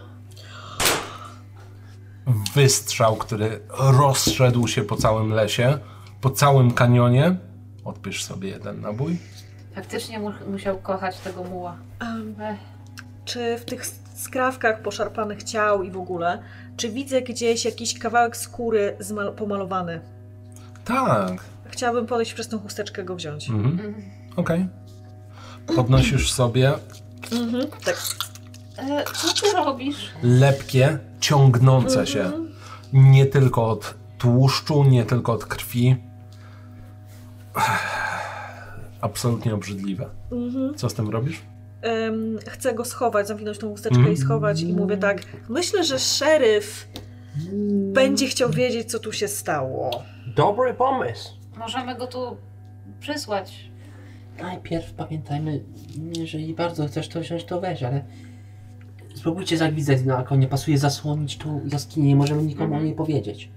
wystrzał, który rozszedł się po całym lesie, po całym kanionie. Odpisz sobie jeden nabój.
Faktycznie mu musiał kochać tego muła. E,
Em,
Ech.
czy w tych skrawkach poszarpanych ciał i w ogóle, czy widzę gdzieś jakiś kawałek skóry zmal- pomalowany?
Tak.
Chciałabym podejść przez tą chusteczkę go wziąć.
Mhm. Okej. Podnosisz sobie
Mhm, tak.
E, co ty robisz?
lepkie, ciągnące się nie tylko od tłuszczu, nie tylko od krwi. Absolutnie obrzydliwe.
Mhm.
Co z tym robisz?
Em, chcę go schować, zamknąć tą chusteczkę
Mhm.
i schować i mówię tak, myślę, że szeryf będzie chciał wiedzieć, co tu się stało.
Dobry pomysł.
Możemy go tu przysłać.
Najpierw pamiętajmy, jeżeli bardzo chcesz to wziąć, to weź, ale spróbujcie zagwizdać no, na konie. Pasuje zasłonić tu jaskinię, nie możemy nikomu o niej powiedzieć.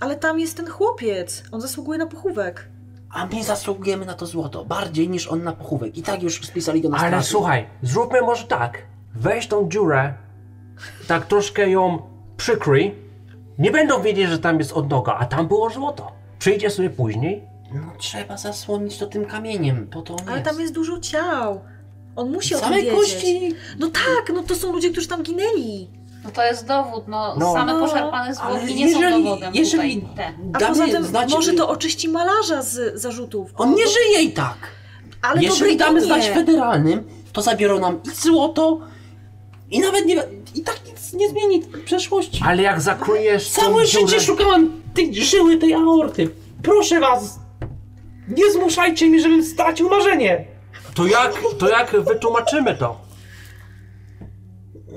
Ale tam jest ten chłopiec, on zasługuje na pochówek.
A my zasługujemy na to złoto, bardziej niż on na pochówek. I tak już spisali go na
Ale
straty.
słuchaj, zróbmy może tak. Weź tą dziurę, tak troszkę ją przykryj. Nie będą wiedzieć, że tam jest odnoga, a tam było złoto. Przyjdzie sobie później.
No trzeba zasłonić to tym kamieniem, po to on
Ale tam jest dużo ciał. On musi o tym
Same
wiedzieć.
kości!
No tak, no to są ludzie, którzy tam ginęli.
No to jest dowód, no,
No.
same
No,
poszarpane
ale
zwłoki nie
jeżeli-
są dowodem
jeżeli-
tutaj. Te.
A
Damy
poza tym
znać-
może to oczyści malarza z zarzutów.
On nie
to,
żyje i tak!
ale
Jeżeli
to
damy
Brytynie.
znać federalnym, to zabiorą nam i złoto, i nawet nie... I tak nic nie zmieni przeszłości.
Ale jak zakryjesz tą
Całe
dziurę...
życie szukałam tej żyły, tej aorty. Proszę was, nie zmuszajcie mnie, żebym stracił marzenie.
To jak, to jak wytłumaczymy to?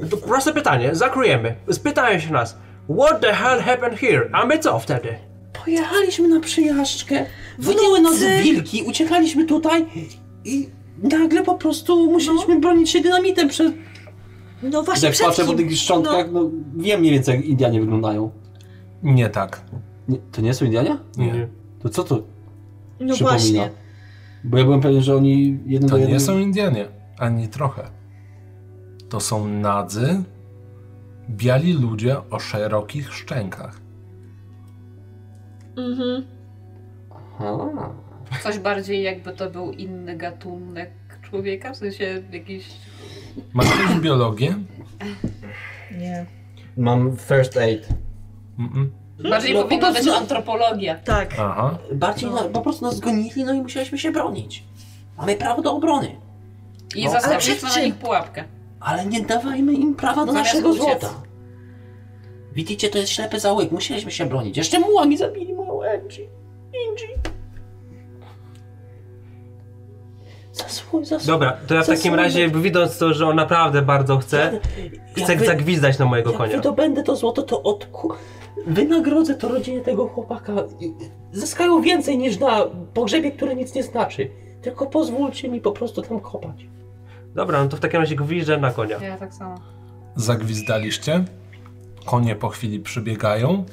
to? Proste pytanie, zakryjemy. Spytają się nas. What the hell happened here? A my co wtedy?
Pojechaliśmy na przyjażdżkę, wyniły nas
nocy.
wilki, uciekaliśmy tutaj i nagle po prostu musieliśmy bronić się dynamitem przed...
No właśnie
Jak
przed
patrzę po
kim?
tych szczątkach, no wiem mniej więcej jak Indianie wyglądają.
Nie tak.
Nie, to nie są Indianie?
Nie.
To co to
No, no
przypomina?
właśnie.
Bo ja byłem pewien, że oni jeden
To
do jeden...
nie są Indianie, ani trochę. To są nadzy, biali ludzie o szerokich szczękach.
Mhm.
Aha.
Coś bardziej jakby to był inny gatunek człowieka, w sensie jakiś...
Masz jakąś biologię?
Nie.
Mam first aid.
Mm-mm.
Bardziej
No,
powinna
po
być
prostu-
antropologia.
Tak.
Aha.
Bardziej
No.
na, po prostu nas gonili, no i musieliśmy się bronić. Mamy prawo do obrony,
I
No, ale
zastawiliśmy
przed
na
czym?
nich pułapkę.
ale nie dawajmy im prawa
No
do
Zamiast
naszego
uciec.
złota. Widzicie, to jest ślepy załyk, musieliśmy się bronić. Jeszcze muła mi zabili moją Angie. Angie. Zasłuchaj, zasłuchaj.
Dobra, to ja w takim
Zasłonię.
razie, widząc to, że on naprawdę bardzo chce, chce
Jakby-
zagwizdać na mojego
Jak
konia.
wydobędę to złoto, to odku... wynagrodzę to rodzinie tego chłopaka. Zyskają więcej niż na pogrzebie, który nic nie znaczy. Tylko pozwólcie mi po prostu tam kopać.
Dobra, no to w takim razie gwiżdżę na konia.
Ja tak samo.
Zagwizdaliście. Konie po chwili przybiegają.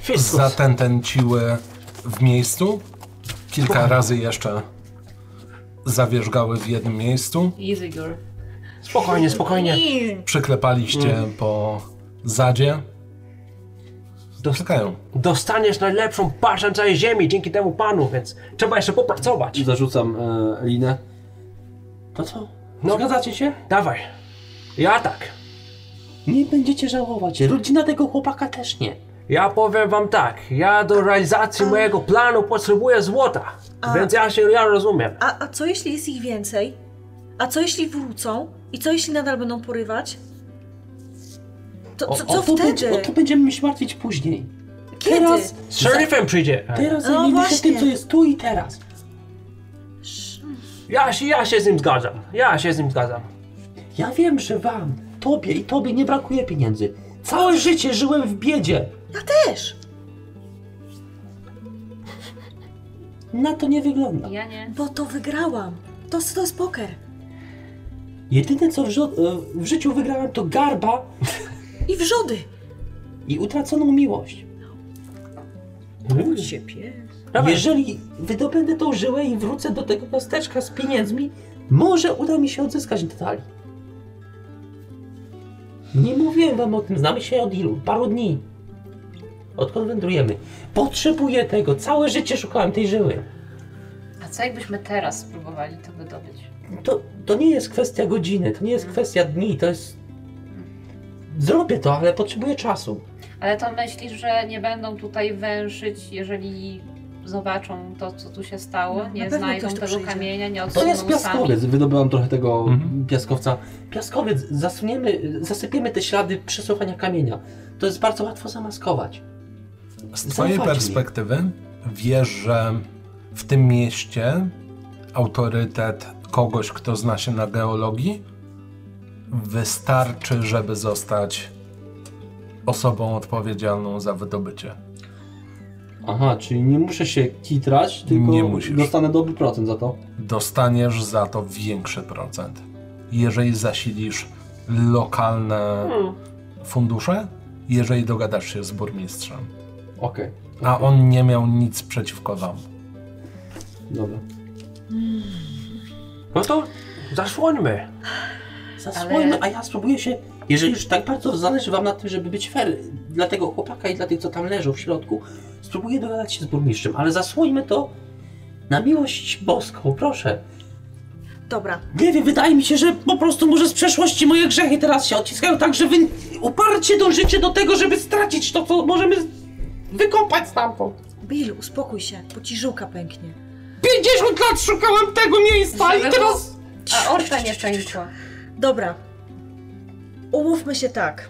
Fiskus.
Zatętęciły w miejscu. Kilka razy jeszcze zawierzgały w jednym miejscu.
Easy girl.
Spokojnie, spokojnie.
Przyklepaliście
Mm.
po zadzie.
Dost
Czekają.
dostaniesz najlepszą paszę całej ziemi dzięki temu panu, więc trzeba jeszcze popracować.
Zarzucam e, linę. To co?
No.
Zgadzacie się?
Dawaj. Ja tak.
Nie będziecie żałować. Rodzina tego chłopaka też nie.
Ja powiem wam tak, ja do realizacji mojego planu potrzebuję złota,
A.
więc ja się, ja rozumiem.
A, a co jeśli jest ich więcej? A co jeśli wrócą? I co jeśli nadal będą porywać? To, co, co
to
wtedy?
Będzie, o to będziemy się martwić później.
Kiedy?
Teraz,
Z szeryfem przyjdzie.
teraz
No
zajmijmy się
właśnie.
tym, co jest tu i teraz.
Ja się, ja się z nim zgadzam, ja się z nim zgadzam.
Ja wiem, że wam, tobie i tobie nie brakuje pieniędzy. Całe życie żyłem w biedzie.
Też.
Na to nie wygląda.
Ja nie.
Bo to wygrałam. To, to jest poker.
Jedyne co w, żo- e, w życiu wygrałem to garba
I wrzody.
i utraconą miłość. Hmm.
Bądź się pie.
Dawaj.
Jeżeli wydobędę tą żyłę i wrócę do tego miasteczka z pieniędzmi, może uda mi się odzyskać detali. Nie mówiłem wam o tym, znamy się od ilu? Paru dni. Odkąd wędrujemy? Potrzebuję tego, całe życie szukałem tej żyły.
A co jakbyśmy teraz spróbowali to wydobyć?
To, to nie jest kwestia godziny, to nie jest kwestia dni, to jest... Zrobię to, ale potrzebuję czasu.
Ale to myślisz, że nie będą tutaj węszyć, jeżeli zobaczą to, co tu się stało? Nie
No, pewno
znajdą
ktoś tu
tego
przyjdzie.
kamienia, nie
To
odsuną
jest
sami.
piaskowiec.
Wydobyłam trochę tego
Mhm.
piaskowca. Piaskowiec, zasuniemy, zasypiemy te ślady przesuwania kamienia. To jest bardzo łatwo zamaskować.
Z twojej
Zaufajcie mi.
perspektywy wiesz, że w tym mieście autorytet kogoś, kto zna się na geologii, wystarczy, żeby zostać osobą odpowiedzialną za wydobycie.
Aha, czyli nie muszę się kitrać, tylko
Nie musisz.
dostanę dobry procent za to.
Dostaniesz za to większy procent. Jeżeli zasilisz lokalne
Hmm.
fundusze, jeżeli dogadasz się z burmistrzem.
Okej,
A on nie miał nic przeciwko wam.
dobra.
No to zasłońmy.
Zasłońmy, a ja spróbuję się, jeżeli już tak bardzo zależy wam na tym, żeby być fair dla tego chłopaka i dla tych, co tam leżą w środku, spróbuję dogadać się z burmistrzem, ale zasłońmy to na miłość boską, proszę.
Dobra,
Nie wiem, wydaje mi się, że po prostu może z przeszłości moje grzechy teraz się odciskają tak, że wy uparcie dążycie do tego, żeby stracić to, co możemy z- wykopać stamtąd.
Bill, uspokój się, bo ci żyłka pęknie.
50 lat szukałam tego miejsca i
Żeby
teraz...
A orta nie pękła.
Dobra. Umówmy się tak.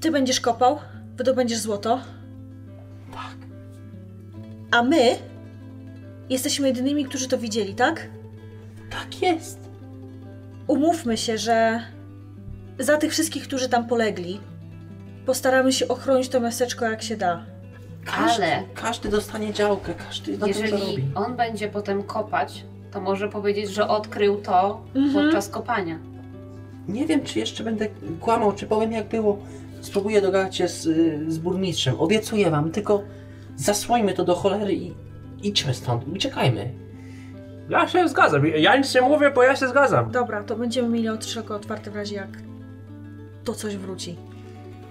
Ty będziesz kopał, wydobędziesz złoto. Tak.
Tak.
A my jesteśmy jedynymi, którzy to widzieli, tak?
Tak jest.
Umówmy się, że za tych wszystkich, którzy tam polegli, postaramy się ochronić to miasteczko jak się da.
Każdy,
Ale-
każdy dostanie działkę, każdy na tym zarobi.
Jeżeli on będzie potem kopać, to może powiedzieć, że odkrył to
Mhm.
podczas kopania.
Nie wiem, czy jeszcze będę kłamał, czy powiem jak było. Spróbuję dogadać się z, y, z burmistrzem. Obiecuję wam, tylko zasłońmy to do cholery i idźmy stąd, uciekajmy.
Ja się zgadzam. Ja nic nie mówię, bo ja się zgadzam.
Dobra, to będziemy mieli od szeroko otwarte w razie jak to coś wróci.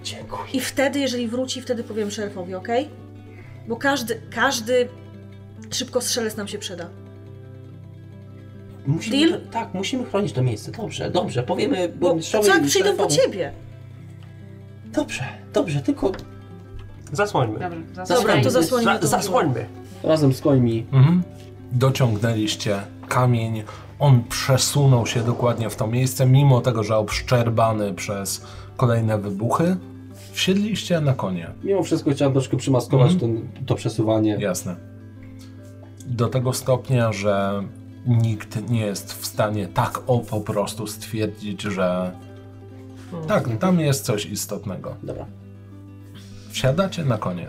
Dziękuję.
I wtedy, jeżeli wróci, wtedy powiem szerfowi, ok? Bo każdy, każdy szybko strzelec nam się przyda.
Musimy,
Deal?
Tak, musimy chronić to miejsce. Dobrze, dobrze, powiemy
Bo
burmistrzowi.
co Znaczy, jak
i
przyjdą po
szerefowi.
ciebie?
Dobrze, dobrze, tylko
Zasłońmy.
Dobrze,
Dobra,
zasłuchaj.
to zasłonimy.
Za,
to
zasłońmy.
Razem z końmi.
Mhm. Dociągnęliście kamień. On przesunął się dokładnie w to miejsce, mimo tego, że obszczerbany przez kolejne wybuchy. Wsiedliście na konie.
Mimo wszystko chciałem troszkę przymaskować
Mhm.
ten, to przesuwanie.
Jasne. Do tego stopnia, że nikt nie jest w stanie tak o po prostu stwierdzić, że tak, tam jest coś istotnego.
Dobra.
Wsiadacie na konie.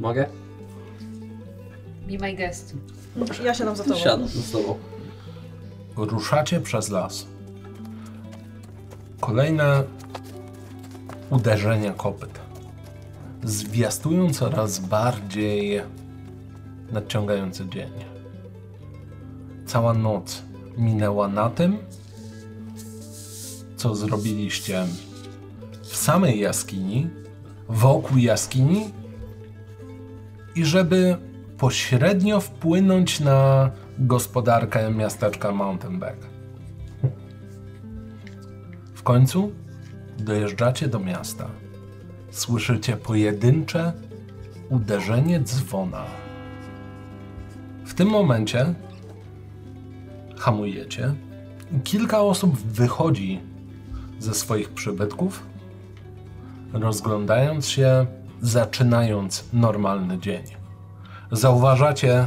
Mogę?
Be my guest.
było. Ja siadam za tobą.
Siadam z tobą.
Ruszacie przez las. Kolejne uderzenia kopyt zwiastują coraz bardziej nadciągający dzień. Cała noc minęła na tym, co zrobiliście w samej jaskini, wokół jaskini i żeby pośrednio wpłynąć na gospodarkę miasteczka Mountain Back. W końcu dojeżdżacie do miasta. Słyszycie pojedyncze uderzenie dzwona. W tym momencie hamujecie. Kilka osób wychodzi ze swoich przybytków, rozglądając się, zaczynając normalny dzień. Zauważacie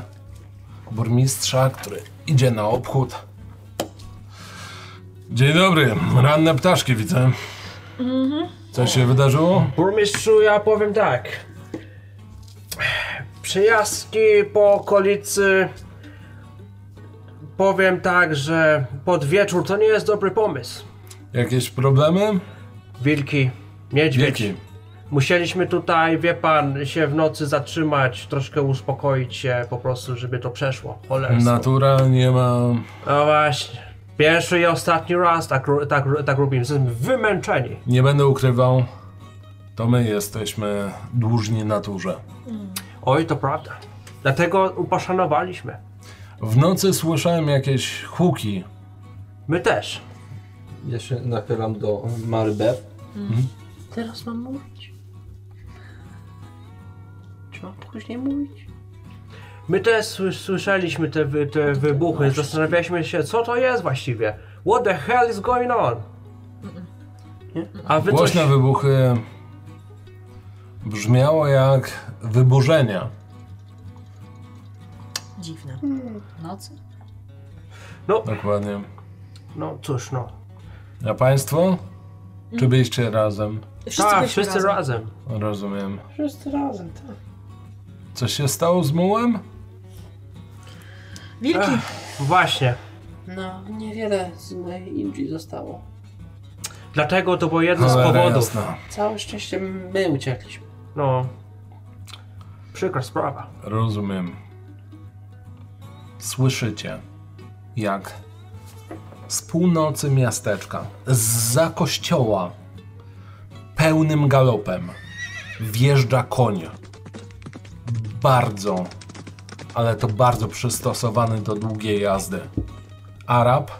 burmistrza, który idzie na obchód.
Dzień dobry, ranne ptaszki widzę. Coś się wydarzyło?
Burmistrzu, ja powiem tak. Przejażdżki po okolicy. Powiem tak, że pod wieczór to nie jest dobry pomysł.
Jakieś problemy?
Wilki, niedźwiedź.
Wieki.
Musieliśmy tutaj, wie pan, się w nocy zatrzymać, troszkę uspokoić się po prostu, żeby to przeszło. Cholerstwo.
Natura nie ma.
No właśnie. Pierwszy i ostatni raz tak, ro- tak, ro- tak robimy. Jesteśmy wymęczeni.
Nie będę ukrywał. To my jesteśmy dłużni naturze.
Oj, to prawda. Dlatego poszanowaliśmy.
W nocy słyszałem jakieś huki.
My też.
Ja się nachylam do Mary Beth.
Teraz mam mówić? Czy mam czegoś nie mówić?
My też sły- słyszeliśmy te, wy- te wybuchy, zastanawialiśmy się, co to jest właściwie. What the hell is going on? A wy coś...
Głośne wybuchy.
Brzmiało jak wyburzenia.
Dziwne.
Tak,
Nocy?
Dokładnie.
No cóż, no.
A państwo? Czy byliście razem?
Wszyscy
Tak,
byliśmy
wszyscy
razem.
razem.
Rozumiem.
Wszyscy razem, tak.
Coś się stało z mułem?
Wilki,
Właśnie.
No, niewiele z mojej Indii zostało.
Dlatego to było jedno z
Cholera
powodów.
jasna.
Całe szczęście my uciekliśmy.
No. Przykra sprawa.
Rozumiem. Słyszycie, jak z północy miasteczka, zza kościoła, pełnym galopem wjeżdża koń. Bardzo, ale to bardzo przystosowany do długiej jazdy. Arab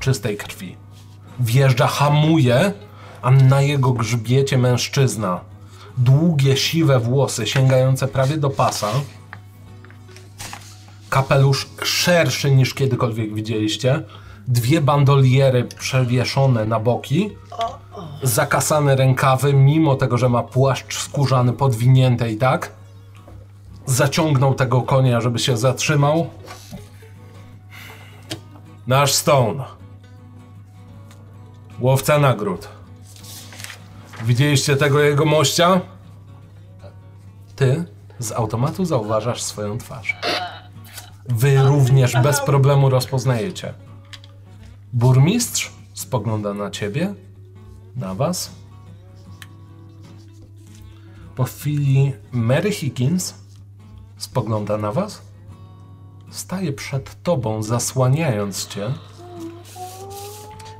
czystej krwi. Wjeżdża, hamuje, a na jego grzbiecie mężczyzna. Długie, siwe włosy sięgające prawie do pasa. Kapelusz szerszy niż kiedykolwiek widzieliście. Dwie bandoliery przewieszone na boki. Zakasane rękawy, mimo tego, że ma płaszcz skórzany podwinięty i tak. Zaciągnął tego konia, żeby się zatrzymał. Nasz Stone. Łowca nagród. Widzieliście tego jego mościa? Ty z automatu zauważasz swoją twarz. Wy również bez problemu rozpoznajecie. Burmistrz spogląda na ciebie, na was. Po chwili Mary Higgins spogląda na was. Staje przed tobą, zasłaniając cię.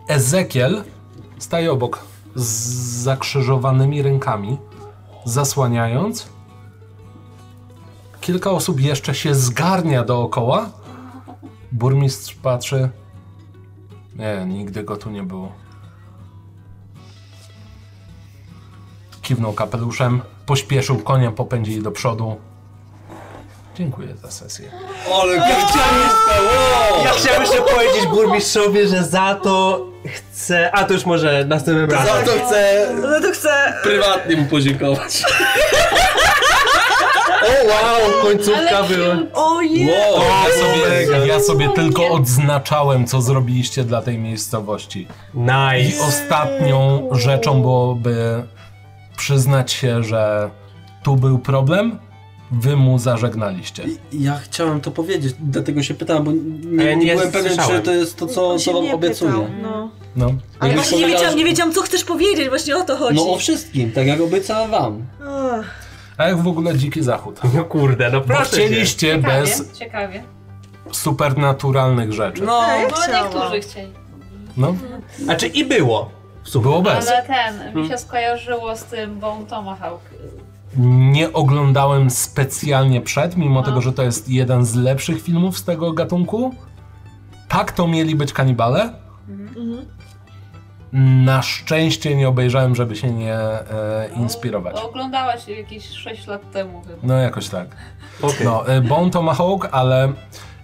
Ezekiel staje obok z zakrzyżowanymi rękami, zasłaniając. Kilka osób jeszcze się zgarnia dookoła. Burmistrz patrzy. Nie, nigdy go tu nie było. Kiwnął kapeluszem, pośpieszył konia, popędzili do przodu. Dziękuję za sesję.
Eee!
Ale garcianistka, wow!
Ja chciałem jeszcze powiedzieć burmistrzowi, że za to chcę. A to już może następnym razem.
Za to chcę
no to chcę...
prywatnie mu podziękować. O wow, końcówka była.
Ojej!
Wow, ja sobie...
Ja sobie tylko odznaczałem, co zrobiliście dla tej miejscowości. I
Nice.
ostatnią rzeczą byłoby przyznać się, że tu był problem, wy mu zażegnaliście.
Ja chciałem to powiedzieć, dlatego się pytałem, bo
A
nie,
ja
nie,
nie
byłem pewien,
słyszałem.
czy to jest to, No, co,
On
co
się
wam
mnie
obiecuję.
pytał, no.
No.
Ale
Jakbyś
właśnie nie
powiedziała,
wiedziałam,
że-
nie wiedziałam, co chcesz powiedzieć, właśnie o to chodzi.
No o wszystkim, tak jak obiecałem wam.
Ach,
A jak w ogóle dziki zachód?
No kurde, no
Bo
proszę. cię.
chcieliście
Ciekawie,
bez
ciekawie.
supernaturalnych rzeczy.
No,
ja
No
Tak, chciałam.
niektórzy chcieli.
No,
Znaczy i było.
było bez. Hmm.
Ale ten, mi się skojarzyło z tym Bone Tomahawk.
Nie oglądałem specjalnie przed, mimo
No.
tego, że to jest jeden z lepszych filmów z tego gatunku. Tak to mieli być kanibale.
Mhm.
Na szczęście nie obejrzałem, żeby się nie e, inspirować.
Oglądałaś jakieś 6 lat temu chyba.
No jakoś tak.
Okej.
No, y, Bone Tomahawk, ale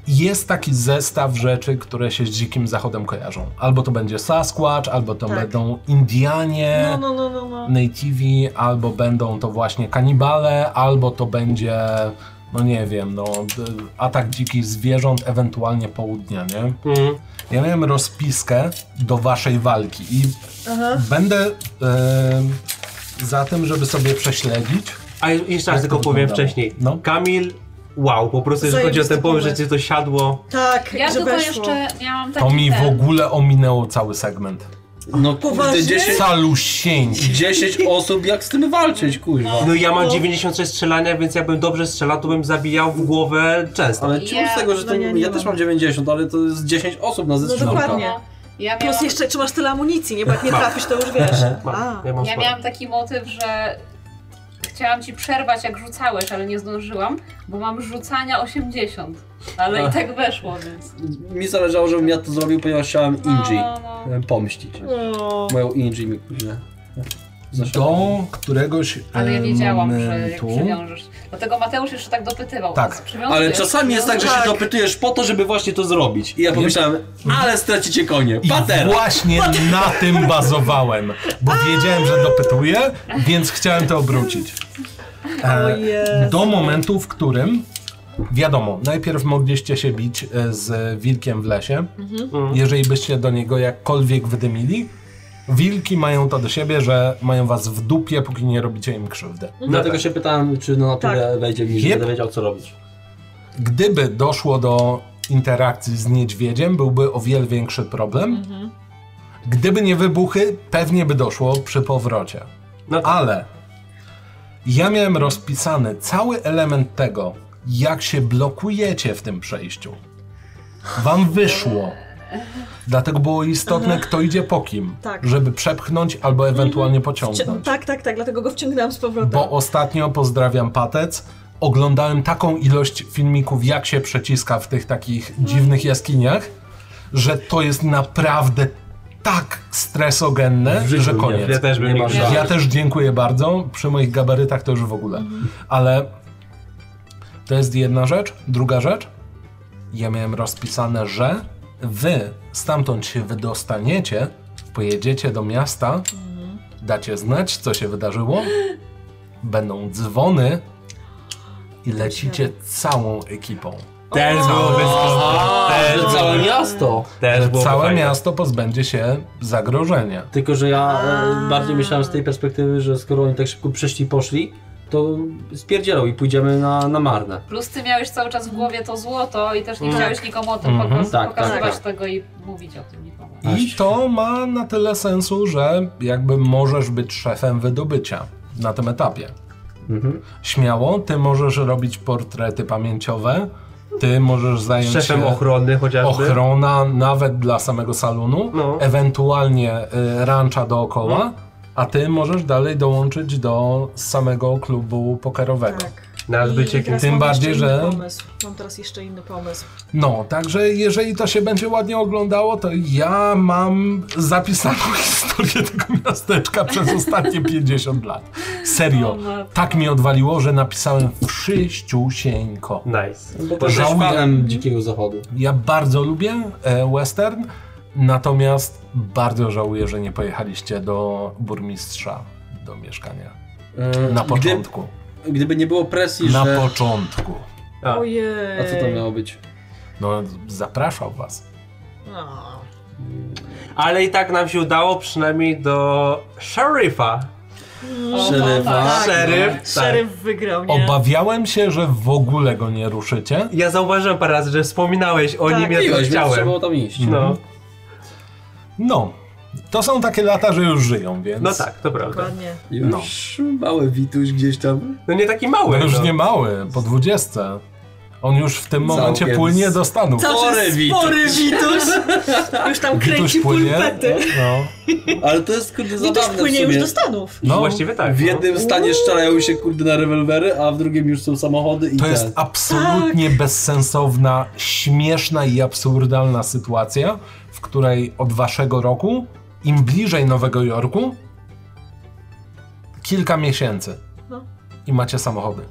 jest taki zestaw rzeczy, które się z dzikim zachodem kojarzą. Albo to będzie Sasquatch, albo to
Tak.
będą Indianie,
No, no, no, no, no.
Nativi, albo będą to właśnie kanibale, albo to będzie, no nie wiem, no d- atak dzikich zwierząt, ewentualnie południa, nie?
Mm.
Ja miałem rozpiskę do waszej walki i
Aha.
będę y, za tym, żeby sobie prześledzić.
A jeszcze raz
Jak to
tylko powiem
wyglądało?
wcześniej.
No.
Kamil, wow, po prostu jeżeli chodzi o ten
Zajebisty
pomysł, że
pomysł.
ci to siadło.
Tak,
Ja
że
tylko
weszło.
jeszcze miałam taki
To mi w
ten.
ogóle ominęło cały segment.
no kurde,
Poważnie?
10,
Salusieńki.
10 osób, jak z tym walczyć, kuźwa.
No ja mam
No.
96 strzelania, więc jakbym dobrze strzelał, to bym zabijał w głowę często.
Ale ciul z tego, że
Ja-
to,
no ja
ja,
nie
też
mam.
mam 90, ale to jest 10 osób na
No
zespół.
dokładnie.
Ja miałam,
Plus jeszcze trzymasz tyle amunicji, nie? Bo jak nie trafisz, to już wiesz. A.
Mam, ja mam
ja
sporo.
miałam taki motyw, że chciałam ci przerwać jak rzucałeś, ale nie zdążyłam, bo mam rzucania 80. Ale i tak weszło, więc.
Mi zależało, żebym ja to zrobił, ponieważ chciałem Inji
No, no.
pomścić.
O.
Moją Inji mi kuźle.
do któregoś
Ale ja
e,
wiedziałam, że jak
momentu.
przywiążesz. Dlatego Mateusz jeszcze tak dopytywał.
Tak.
nas.
Ale
Przywiązujesz,
czasami jest tak, że się
przywiązujesz.
dopytujesz po to, żeby właśnie to zrobić. I ja pomyślałem, ale stracicie konie.
I
Patera!
właśnie na tym bazowałem, bo wiedziałem, że dopytuję, więc chciałem to obrócić. E, do momentu, w którym wiadomo, najpierw mogliście się bić e, z wilkiem w lesie. Jeżeli byście do niego jakkolwiek wydymili, wilki mają to do siebie, że mają was w dupie, póki nie robicie im krzywdy.
Dlatego się pytałem, czy na naturę wejdzie mi, że
Jep.
będę wiedział, co robić.
Gdyby doszło do interakcji z niedźwiedziem, byłby o wiele większy problem. Gdyby nie wybuchy, pewnie by doszło przy powrocie.
No tak.
Ale ja miałem rozpisany cały element tego, jak się blokujecie w tym przejściu. Wam wyszło. Dlatego było istotne, kto idzie po kim,
Tak.
żeby przepchnąć albo ewentualnie
Mhm.
Wci-
pociągnąć.
tak, tak, tak, dlatego go wciągnęłam z powrotem.
Bo ostatnio pozdrawiam patec. Oglądałem taką ilość filmików, jak się przeciska w tych takich dziwnych jaskiniach, że to jest naprawdę tak stresogenne, że koniec.
Ja też bym nie
masz
chciał.
Ja też dziękuję bardzo. Przy moich gabarytach to już w ogóle. Ale to jest jedna rzecz. Druga rzecz. Ja miałem rozpisane, że wy stamtąd się wydostaniecie, pojedziecie do miasta, dacie znać, co się wydarzyło, będą dzwony i lecicie całą ekipą.
Też byłoby spoko. Też,
Że całe miasto!
też byłoby
Całe
fajnie.
miasto pozbędzie się zagrożenia.
Tylko, że ja e, bardziej myślałem z tej perspektywy, że skoro oni tak szybko przeszli i poszli, to spierdzielą i pójdziemy na, na marne.
Plus ty miałeś cały czas w głowie to złoto i też nie
Mm.
Mhm.
chciałeś nikomu o tym
Mhm.
pokaz-
Tak, tak,
pokazywać
tak.
tego i mówić o tym nikomu.
I to ma na tyle sensu, że jakby możesz być szefem wydobycia na tym etapie.
Mhm.
Śmiało, ty możesz robić portrety pamięciowe, ty możesz zająć
Szefem
się
ochrony chociażby.
ochrona nawet dla samego salonu,
No.
ewentualnie y, rancha dookoła, a ty możesz dalej dołączyć do samego klubu pokerowego.
Tak.
Nawet
I
bycie
teraz
Tym
mam
bardziej,
jeszcze
że-
inny Pomysł. Mam teraz jeszcze inny pomysł.
No, także jeżeli to się będzie ładnie oglądało, to ja mam zapisaną historię tego miasteczka przez ostatnie 50 lat. Serio,
No,
tak mi odwaliło, że napisałem wszyściusieńko.
Nice.
Bo też
żałuję.
fanem dzikiego zachodu.
Ja bardzo lubię e, western, natomiast bardzo żałuję, że nie pojechaliście do burmistrza, do mieszkania.
E,
Mm, Na
gdy-
początku.
gdyby nie było presji,
Na
że...
początku.
A.
Ojej.
A co to miało być?
No, zapraszał was.
No.
Ale i tak nam się udało przynajmniej do szeryfa.
no,
Przerywa.
Tak,
Szeryf.
no.
tak.
Szeryf wygrał, nie?
Obawiałem się, że w ogóle go nie ruszycie.
Ja zauważyłem parę razy, że wspominałeś o
Tak.
nim, ja to
Piłeś, więc trzeba
chciałem.
było tam iść.
No,
No, to są takie lata, że już żyją, więc.
no tak, to prawda.
Dokładnie.
Już mały Wituś gdzieś tam.
No nie taki mały.
No już
no.
nie mały, po dwudziestce. On już w tym momencie
Całkiem
płynie do Stanów.
Cały czas
Spory Witus.
spory Witus. Już tam
Wituś
kręci pulpety.
No,
Ale to jest kurde
Witus
zabawne No, w
płynie już
sumie.
do Stanów.
no.
Właściwie tak.
W jednym stanie szczelają się kurde na rewolwery, a w drugim już są samochody i
To
te.
tak.
jest absolutnie
Tak.
bezsensowna, śmieszna i absurdalna sytuacja, w której od waszego roku, im bliżej Nowego Jorku, kilka miesięcy.
No.
I macie samochody.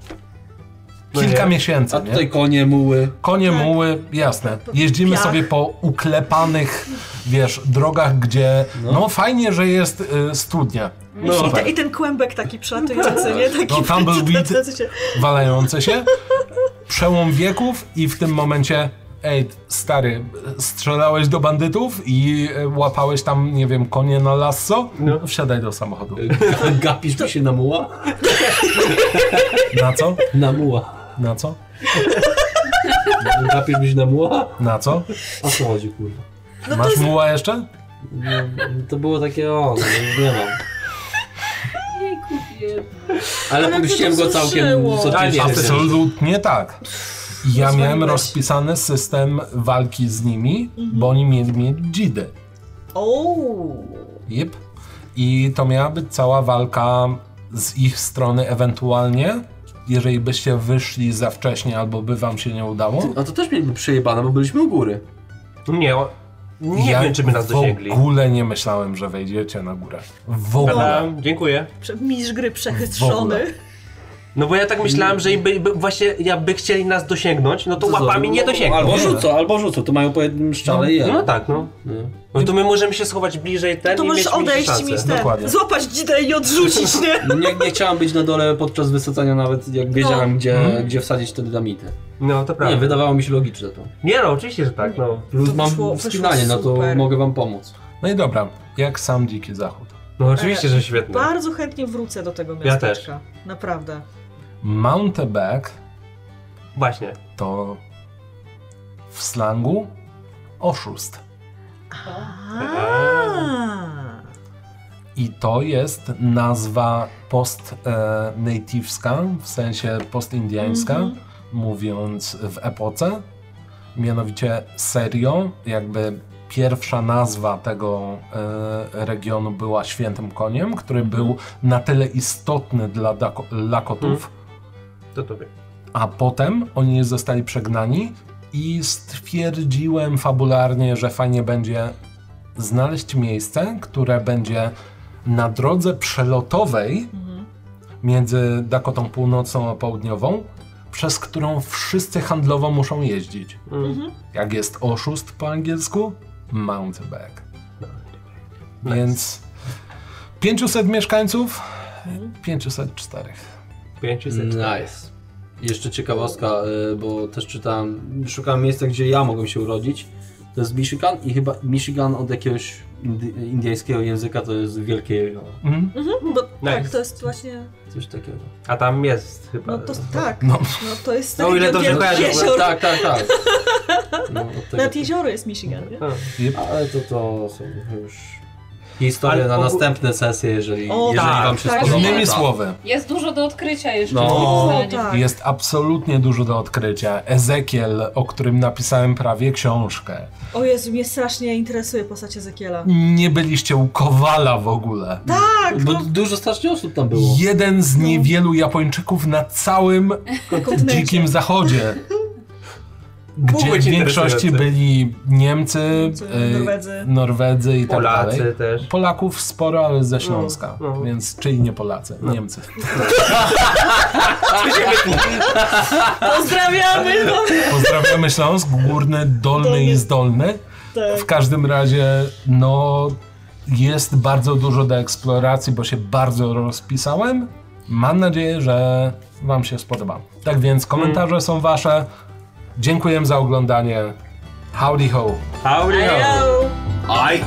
No
Kilka
nie.
miesięcy.
A
nie?
tutaj konie, muły.
Konie, muły, jasne. Jeździmy
piach.
sobie po uklepanych, wiesz, drogach, gdzie no, fajnie, że jest y, studnia
I, te, I ten kłębek taki przelatujący, nie? Taki
No, tumbleweed.
przelatujący.
walające się. Przełom wieków i w tym momencie ej, stary, strzelałeś do bandytów i y, łapałeś tam, nie wiem, konie na lasso?
No.
Wsiadaj do samochodu.
Gapisz mi się na muła?
Na co?
Na muła.
Na co?
Gapisz mi się na muła?
Na co?
O co chodzi kurde?
Masz muła jeszcze?
No, to było takie o, no, nie mam. Ale puściłem go całkiem
zruszyło.
soczyście.
A,
więc-
Absolutnie tak. Ja
Rozwaliłeś.
miałem rozpisany system walki z nimi, bo oni mieli mieć dzidy.
Ouu.
Jep. I to miała być cała walka z ich strony ewentualnie, jeżeli byście wyszli za wcześnie albo by wam się nie udało.
A to też mieliśmy przejebane, bo byliśmy u góry.
No Nie, o- Nie
ja
wiem, czy by nas dosięgli.
W ogóle nie myślałem, że wejdziecie na górę. W ogóle.
No,
Gadałem, dziękuję.
Prze- Mistrz gry
W ogóle.
przechytrzony.
No bo ja tak myślałem, że by, by, właśnie jakby chcieli nas dosięgnąć, no to
Co
łapami
zrobią?
nie
No,
dosięgną.
Albo rzucą, albo rzucą, to mają po jednym szczale i jeden.
No tak, no. No to my możemy się schować bliżej ten
To
i
możesz
mieć mniejsze
odejść i
szanse.
mieć ten.
Dokładnie.
Złapać dzidę i odrzucić, nie?
No Nie, nie chciałem być na dole podczas wysadzania nawet jak wiedziałem, gdzie, gdzie wsadzić te dynamity.
No to
Nie,
prawda. Nie,
wydawało mi się logiczne to.
no oczywiście, że tak, no.
Plus
To
mam
wyszło- wyszło
wspinanie, no to
super.
mogę wam pomóc.
No i dobra, jak sam dziki zachód.
No oczywiście, że świetnie.
Bardzo chętnie wrócę do tego miasteczka. Naprawdę.
Mounteback
Właśnie.
to w slangu oszust.
A.
I to jest nazwa post-nativeska, w sensie post-indiańska, mówiąc w epoce. Mianowicie serio, jakby pierwsza nazwa tego e, regionu była Świętym Koniem, który był na tyle istotny dla Dako- Lakotów,
To tobie.
a potem oni zostali przegnani i stwierdziłem fabularnie, że fajnie będzie znaleźć miejsce, które będzie na drodze przelotowej między Dakotą Północną a Południową, przez którą wszyscy handlowo muszą jeździć. Jak jest oszust po angielsku? Mounteback. Więc 500 mieszkańców, 504.
500.
Nice. Jeszcze ciekawostka, y, bo też czytałem, szukałem miejsca, gdzie ja mogłem się urodzić. To jest Michigan i chyba Michigan od jakiegoś indy, indyjskiego języka to jest wielkie no,
Mhm.
Mhm, bo tak,
Nice.
to jest właśnie.
coś takiego.
A tam jest chyba.
No to tak. No,
No.
to jest
No, o ile
region
dobrze
wielkich
kojarzę,
jezior.
Tak, tak, tak. No, od tego
Nad jezioro jest Michigan, nie?
A.
Ale to to są już historie
Ale
na
ogó-
następne sesje, jeżeli,
O,
jeżeli
tak,
wam się
tak.
spodoba.
Innymi słowy,
Jest dużo do odkrycia jeszcze.
No.
moim
O,
zdaniem.
tak.
Jest absolutnie dużo do odkrycia. Ezekiel, o którym napisałem prawie książkę.
O Jezu, mnie strasznie interesuje postać Ezekiela.
Nie byliście u Kowala w ogóle.
Tak,
Bo
no,
dużo strasznie osób tam było.
Jeden z niewielu Japończyków na całym
kontynencie.
dzikim zachodzie. Gdzie
Byłby
w
ci
większości
interesujący.
byli Niemcy,
Niemcy,
y,
Norwedzy.
Norwedzy i tak dalej.
Polacy też.
Polaków sporo, ale ze Śląska,
no.
więc czyli nie Polacy, Niemcy.
Pozdrawiamy! No.
Pozdrawiamy Śląsk, górny, dolny
Dolny.
i zdolny.
Tak.
W każdym razie, no, jest bardzo dużo do eksploracji, bo się bardzo rozpisałem. Mam nadzieję, że Wam się spodoba. Tak więc komentarze są Wasze. Dziękuję za oglądanie. Howdy ho!
Audio.
Ejo.
Aj!